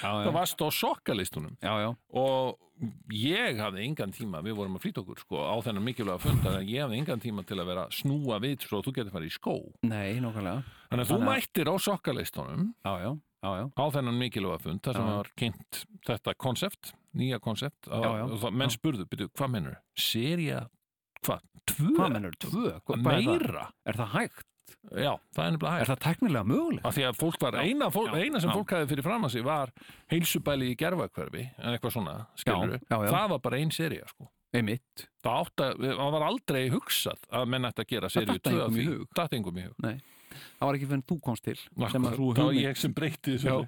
S3: Já, já.
S2: það varst á sokkalistunum
S3: já, já,
S2: og ég hafði engan tíma, við vorum að flýta okkur sko, á þennan mikilvæga funda, en ég hafði engan tíma til að vera að snúa við svo að þú getur farið í skó
S3: Nei, nokkulega
S2: þannig að þú
S3: Þannig að-
S2: mættir á sokkaleistunum
S3: Já, já, já, já
S2: á þennan mikilvæga fund þar sem
S3: Já.
S2: var kynnt þetta konsept nýja konsept,
S3: Já, já.
S2: menn spurðu byrju, hvað mennur, seria hvað, tvö,
S3: Hvað mennur, tvö? Hvað, hvað er, það?
S2: meira
S3: er það hægt?
S2: já, það er nefnilega hægt
S3: Er það teknilega mögulega?
S2: af því að fólk var, eina, fólk,
S4: já,
S2: eina sem
S4: já.
S2: fólk hafði fyrir fram að sig var heilsubæli í gerfakverfi en eitthvað svona, skilur
S3: Já, já, já.
S2: það var bara ein serið, sko
S3: Einmitt
S2: það, átt að, það var aldrei hugsað að menn ætti að gera serið
S3: datt engum í hug.
S2: datt engum í hug
S3: Það var ekki fyrir en þú komst til
S2: Akkurat,
S3: sú
S2: það var
S3: hugmynd-
S2: ég sem breyti þessu
S3: Já,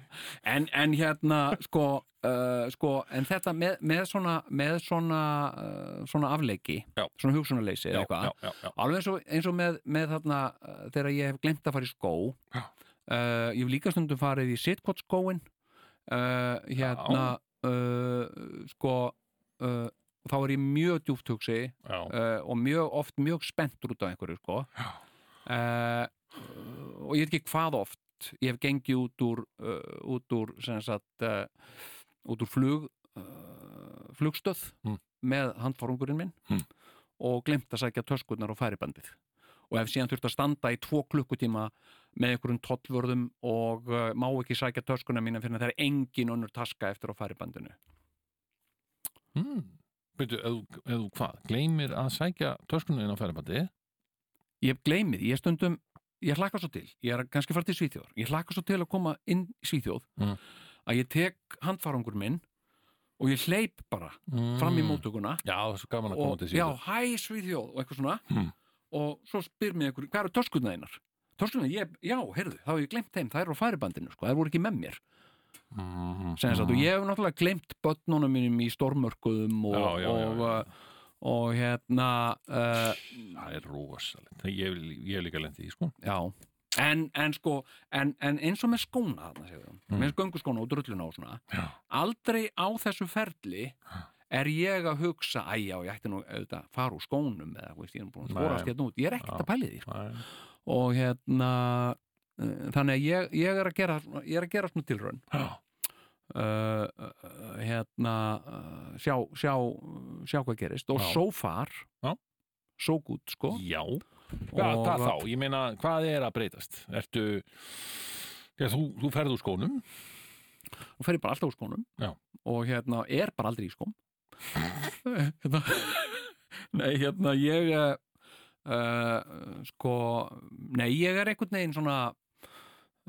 S3: en, en hérna sko, uh, sko en þetta með, með svona, með svona, uh, svona afleiki
S2: Já.
S3: svona hugsunarleysi eða eitthvað
S2: já, já, já.
S3: alveg eins og, eins og með, með þarna uh, þegar ég hef glemt að fara í skó
S2: Já.
S3: uh, ég hef líka stundum farið í sitkot skóin uh, hérna uh, sko uh, þá er ég mjög djúpt hugsi
S2: Já.
S3: uh, og mjög oft mjög spenntur út af einhverju sko. uh, og ég veit ekki hvað oft ég hef gengið út úr uh, út úr sem sagt uh, út úr flug uh, flugstöð
S2: Mm.
S3: með handforungurinn minn
S2: Mm.
S3: og glemt að sækja töskurnar og færibandið og hef síðan þurft að standa í tvo klukkutíma með einhverjum tollvörðum og uh, má ekki sækja töskuna mína fyrir að það er engin önnur taska eftir á færibandinu
S2: Hmm. Byrju, ef, þú- ef þú hvað, gleymir að sækja töskunum inn á færibandi
S3: ég gleymið, ég stundum ég hlakka svo til, ég er kannski fara til Svíþjóðar ég hlakka svo til að koma inn í Svíþjóð
S2: Mm.
S3: að ég tek handfarangur minn og ég hleyp bara
S2: mm.
S3: Hmm. fram í mótuguna
S2: já, það er svo gaman að koma
S3: og
S2: til
S3: já,
S2: síðan
S3: hæ Svíþjóð og eitthvað svona
S2: Mm.
S3: og svo spyr mér einhver, hvað eru töskunna einar? Töskunna, ég, já, heyrðu, þá hef ég glemt þeim það eru á færibandinu, sko, það voru ekki með mér
S2: mm.
S3: sem þess að og ég hef náttúrulega glemt börnunum mínum í stormörkuðum og,
S2: Já, já, já,
S3: og,
S2: já.
S3: og, og hérna uh,
S2: það er rosalegt, ég hef ég hef líka lendi í sko
S3: Já, en, en sko en, en eins og með skóna þarna, mm.
S2: Mm.
S3: með gönguskóna og drulluna og svona
S2: Já.
S3: aldrei á þessu ferli er ég að hugsa, æ já, ég ætti nú auðvitað, að fara úr skónum eða, þú veist, ég er búin að
S2: Nei.
S3: spora allt hérna út ég er
S2: Já.
S3: ekkert að pæli því sko.
S2: það er
S3: og hérna, uh, þannig að ég, ég er að gera, svona- ég er að gera svona tilraun
S2: Já.
S3: Uh, uh, hérna uh, sjá, sjá, sjá hvað gerist og
S2: Já.
S3: so far
S2: Já.
S3: so good sko
S2: Já, hvað,
S3: Og-
S2: hvað þá? Ég meina, hvað er að breytast? Ertu, já, þú, þú ferð úr skónum
S3: og fer ég bara alltaf úr skónum
S2: Já.
S3: og hérna er bara aldrei í skóm hérna, nei hérna ég uh, sko nei ég er einhvern veginn svona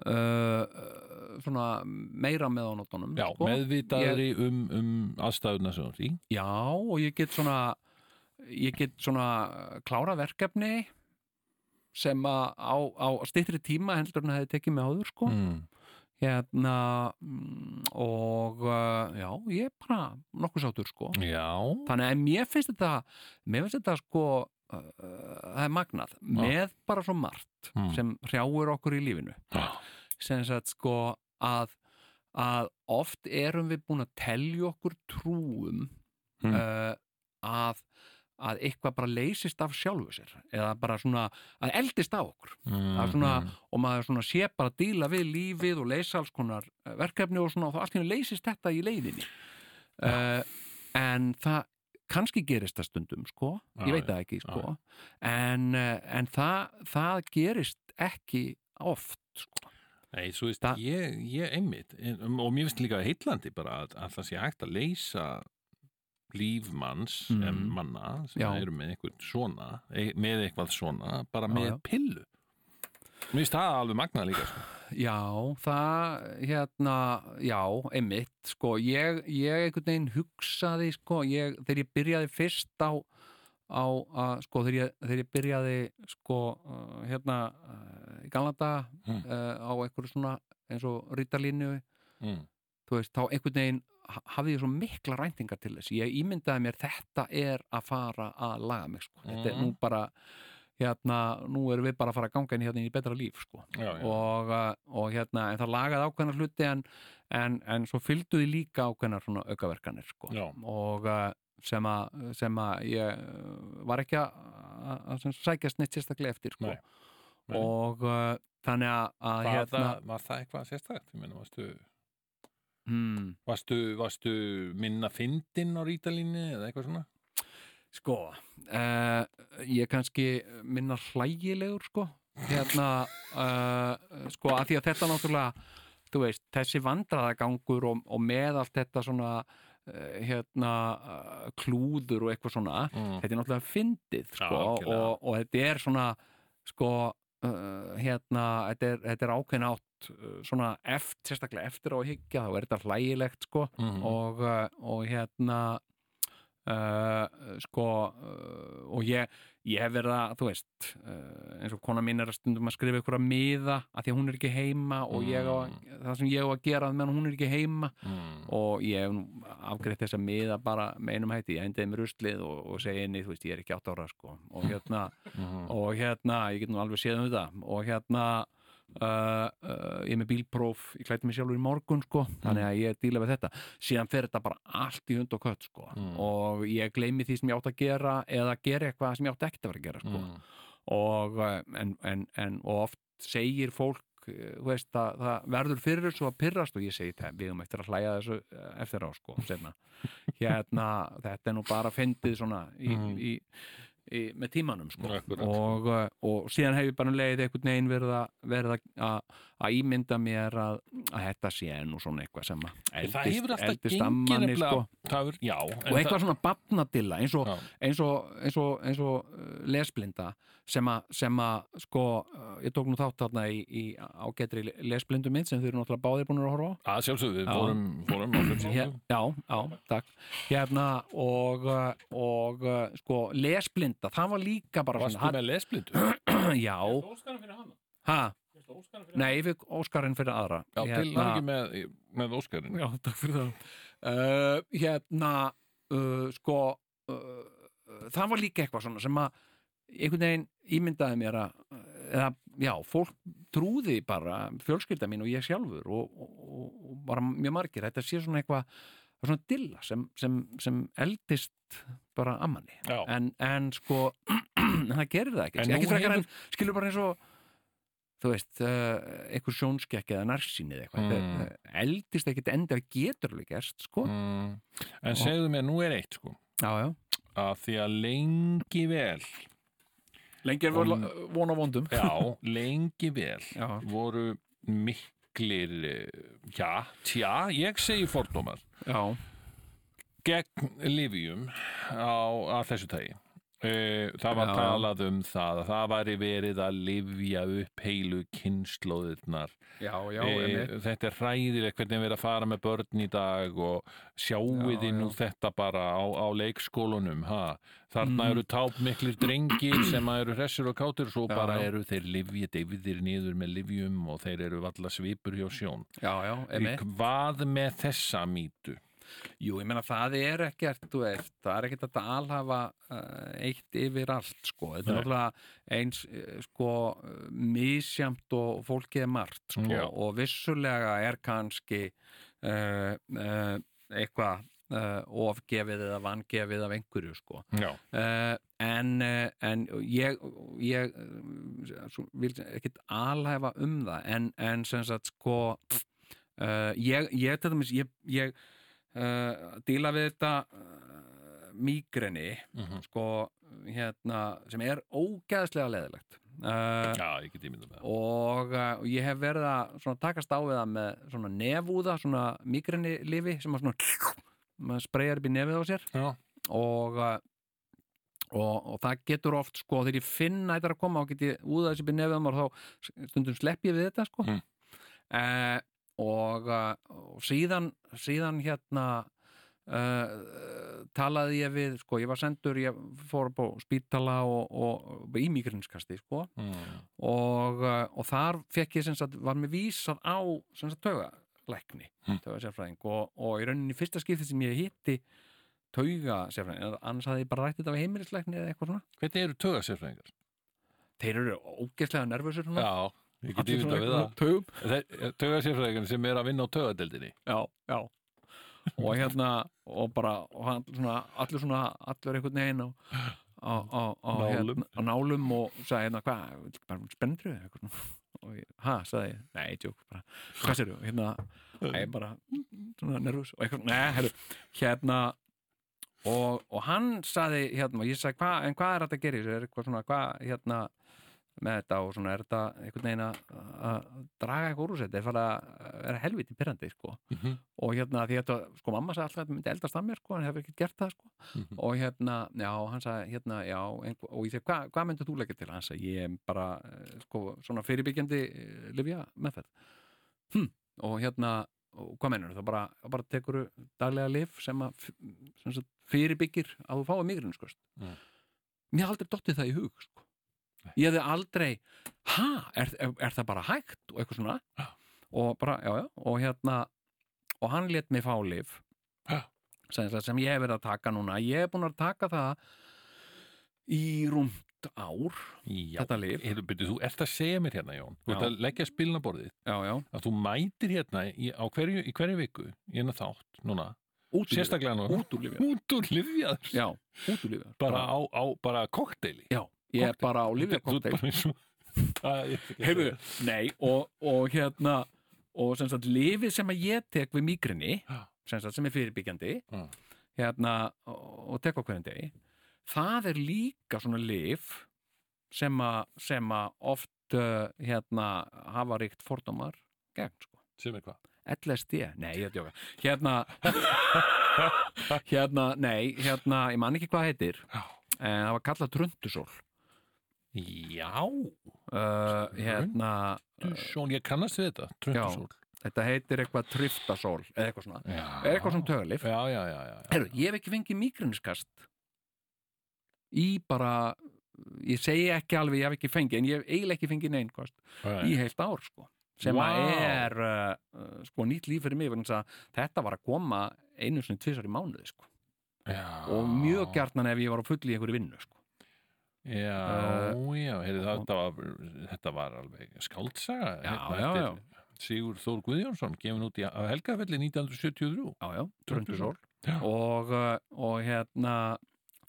S3: uh, svona meira með á nótunum
S2: Já,
S3: sko.
S2: meðvitaðri um, um aðstæðuna sem þú ert í
S3: já og ég get svona ég get svona klára verkefni sem að á, á styttri tíma heldur en að hefði tekið mig áður sko
S2: mm.
S3: hérna mm, og uh, já, ég er bara nokkuð sáttur sko
S2: Já,
S3: þannig að mér finnst þetta mér finnst þetta sko uh, uh, það er magnað, með bara svo margt
S2: Mm.
S3: sem hrjáir okkur í lífinu
S2: Já.
S3: sem sagt sko að að oft erum við búin að telja okkur trúum
S2: Mm.
S3: uh, að að eitthvað bara leysist af sjálfu sér eða bara svona að eldist af okkur
S2: mm,
S3: Það er svona,
S2: mm.
S3: og maður svona sé bara að díla við lífið og leysa alls konar eh, verkefni og svona og þá allt hérna leysist þetta í leiðinni uh, en það kannski gerist það stundum sko
S2: Já,
S3: ég veit það ekki sko
S2: já.
S3: en, eh, en það, það gerist ekki oft sko.
S2: Nei, svo veist,
S3: Það-
S2: ég, ég einmitt en- um, og mér finnst líka heitlandi bara að, að það sé hægt að leysa lífmanns
S3: Mhm.
S2: mm. em, manna sem
S3: Já.
S2: eru með eitthvað svona e, með eitthvað svona, bara
S3: Já,
S2: með
S3: já.
S2: pillu Mér finnst það alveg magnað líka sko.
S3: já, það hérna, já, einmitt sko, ég, ég einhvern veginn hugsaði sko, ég, þegar ég byrjaði fyrst á á að sko þegar ég, þegar ég byrjaði sko uh, hérna uh, í Galanda
S2: Mm.
S3: uh, á einhverju svona eins og rítalínu
S2: mm.
S3: þú veist, þá einhvern veginn ha- hafði ég svo mikla ræntingar til þess ég ímyndaði mér þetta er að fara að laga mig sko, þetta er
S2: Mhm.
S3: nú bara hérna, nú erum við bara að fara að ganga inn hérna inn í betra líf sko
S2: Já, já.
S3: og, uh, og hérna, en það lagaði ákveðnar hluti en, en, en svo fylgdu því líka ákveðnar svona aukaverkanir sko.
S2: Já.
S3: og uh, sem að sem að ég uh, var ekki að, að- að sem sagt sækjast neitt sérstaklega eftir sko.
S2: Nei. Nei.
S3: og uh, þannig að, að
S2: Var,
S3: hérna,
S2: það, var það eitthvað sérstakt? Ég meina, varstu
S3: hmm.
S2: Varstu, varstu minna fyndin á rítalínni eða eitthvað svona?
S3: Sko, uh, ég er kannski minna hlægilegur, sko hérna, uh, sko að því að þetta náttúrulega, þú veist þessi vandræðagangur og, og með allt þetta svona uh, hérna, uh, klúður og eitthvað svona
S2: Mm.
S3: þetta er náttúrulega fyndið, sko
S2: algjörlega.
S3: og, og þetta er svona, sko uh, hérna, þetta er, þetta er ákveðin átt uh, svona eft, sérstaklega eftir á að hyggja, þá er þetta hlægilegt, sko
S2: Mm.
S3: og, uh, og hérna uh, sko uh, og ég, ég hef verið að þú veist, uh, eins og kona mín er að stundum að skrifa ykkur að miða að því að hún er ekki heima og ég á, að- það sem ég á að gera meðan hún er ekki heima
S2: Mm.
S3: og ég hef nú afgreitt þessa miða bara með einum hætti, ég endaði mér uslið og, og segi henni, þú veist, ég er ekki átt ára sko og hérna
S2: Mm.
S3: og hérna, ég get nú alveg séð um þetta og hérna uh, uh, ég er með bílpróf, ég klæti mig sjálfur í morgun sko, þannig að ég díla við þetta síðan fer þetta bara allt í hund og kött sko
S2: Mm.
S3: og ég gleymi því sem ég átt að gera eða gera eitthvað sem ég átt ekkert að vera að gera sko
S2: Mm.
S3: og, eh, en, en, en, og oft segir fólk eh, þú veist, að, það verður fyrir þessu að pyrrast og ég segi það, við um eftir að hlæja þessu eh, eftir á sko seinna. hérna, þetta er nú bara fyndið svona í,
S2: Mhm.
S3: í, í, með tímanum sko
S2: Mm. Akkurat.
S3: og, eh, og síðan hef ég bara um leið einhvern veginn verið að, verið að- að, að ímynda mér að, að þetta sé nú svona eitthvað sem að
S2: það hefur alltaf gengið
S3: ammanni,
S2: nefnilega-
S3: sko.
S2: Það hefur, já.
S3: og eitthvað svona batnadilla eins og, e-
S2: Já.
S3: eins og, eins og, eins og uh, lesblinda sem að, sem að sko, uh, ég tók nú þátt þarna í, í ágetri lesblindu mynd sem þau eru náttúrulega báðir búin að horfa á
S2: Að sjálfsögðu, við
S3: Já.
S2: fórum, fórum á
S3: Hér,
S2: hljómsýningu.
S3: já, já, takk hérna og, uh, og uh, sko, lesblinda, það var líka bara
S2: Varstu með lesblindu?
S3: hann, já,
S4: Óskarinn fyrir hana.
S3: ha,
S4: Óskarinn fyrir
S3: nei, ég fikk Óskarinn fyrir aðra Hérna,
S2: Já, til langi með, með Óskarinn.
S3: já, takk fyrir það uh, hérna, uh, sko uh, það var líka eitthvað svona sem að einhvern veginn ímyndaði mér að eða, já, fólk trúði bara fjölskylda mín og ég sjálfur og, og, og, og bara mjög margir þetta sé svona eitthvað svona dilla sem, sem, sem eldist bara að manni
S2: Já.
S3: en, en sko, en það gerir það ekki
S2: En
S3: ekki
S2: nú
S3: frekar
S2: hefur-
S3: en skilur bara eins og þú veist, uh, einhver sjónskekki eða narsýni eða eitthvað,
S2: Mm.
S3: mm. eldist ekkit enda getur alveg gerst, sko
S2: Mm. En segðu mér, nú er eitt, sko.
S3: já, já,
S2: Að því að lengi vel,
S3: lengi er
S2: von-
S3: von á vondum
S2: já, lengi vel,
S3: já,
S2: voru miklir, eh, já, tja, ég segi fordómar.
S3: já,
S2: gegn livjum á, á þessu tægi Eh, Það var
S3: Já.
S2: talað um það að það væri verið að livja upp heilu kynnslóðirnar
S3: já, já
S2: Eh,
S3: einmitt.
S2: Þetta er hræðilegt hvernig við erum að fara með börn í dag og sjáu
S3: Já,
S2: þið nú þetta bara á, á leikskólunum ha?
S3: Mhm.
S2: Þarna eru tápmiklir drengir sem að eru hressir og kátur svo
S3: Já,
S2: bara
S3: já.
S2: eru þeir livjið deyfðir niður með livjum og þeir eru valla svipur hjá sjón
S3: já, já, emi
S2: Hvað með þessa mýtu?
S3: jú, ég meina það er ekkert, þú veist það er ekkert að þetta alhafa uh, eitt yfir allt, sko þetta er
S2: Nei.
S3: náttúrulega eins, eh, sko eh, misjæmt og fólkið er margt, sko,
S2: Já.
S3: og vissulega er kannski uh, uh, eitthvað uh, ofgefið eða vangefið af einhverju, sko
S2: Já,
S3: uh, en, uh, en ég, ég uh, svo vil ekkit alhæfa um það en, en sem sagt sko uh, ég, ég, til dæmis, ég, ég uh, díla við þetta uh, mígreni
S2: Mhm.
S3: sko hérna sem er ógeðslega leðilegt uh,
S2: já ég get ímyndum það
S3: og uh, ég hef verið að svona, takast á við það með svona nefúða svona mígreni lifi sem að svona maður spreyjar upp í nefið á sér
S2: Já
S3: og, uh, og, og það getur oft sko þegar ég finn að þetta er að koma og get ég úða þessi byrja nefum og þá stundum slepp ég við þetta sko
S2: Mm.
S3: eh, og, uh, og síðan síðan hérna Uh, talaði ég við, sko, ég var sendur ég fór upp á spítala og, og, og í migrinskasti, sko
S2: Mm.
S3: og, uh, og þar fekk ég sem sagt, var mér vísað á sem sagt taugalækni
S2: Mm.
S3: taugasérfræðing og, og í rauninni fyrsta skipti sem ég hitti taugasérfræðing, annars hafði ég bara rætt þetta við heimilislækni eða eitthvað svona
S2: Hvernig eru tögasérfræðingar?
S3: þeir eru ógeðslega nervusur svona
S2: Já, ég get ímyndað við það
S3: taugum
S2: Þeir- Tögasérfræðingar sem er að vinna á tögadeldinni
S3: já, já og hérna, og bara og hann, svona, allir svona, allir einhvern veginn á, á, á, á,
S2: Nálum.
S3: hérna, á nálum og sagði hérna, hvað, spenntrið eitthvað svona og ég, ha, sagði ég, nei, tjók bara, hvað sér þú, hérna ég er bara, mm, svona nervus og eitthvað, nei, herru, hérna og, og hann sagði hérna, og ég sagði, hva, en hvað er þetta að gera í þessu? er eitthvað svona, hvað, hérna með þetta og svona, er þetta einhvern veginn að- að draga eitthvað úr úr sér þetta er fara að vera helviti pyrrandi, sko
S2: Mhm.
S3: og hérna, því þetta, sko, mamma sagði alltaf að þetta myndi eldast að mér, sko, hann hefur ekkert gert það, sko
S2: Mhm.
S3: og hérna, já, hann sagði, hérna, já einhver, og ég segi, hva, hvað myndir þú leggja til? hann sagði, ég er bara, eh, sko, svona fyrirbyggjandi livja meðferð hm, og hérna og hvað mennur, það bara, þá bara tekur daglega lif sem að f- sem sagt, fyrirbyggir að þú fáið migrinn, sko
S2: Mm.
S3: mér hafði aldrei dottið það í hug, sko ég hefði aldrei, ha, er, er, er það bara hægt og eitthvað svona og bara, já, já, og hérna og hann let mig fá lif sem, sagt, sem ég hef verið að taka núna ég hef búin að taka það í rúmt ár
S2: Já,
S3: þetta lif
S2: Heyrðu, byrju, þú ert að segja mér hérna, Jón Þú ert
S3: Já.
S2: að leggja spilnaborðið
S3: já, já,
S2: að þú mætir hérna í, á hverju, í hverju viku í hérna þátt núna
S3: útulifjar
S2: sérstaklega núna
S3: útulifjar,
S2: út úr livjaður
S3: já, útulifjar
S2: bara á, á bara kokteili
S3: já, ég er bara á lifjarkokteil
S2: Hefur
S3: Heyrðu, nei, og, og hérna og sem sagt, lifið sem að ég tek við migrini,
S2: Já.
S3: sem sagt, sem er fyrirbyggjandi
S2: Já.
S3: hérna, og, og tek á hverjum degi það er líka svona lif sem að, sem að oft uh, hérna, hafa ríkt fordómar gegn, sko
S2: Sem er hvað?
S3: LSD, nei, ég er að djóka hérna hérna, nei, hérna, ég man ekki hvað það heitir
S2: Já.
S3: en það var kallað tröndusól
S2: Já,
S3: uh, hérna,
S2: Sjón, ég kannast við þetta Tröndusól
S3: þetta heitir eitthvað triftasól eða eitthvað svona,
S2: Já,
S3: er eitthvað svona tögalif
S2: já, já, já, já, já.
S3: Heru, ég hef ekki fengið mígriniskast í bara ég segi ekki alveg, ég hef ekki fengið en ég hef eiginlega ekki fengið neinn kost í
S2: Nei.
S3: heilt ár sko sem
S2: Vá.
S3: að er uh, uh, sko nýtt líf fyrir mig vegna þess að þetta var að koma einu sinni tvisar í mánuði sko
S2: Já.
S3: og mjög gjarnan ef ég var á fulli í einhverju vinnu sko.
S2: Já,
S3: Eh,
S2: já, heyrðu, þetta var, þetta var alveg skáldsaga hérna,
S3: já,
S2: eftir Sigur Þór Guðjónsson gefin út í á Helgafelli 1973
S3: já, já, tröndusól
S2: Já.
S3: og, uh, og hérna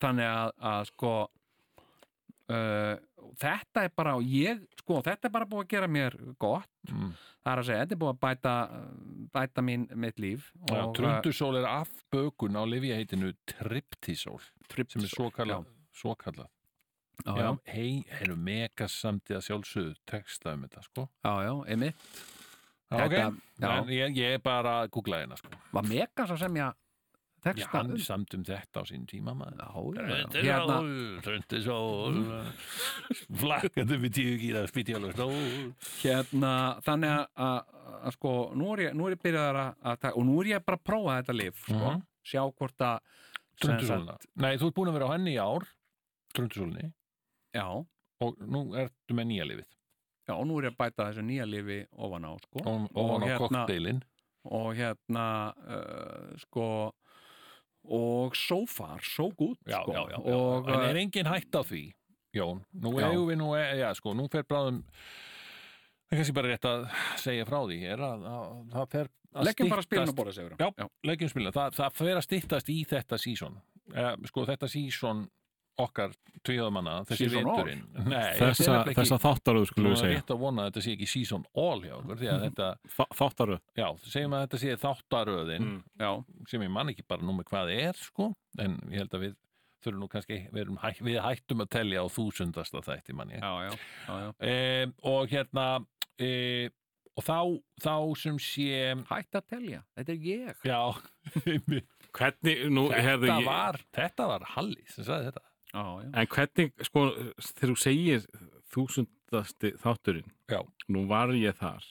S3: þannig að, að sko uh, þetta er bara og ég, sko, þetta er bara búið að gera mér gott,
S2: mm.
S3: það er að segja þetta er búið að bæta, uh, bæta mín mitt líf
S2: Já,
S3: og eh,
S2: Tröndusól er afbökun á lifjaheitinu Triptisól sem er svo kallað svo kallað
S3: já, já,
S2: Já, hei, erum mega samtíða sjálfsögðu texta um þetta, sko
S3: já, já, einmitt
S2: Já, ok,
S3: Þetta- já.
S2: en ég, ég er bara að googla hérna, sko
S3: var megas að semja
S2: Já,
S3: texta
S2: hann
S3: um-
S2: samt um þetta á sín tíma, maður
S3: já, já, já. hérna,
S2: Tröndusól, Tröndusól Flakkandi við tíu gíra spýtjálega stól
S3: hérna, þannig að- að að sko, nú er ég, nú er ég byrjaðar að, að taka- og nú er ég bara að prófa þetta lif sko,
S2: Mhm.
S3: sjá hvort að sem sagt-
S2: Tröndusóluna Nei, þú ert búin að vera á henni í ár Tröndusólunni
S3: já,
S2: og nú ertu með nýja lifið
S3: já, nú er ég að bæta þessu nýja lifi ofan á sko,
S2: og, og, hérna- og á kokteilin
S3: og hérna uh, sko og so far, so good
S2: já,
S3: sko,
S2: já, já, já.
S3: og
S2: En er engin hætt á því Jón, nú
S3: Já.
S2: eigum við nú e- já, sko, nú fer bráðum það er kannski bara rétt að segja frá því er að, að, það fer að
S3: leggjum bara
S2: styttast-
S3: spilin að borða segur
S2: Já, leggjum spilin, það, það fer að styttast í þetta sísón eh, sko þetta sísón okkar tvíðamanna, þessi
S3: Season all?
S2: vindurinn Nei, þetta er
S4: Þessa,
S2: nefnilega ekki-
S4: þessa þáttaröð
S2: Nú
S4: skulum við
S2: er
S4: segja Mhm.
S2: rétt að vona að þetta sé ekki season all hjá okkur því að þetta,
S4: Þa- Þáttaröð
S2: já, segjum að þetta sé þáttaröðin
S4: Mm.
S3: já,
S2: sem ég man ekki bara nú með hvað er sko, en ég held að við þurfum nú kannski, við, erum, hæ- við hættum að telja á þúsundasta þætti man ég
S3: já, já, já, já.
S2: e, og hérna e, og þá, þá sem sé
S3: hætt að telja, þetta er ég
S2: já, einmitt.
S4: Hvernig, nú, herðu
S2: þetta
S4: ég
S2: var þetta var Halli sem sagði þetta
S3: já, já,
S4: En hvernig, sko, þegar þú segir þúsundasti þátturinn
S2: Já.
S4: Nú var ég þar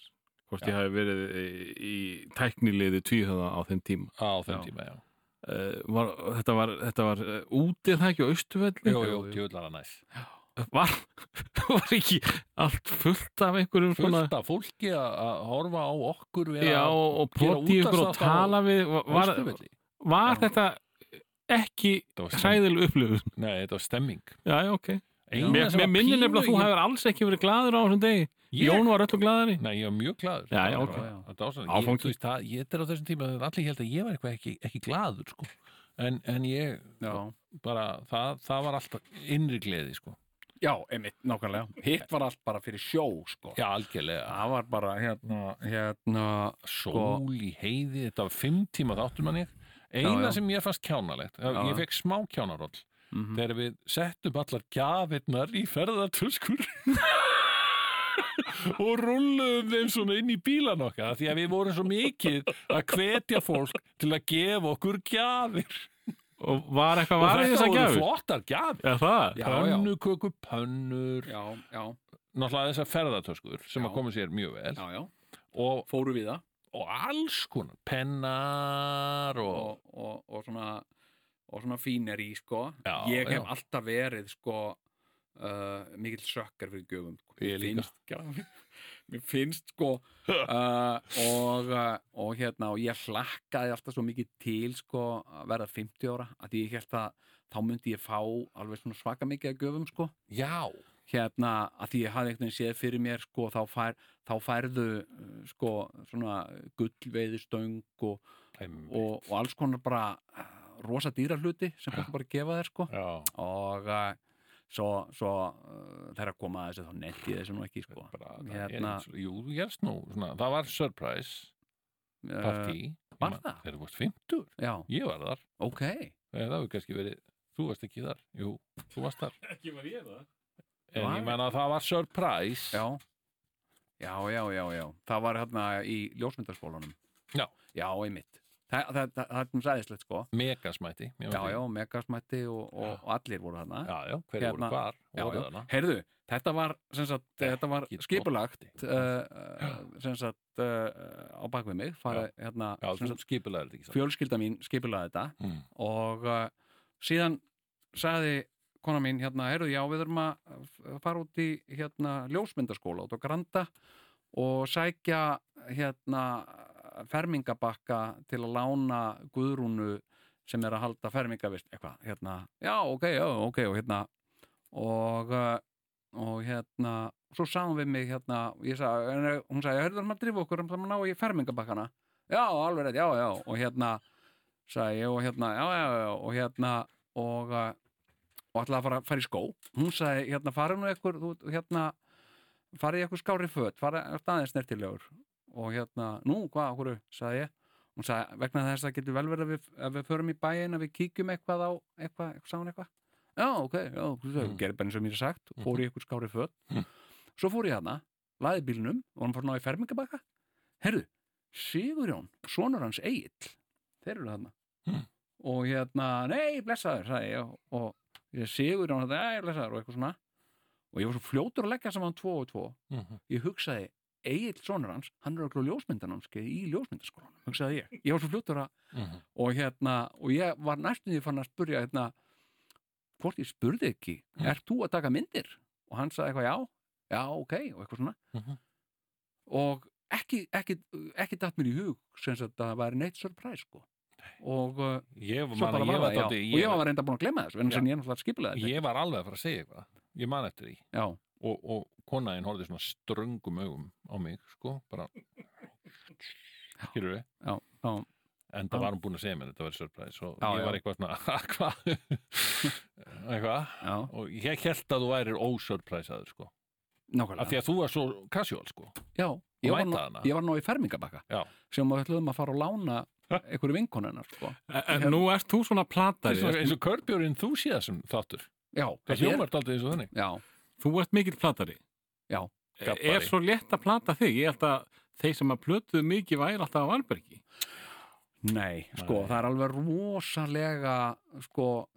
S4: Hvort ég hafi verið í- í tækniliði tvíhöða á þeim tíma
S2: á þeim
S3: Já.
S2: tíma, já,
S4: uh, var, Þetta var, þetta var uh, útið það ekki á Östuvelli
S2: jú, jú,
S3: jú.
S2: djúðlara næs
S4: Var, var ekki allt fullt af einhverjum svona
S2: fullt af fólki að- að horfa á okkur við
S4: Já,
S2: að
S4: og
S2: gera
S4: ploti ykkur og
S2: útvarpsþátt á
S4: tala við Var, var,
S2: Austurvelli.
S4: var
S3: Já.
S4: þetta ekki
S2: Þetta var stemming.
S4: hræðileg upplifun?
S2: Nei, þetta var stemming
S4: Já, já, ok
S2: Eina
S4: Mér,
S2: sem
S4: mér
S2: var
S4: minnir
S2: pínu-
S4: nefnilega að þú hefur alls ekki verið glaður á þessum degi
S2: Ég-
S4: Jón var öllu glaðari
S2: Nei, ég var mjög glaður
S4: Já, já,
S2: Það var
S4: ok.
S2: bara- Þetta var svona,
S4: Áfangi.
S2: ég, þú veist, það, ég þetta er á þessum tíma þegar allir held að ég var eitthvað ekki, ekki glaður sko. en, en ég
S3: já.
S2: bara, það, það var alltaf innri gleði sko.
S3: já, einmitt, nákvæmlega hitt var allt bara fyrir sjó sko.
S2: Já, algjörlega.
S3: það var bara hérna, hérna
S2: Sól Sko- í heiði, þetta var fimm tíma þáttur manni. Eina
S3: Já, já.
S2: sem ég fannst kjánalegt,
S3: Já, Mhm. já.
S2: ég fekk smá kjánaroll. Þegar við settum allar gjafirnar í ferðartöskur og rulluðum þeim svona inn í bílan okkar því að við vorum svo mikið að hvetja fólk til að gefa okkur gjafir.
S4: Og var eitthvað varðið þess að
S2: Þetta voru
S4: gjafur?
S2: flottar gjafir.
S4: Er það?
S3: Já, já.
S2: Pönnuköku, pönnur,
S3: já, já,
S2: náttúrulega þessar ferðartöskur sem
S3: Já.
S2: að koma sér mjög vel
S3: já, já,
S2: og,
S3: fóru við það
S2: og alls konar pennar og,
S3: og, og, og svona og svona fíneri sko
S2: Já,
S3: ég hef
S2: já.
S3: alltaf verið sko uh, mikill sökkar fyrir gjöfum sko.
S2: Ég líka.
S3: finnst, grafir, mér finnst sko uh, og, uh, og hérna og ég hlakkaði alltaf svo mikið til sko að verða 50 ára að ég held að þá myndi ég fá alveg svona svaka mikið að gjöfum sko
S2: já,
S3: hérna að því ég hafði einhvern veginn séð fyrir mér sko þá, fær, þá færðu uh, sko svona gullveiðistöng og,
S2: einmitt.
S3: og, og alls konar bara eh, rosa dýra hluti sem fólk bara gefa þér sko
S2: já,
S3: og eh, svo, svo uh, þeirra koma að þessu þá netti þessu nú ekki sko
S2: bara,
S3: Hérna.
S2: hérna. jú, þú gerst nú svona, það var surprise
S3: Eh,
S2: partí
S3: var
S2: Ég man-
S3: það?
S2: þegar þú varst 50,
S3: Já,
S2: ég var þar
S3: ok
S2: Eh, það var kannski verið, þú varst ekki þar jú, þú varst þar
S4: Ekki var ég það.
S2: en
S3: Var-
S2: ég menna að það var surprise
S3: Já, já, já, já, já það var hérna í ljósmyndarskólanum
S2: Já.
S3: Já, einmitt Það, það, það, það er um sæðislegt sko
S2: megasmæti ég
S3: Já,
S2: veit
S3: já,
S2: ekki.
S3: megasmætti og, og, og allir voru þarna
S2: já, já, hverju
S3: Hérna.
S2: voru hvar
S3: Já,
S2: voru
S3: já.
S2: þarna.
S3: Heyrðu, þetta var, sem sagt, þetta var
S2: Ekki
S3: skipulagt
S2: dotti.
S3: uh, uh, sem sagt uh, á bakvið mig farið, hérna,
S2: já,
S3: sem
S2: þú
S3: sagt,
S2: skipulega þetta ekki satt
S3: fjölskylda mín skipulaði þetta
S2: mm.
S3: og uh, síðan sagði kona mín hérna, heyrðu, já, við erum að uh, fara út í hérna ljósmyndaskóla út á Granda og sækja hérna fermingabakka til að lána Guðrúnu sem er að halda fermingavist eitthvað, hérna, já, ok, já, ok og hérna og, uh, og hérna svo sagði hún við mig hérna ég sagði, en, eh, hún sagði, heyrðu, maður drífa okkur um það maður ná í fermingabakkana já, alveg rétt, já, já, og hérna sagði ég og hérna, já, já, já og hérna, og eh, og ætlaði að fara, fara í skó hún sagði, hérna, farið nú ekkur þú, hérna, farið í ekkur skári föt farið aðeins snertilegur og hérna, nú, hvað, hverju, sagði ég hún sagði, vegna þess að það getur vel verið að við, að við förum í bæin, að við kíkjum eitthvað á eitthvað, eitthvað, sáum eitthvað já, ok, já, mm.
S2: Mm. Mhm.
S3: gerði bara eins og mér er sagt og fór í ekkur skári föt
S2: Mm.
S3: svo fór ég hana, laði bílnum og hann fór ná í fermingabakka herðu, Sigurjón, sonur hans Egil þeir eru þarna
S2: Mm.
S3: og hérna, nei, blessaður sagði ég, og ég Sigurjón þetta, nei, blessaður og eitthvað svona og ég var svo fljótur að leggja saman tvo og tvo
S2: Mhm.
S3: ég hugsaði, Egil sonur hans hann er okkur ljósmyndanámskeið í ljósmyndaskólanum hugsaði ég, ég var svo fljótur að
S2: Mhm.
S3: og hérna, og ég var næstum því fann að spurja hérna, hvort ég spurði ekki,
S2: Mm.
S3: ert þú að taka myndir? og hann sagði eitthvað já já, ok, og eitthvað svona
S2: Mhm.
S3: og ekki, ekki, ekki datt mér í hug sem sagt að það væri neitt surprise sko. og uh,
S2: ég
S3: svo
S2: man
S3: bara
S2: að ég
S3: var
S2: var
S3: það, já,
S2: dálítið-
S3: og ég var reynda búin að glemma þessu en
S2: Já.
S3: sem ég náttúrulega skipulega þetta
S2: ég var alveg að fara að segja eitthvað ég man eftir því
S3: já,
S2: og, og konaðin horfði svona ströngum augum á mig, sko, bara skilur við
S3: já, já,
S2: en það
S3: Já.
S2: var hún búin að segja mér, þetta var surprise og
S3: Já,
S2: ég var
S3: já.
S2: eitthvað svona, "Ha, hvað eitthvað,
S3: já,
S2: og ég held að þú værir ósurprisaður, sko, af
S3: nákvæmlega
S2: því að þú var svo casual, sko,
S3: já, ég var,
S2: mæta
S3: nú,
S2: hana.
S3: ég var nú í fermingabakka
S2: Já.
S3: sem við ætluðum að fara og lána einhverju vinkonunnar sko.
S4: Nú ert þú svona
S2: það er
S4: platari.
S2: svona eins og körbjör enthusiasm þáttur,
S3: já,
S2: það
S3: þetta er-
S2: hljómar aldrei eins og þannig
S3: já,
S4: Þú ert mikill platari. E,
S3: Já.
S2: Gabbari.
S4: Er svo létt að plata þig? Ég held að þeir sem að plötuðu mikið væri alltaf á Valbergi.
S3: Nei, sko, það er alveg rosalega, sko,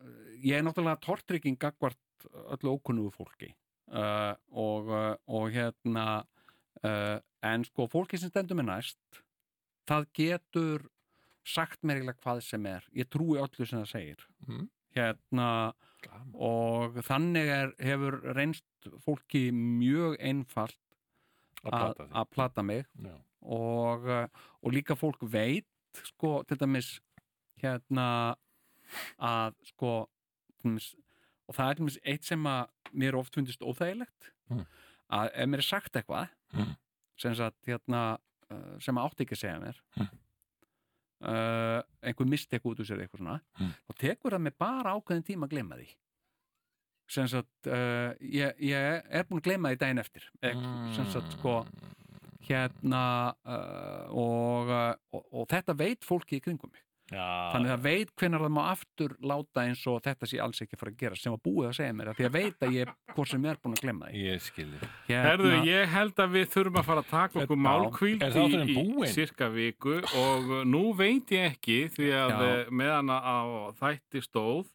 S3: ég er náttúrulega tortrygging gagvart öllu ókunnugu fólki uh, og, uh, og hérna, uh, en sko, fólki sem stendur mér næst, það getur sagt mér eiginlega hvað sem er. Ég trúi öllu sem það segir.
S2: Mm.
S3: Hérna,
S2: Gaman.
S3: og þannig er, hefur reynst fólki mjög einfalt
S2: að
S3: að,
S2: plata
S3: að plata mig
S2: því Já.
S3: og, uh, og líka fólk veit sko, til dæmis hérna að sko til dæmis, og það er til dæmis eitt sem að mér oft fundist óþægilegt
S2: Mm.
S3: að ef mér er sagt eitthvað
S2: Mm.
S3: sem, sagt, hérna, uh, sem að átti ekki að segja mér
S2: Mm.
S3: uh, einhver mistek út úr sér eitthvað svona
S2: Mm.
S3: og tekur það mig bara ákveðin tíma að glemma því sem sagt uh, ég, ég er búin að gleyma því daginn eftir Ek,
S2: Hmm.
S3: sem sagt sko
S2: Mm.
S3: hérna uh, og, uh, og, og þetta veit fólki í kringum mig
S2: Já,
S3: þannig að það veit hvenær það má aftur láta eins og þetta sé alls ekki að fara að gera sem var búið að segja mér af því að veit að ég hvort sem ég er búin að glemma því
S2: ég skilji
S3: hérna,
S4: Herðu, ég held að við þurfum að fara að taka okkur
S3: Já.
S4: málkvíld
S2: Er þátturinn
S4: í, í
S2: búinn?
S4: cirka viku og uh, nú veit ég ekki því að
S3: Já.
S4: Já. meðan að á þætti stóð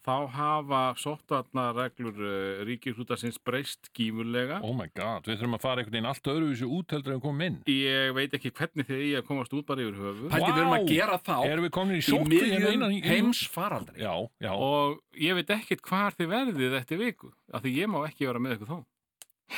S3: Mm.
S4: þá hafa sóttvarnareglur uh, ríkisútasins breyst gífurlega.
S2: Oh my god, við þurfum að fara einhvern veginn allt öðruvísi út heldur en við komum inn
S4: Ég veit ekki hvernig þegar ég að komast út bara yfir höfu.
S3: pældi við erum
S2: Vá!
S3: að gera þá
S2: Erum við komin í
S3: í
S2: sóttu
S3: miðjum heims faraldri
S2: Já, já
S4: og ég veit ekkert hvar þið verðið eftir viku, af því ég má ekki vera með ykkur þá.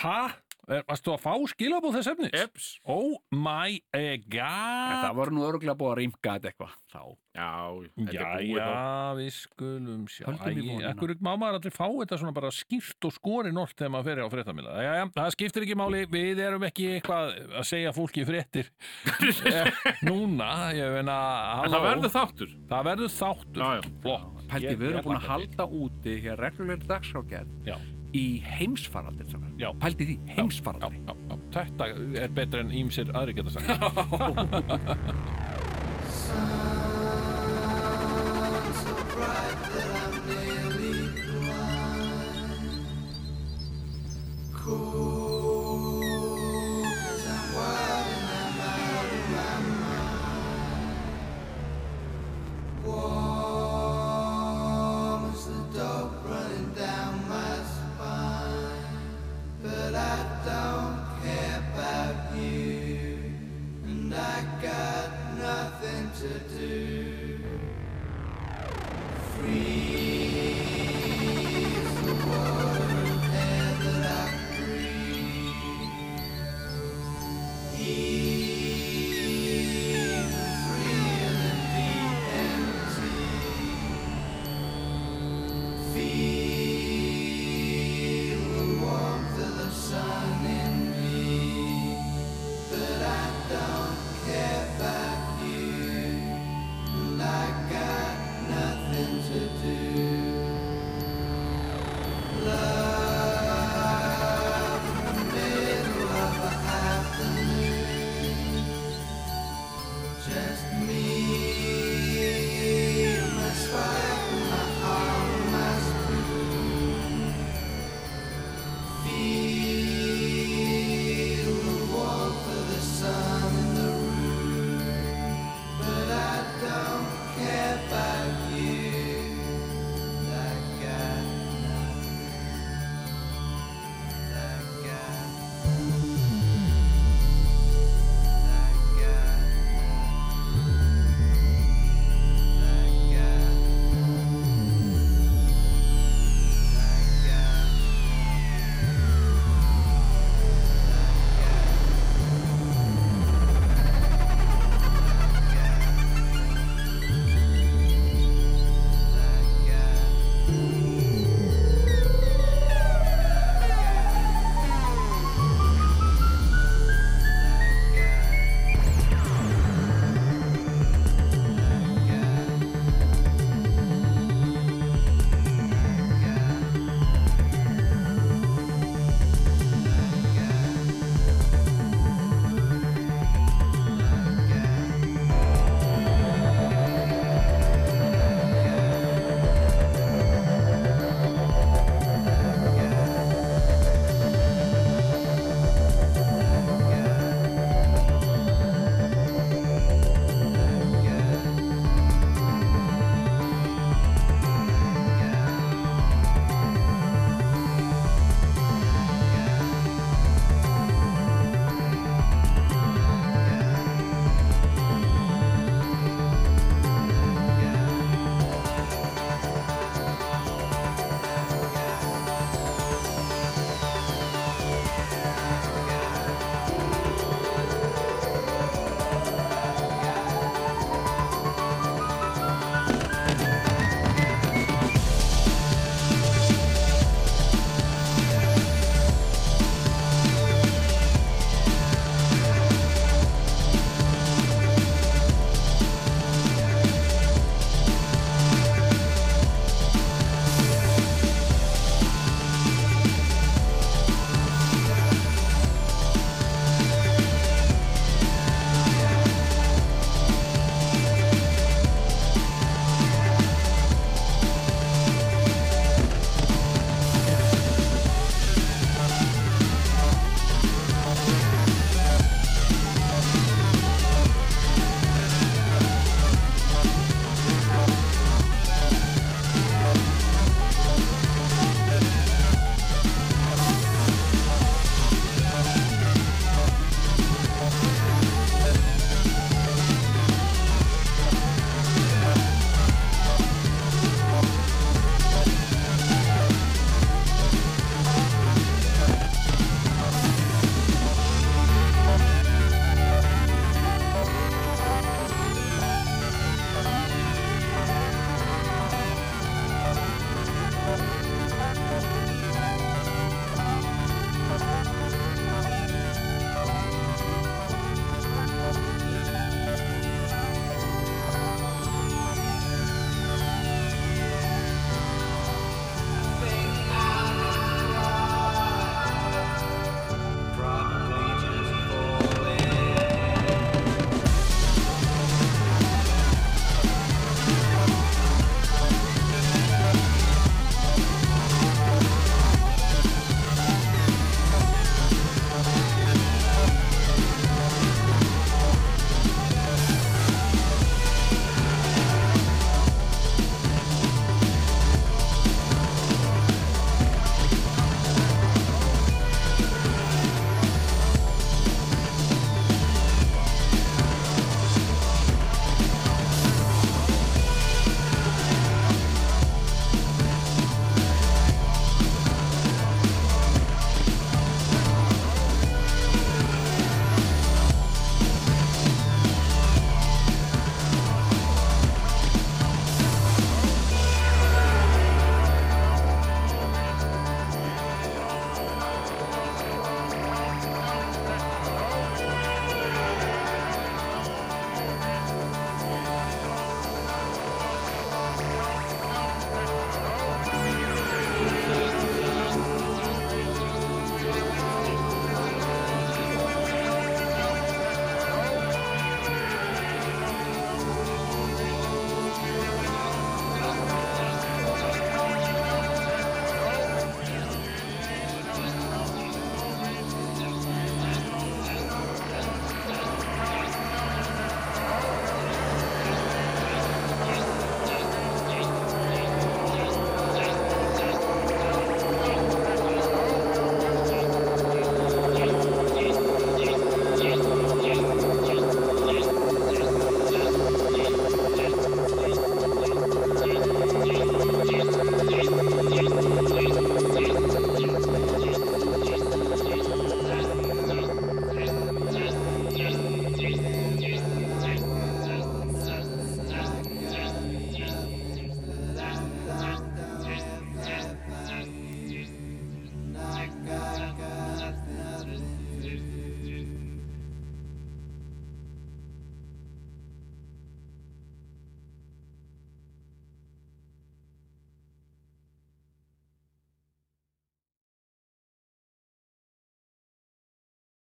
S2: Hæ? Varst þú að fá skilabóð þess efnis?
S4: Eps.
S2: Oh my eh,
S3: En
S2: god
S3: það voru nú örgulega búið að rýmka þetta eitthvað þá
S4: Já, þetta er búið
S2: Jæja,
S4: þá.
S2: við skulum sjá
S3: Höldum í
S2: Æ,
S3: vonina.
S2: Ekkur má maður aldrei fá þetta svona bara skýrt og skori nort þegar maður fyrir á fréttamila Jæja, það skiptir ekki máli, við erum ekki eitthvað að segja fólki fréttir eh, Núna, ég veina
S4: En það verður þáttur.
S2: það verður þáttur
S4: Já, já.
S2: Flott
S3: pældi
S2: Ég-
S3: við
S2: ég
S3: erum búin að
S2: hlakka til.
S3: halda úti hér reglulegri dagskrágerð
S2: Já.
S3: í heimsfaraldri strákar.
S2: Já.
S3: pældi því,
S2: Já,
S3: heimsfaraldri
S2: já, já. Þetta er betra en ímsir aðri geta sagt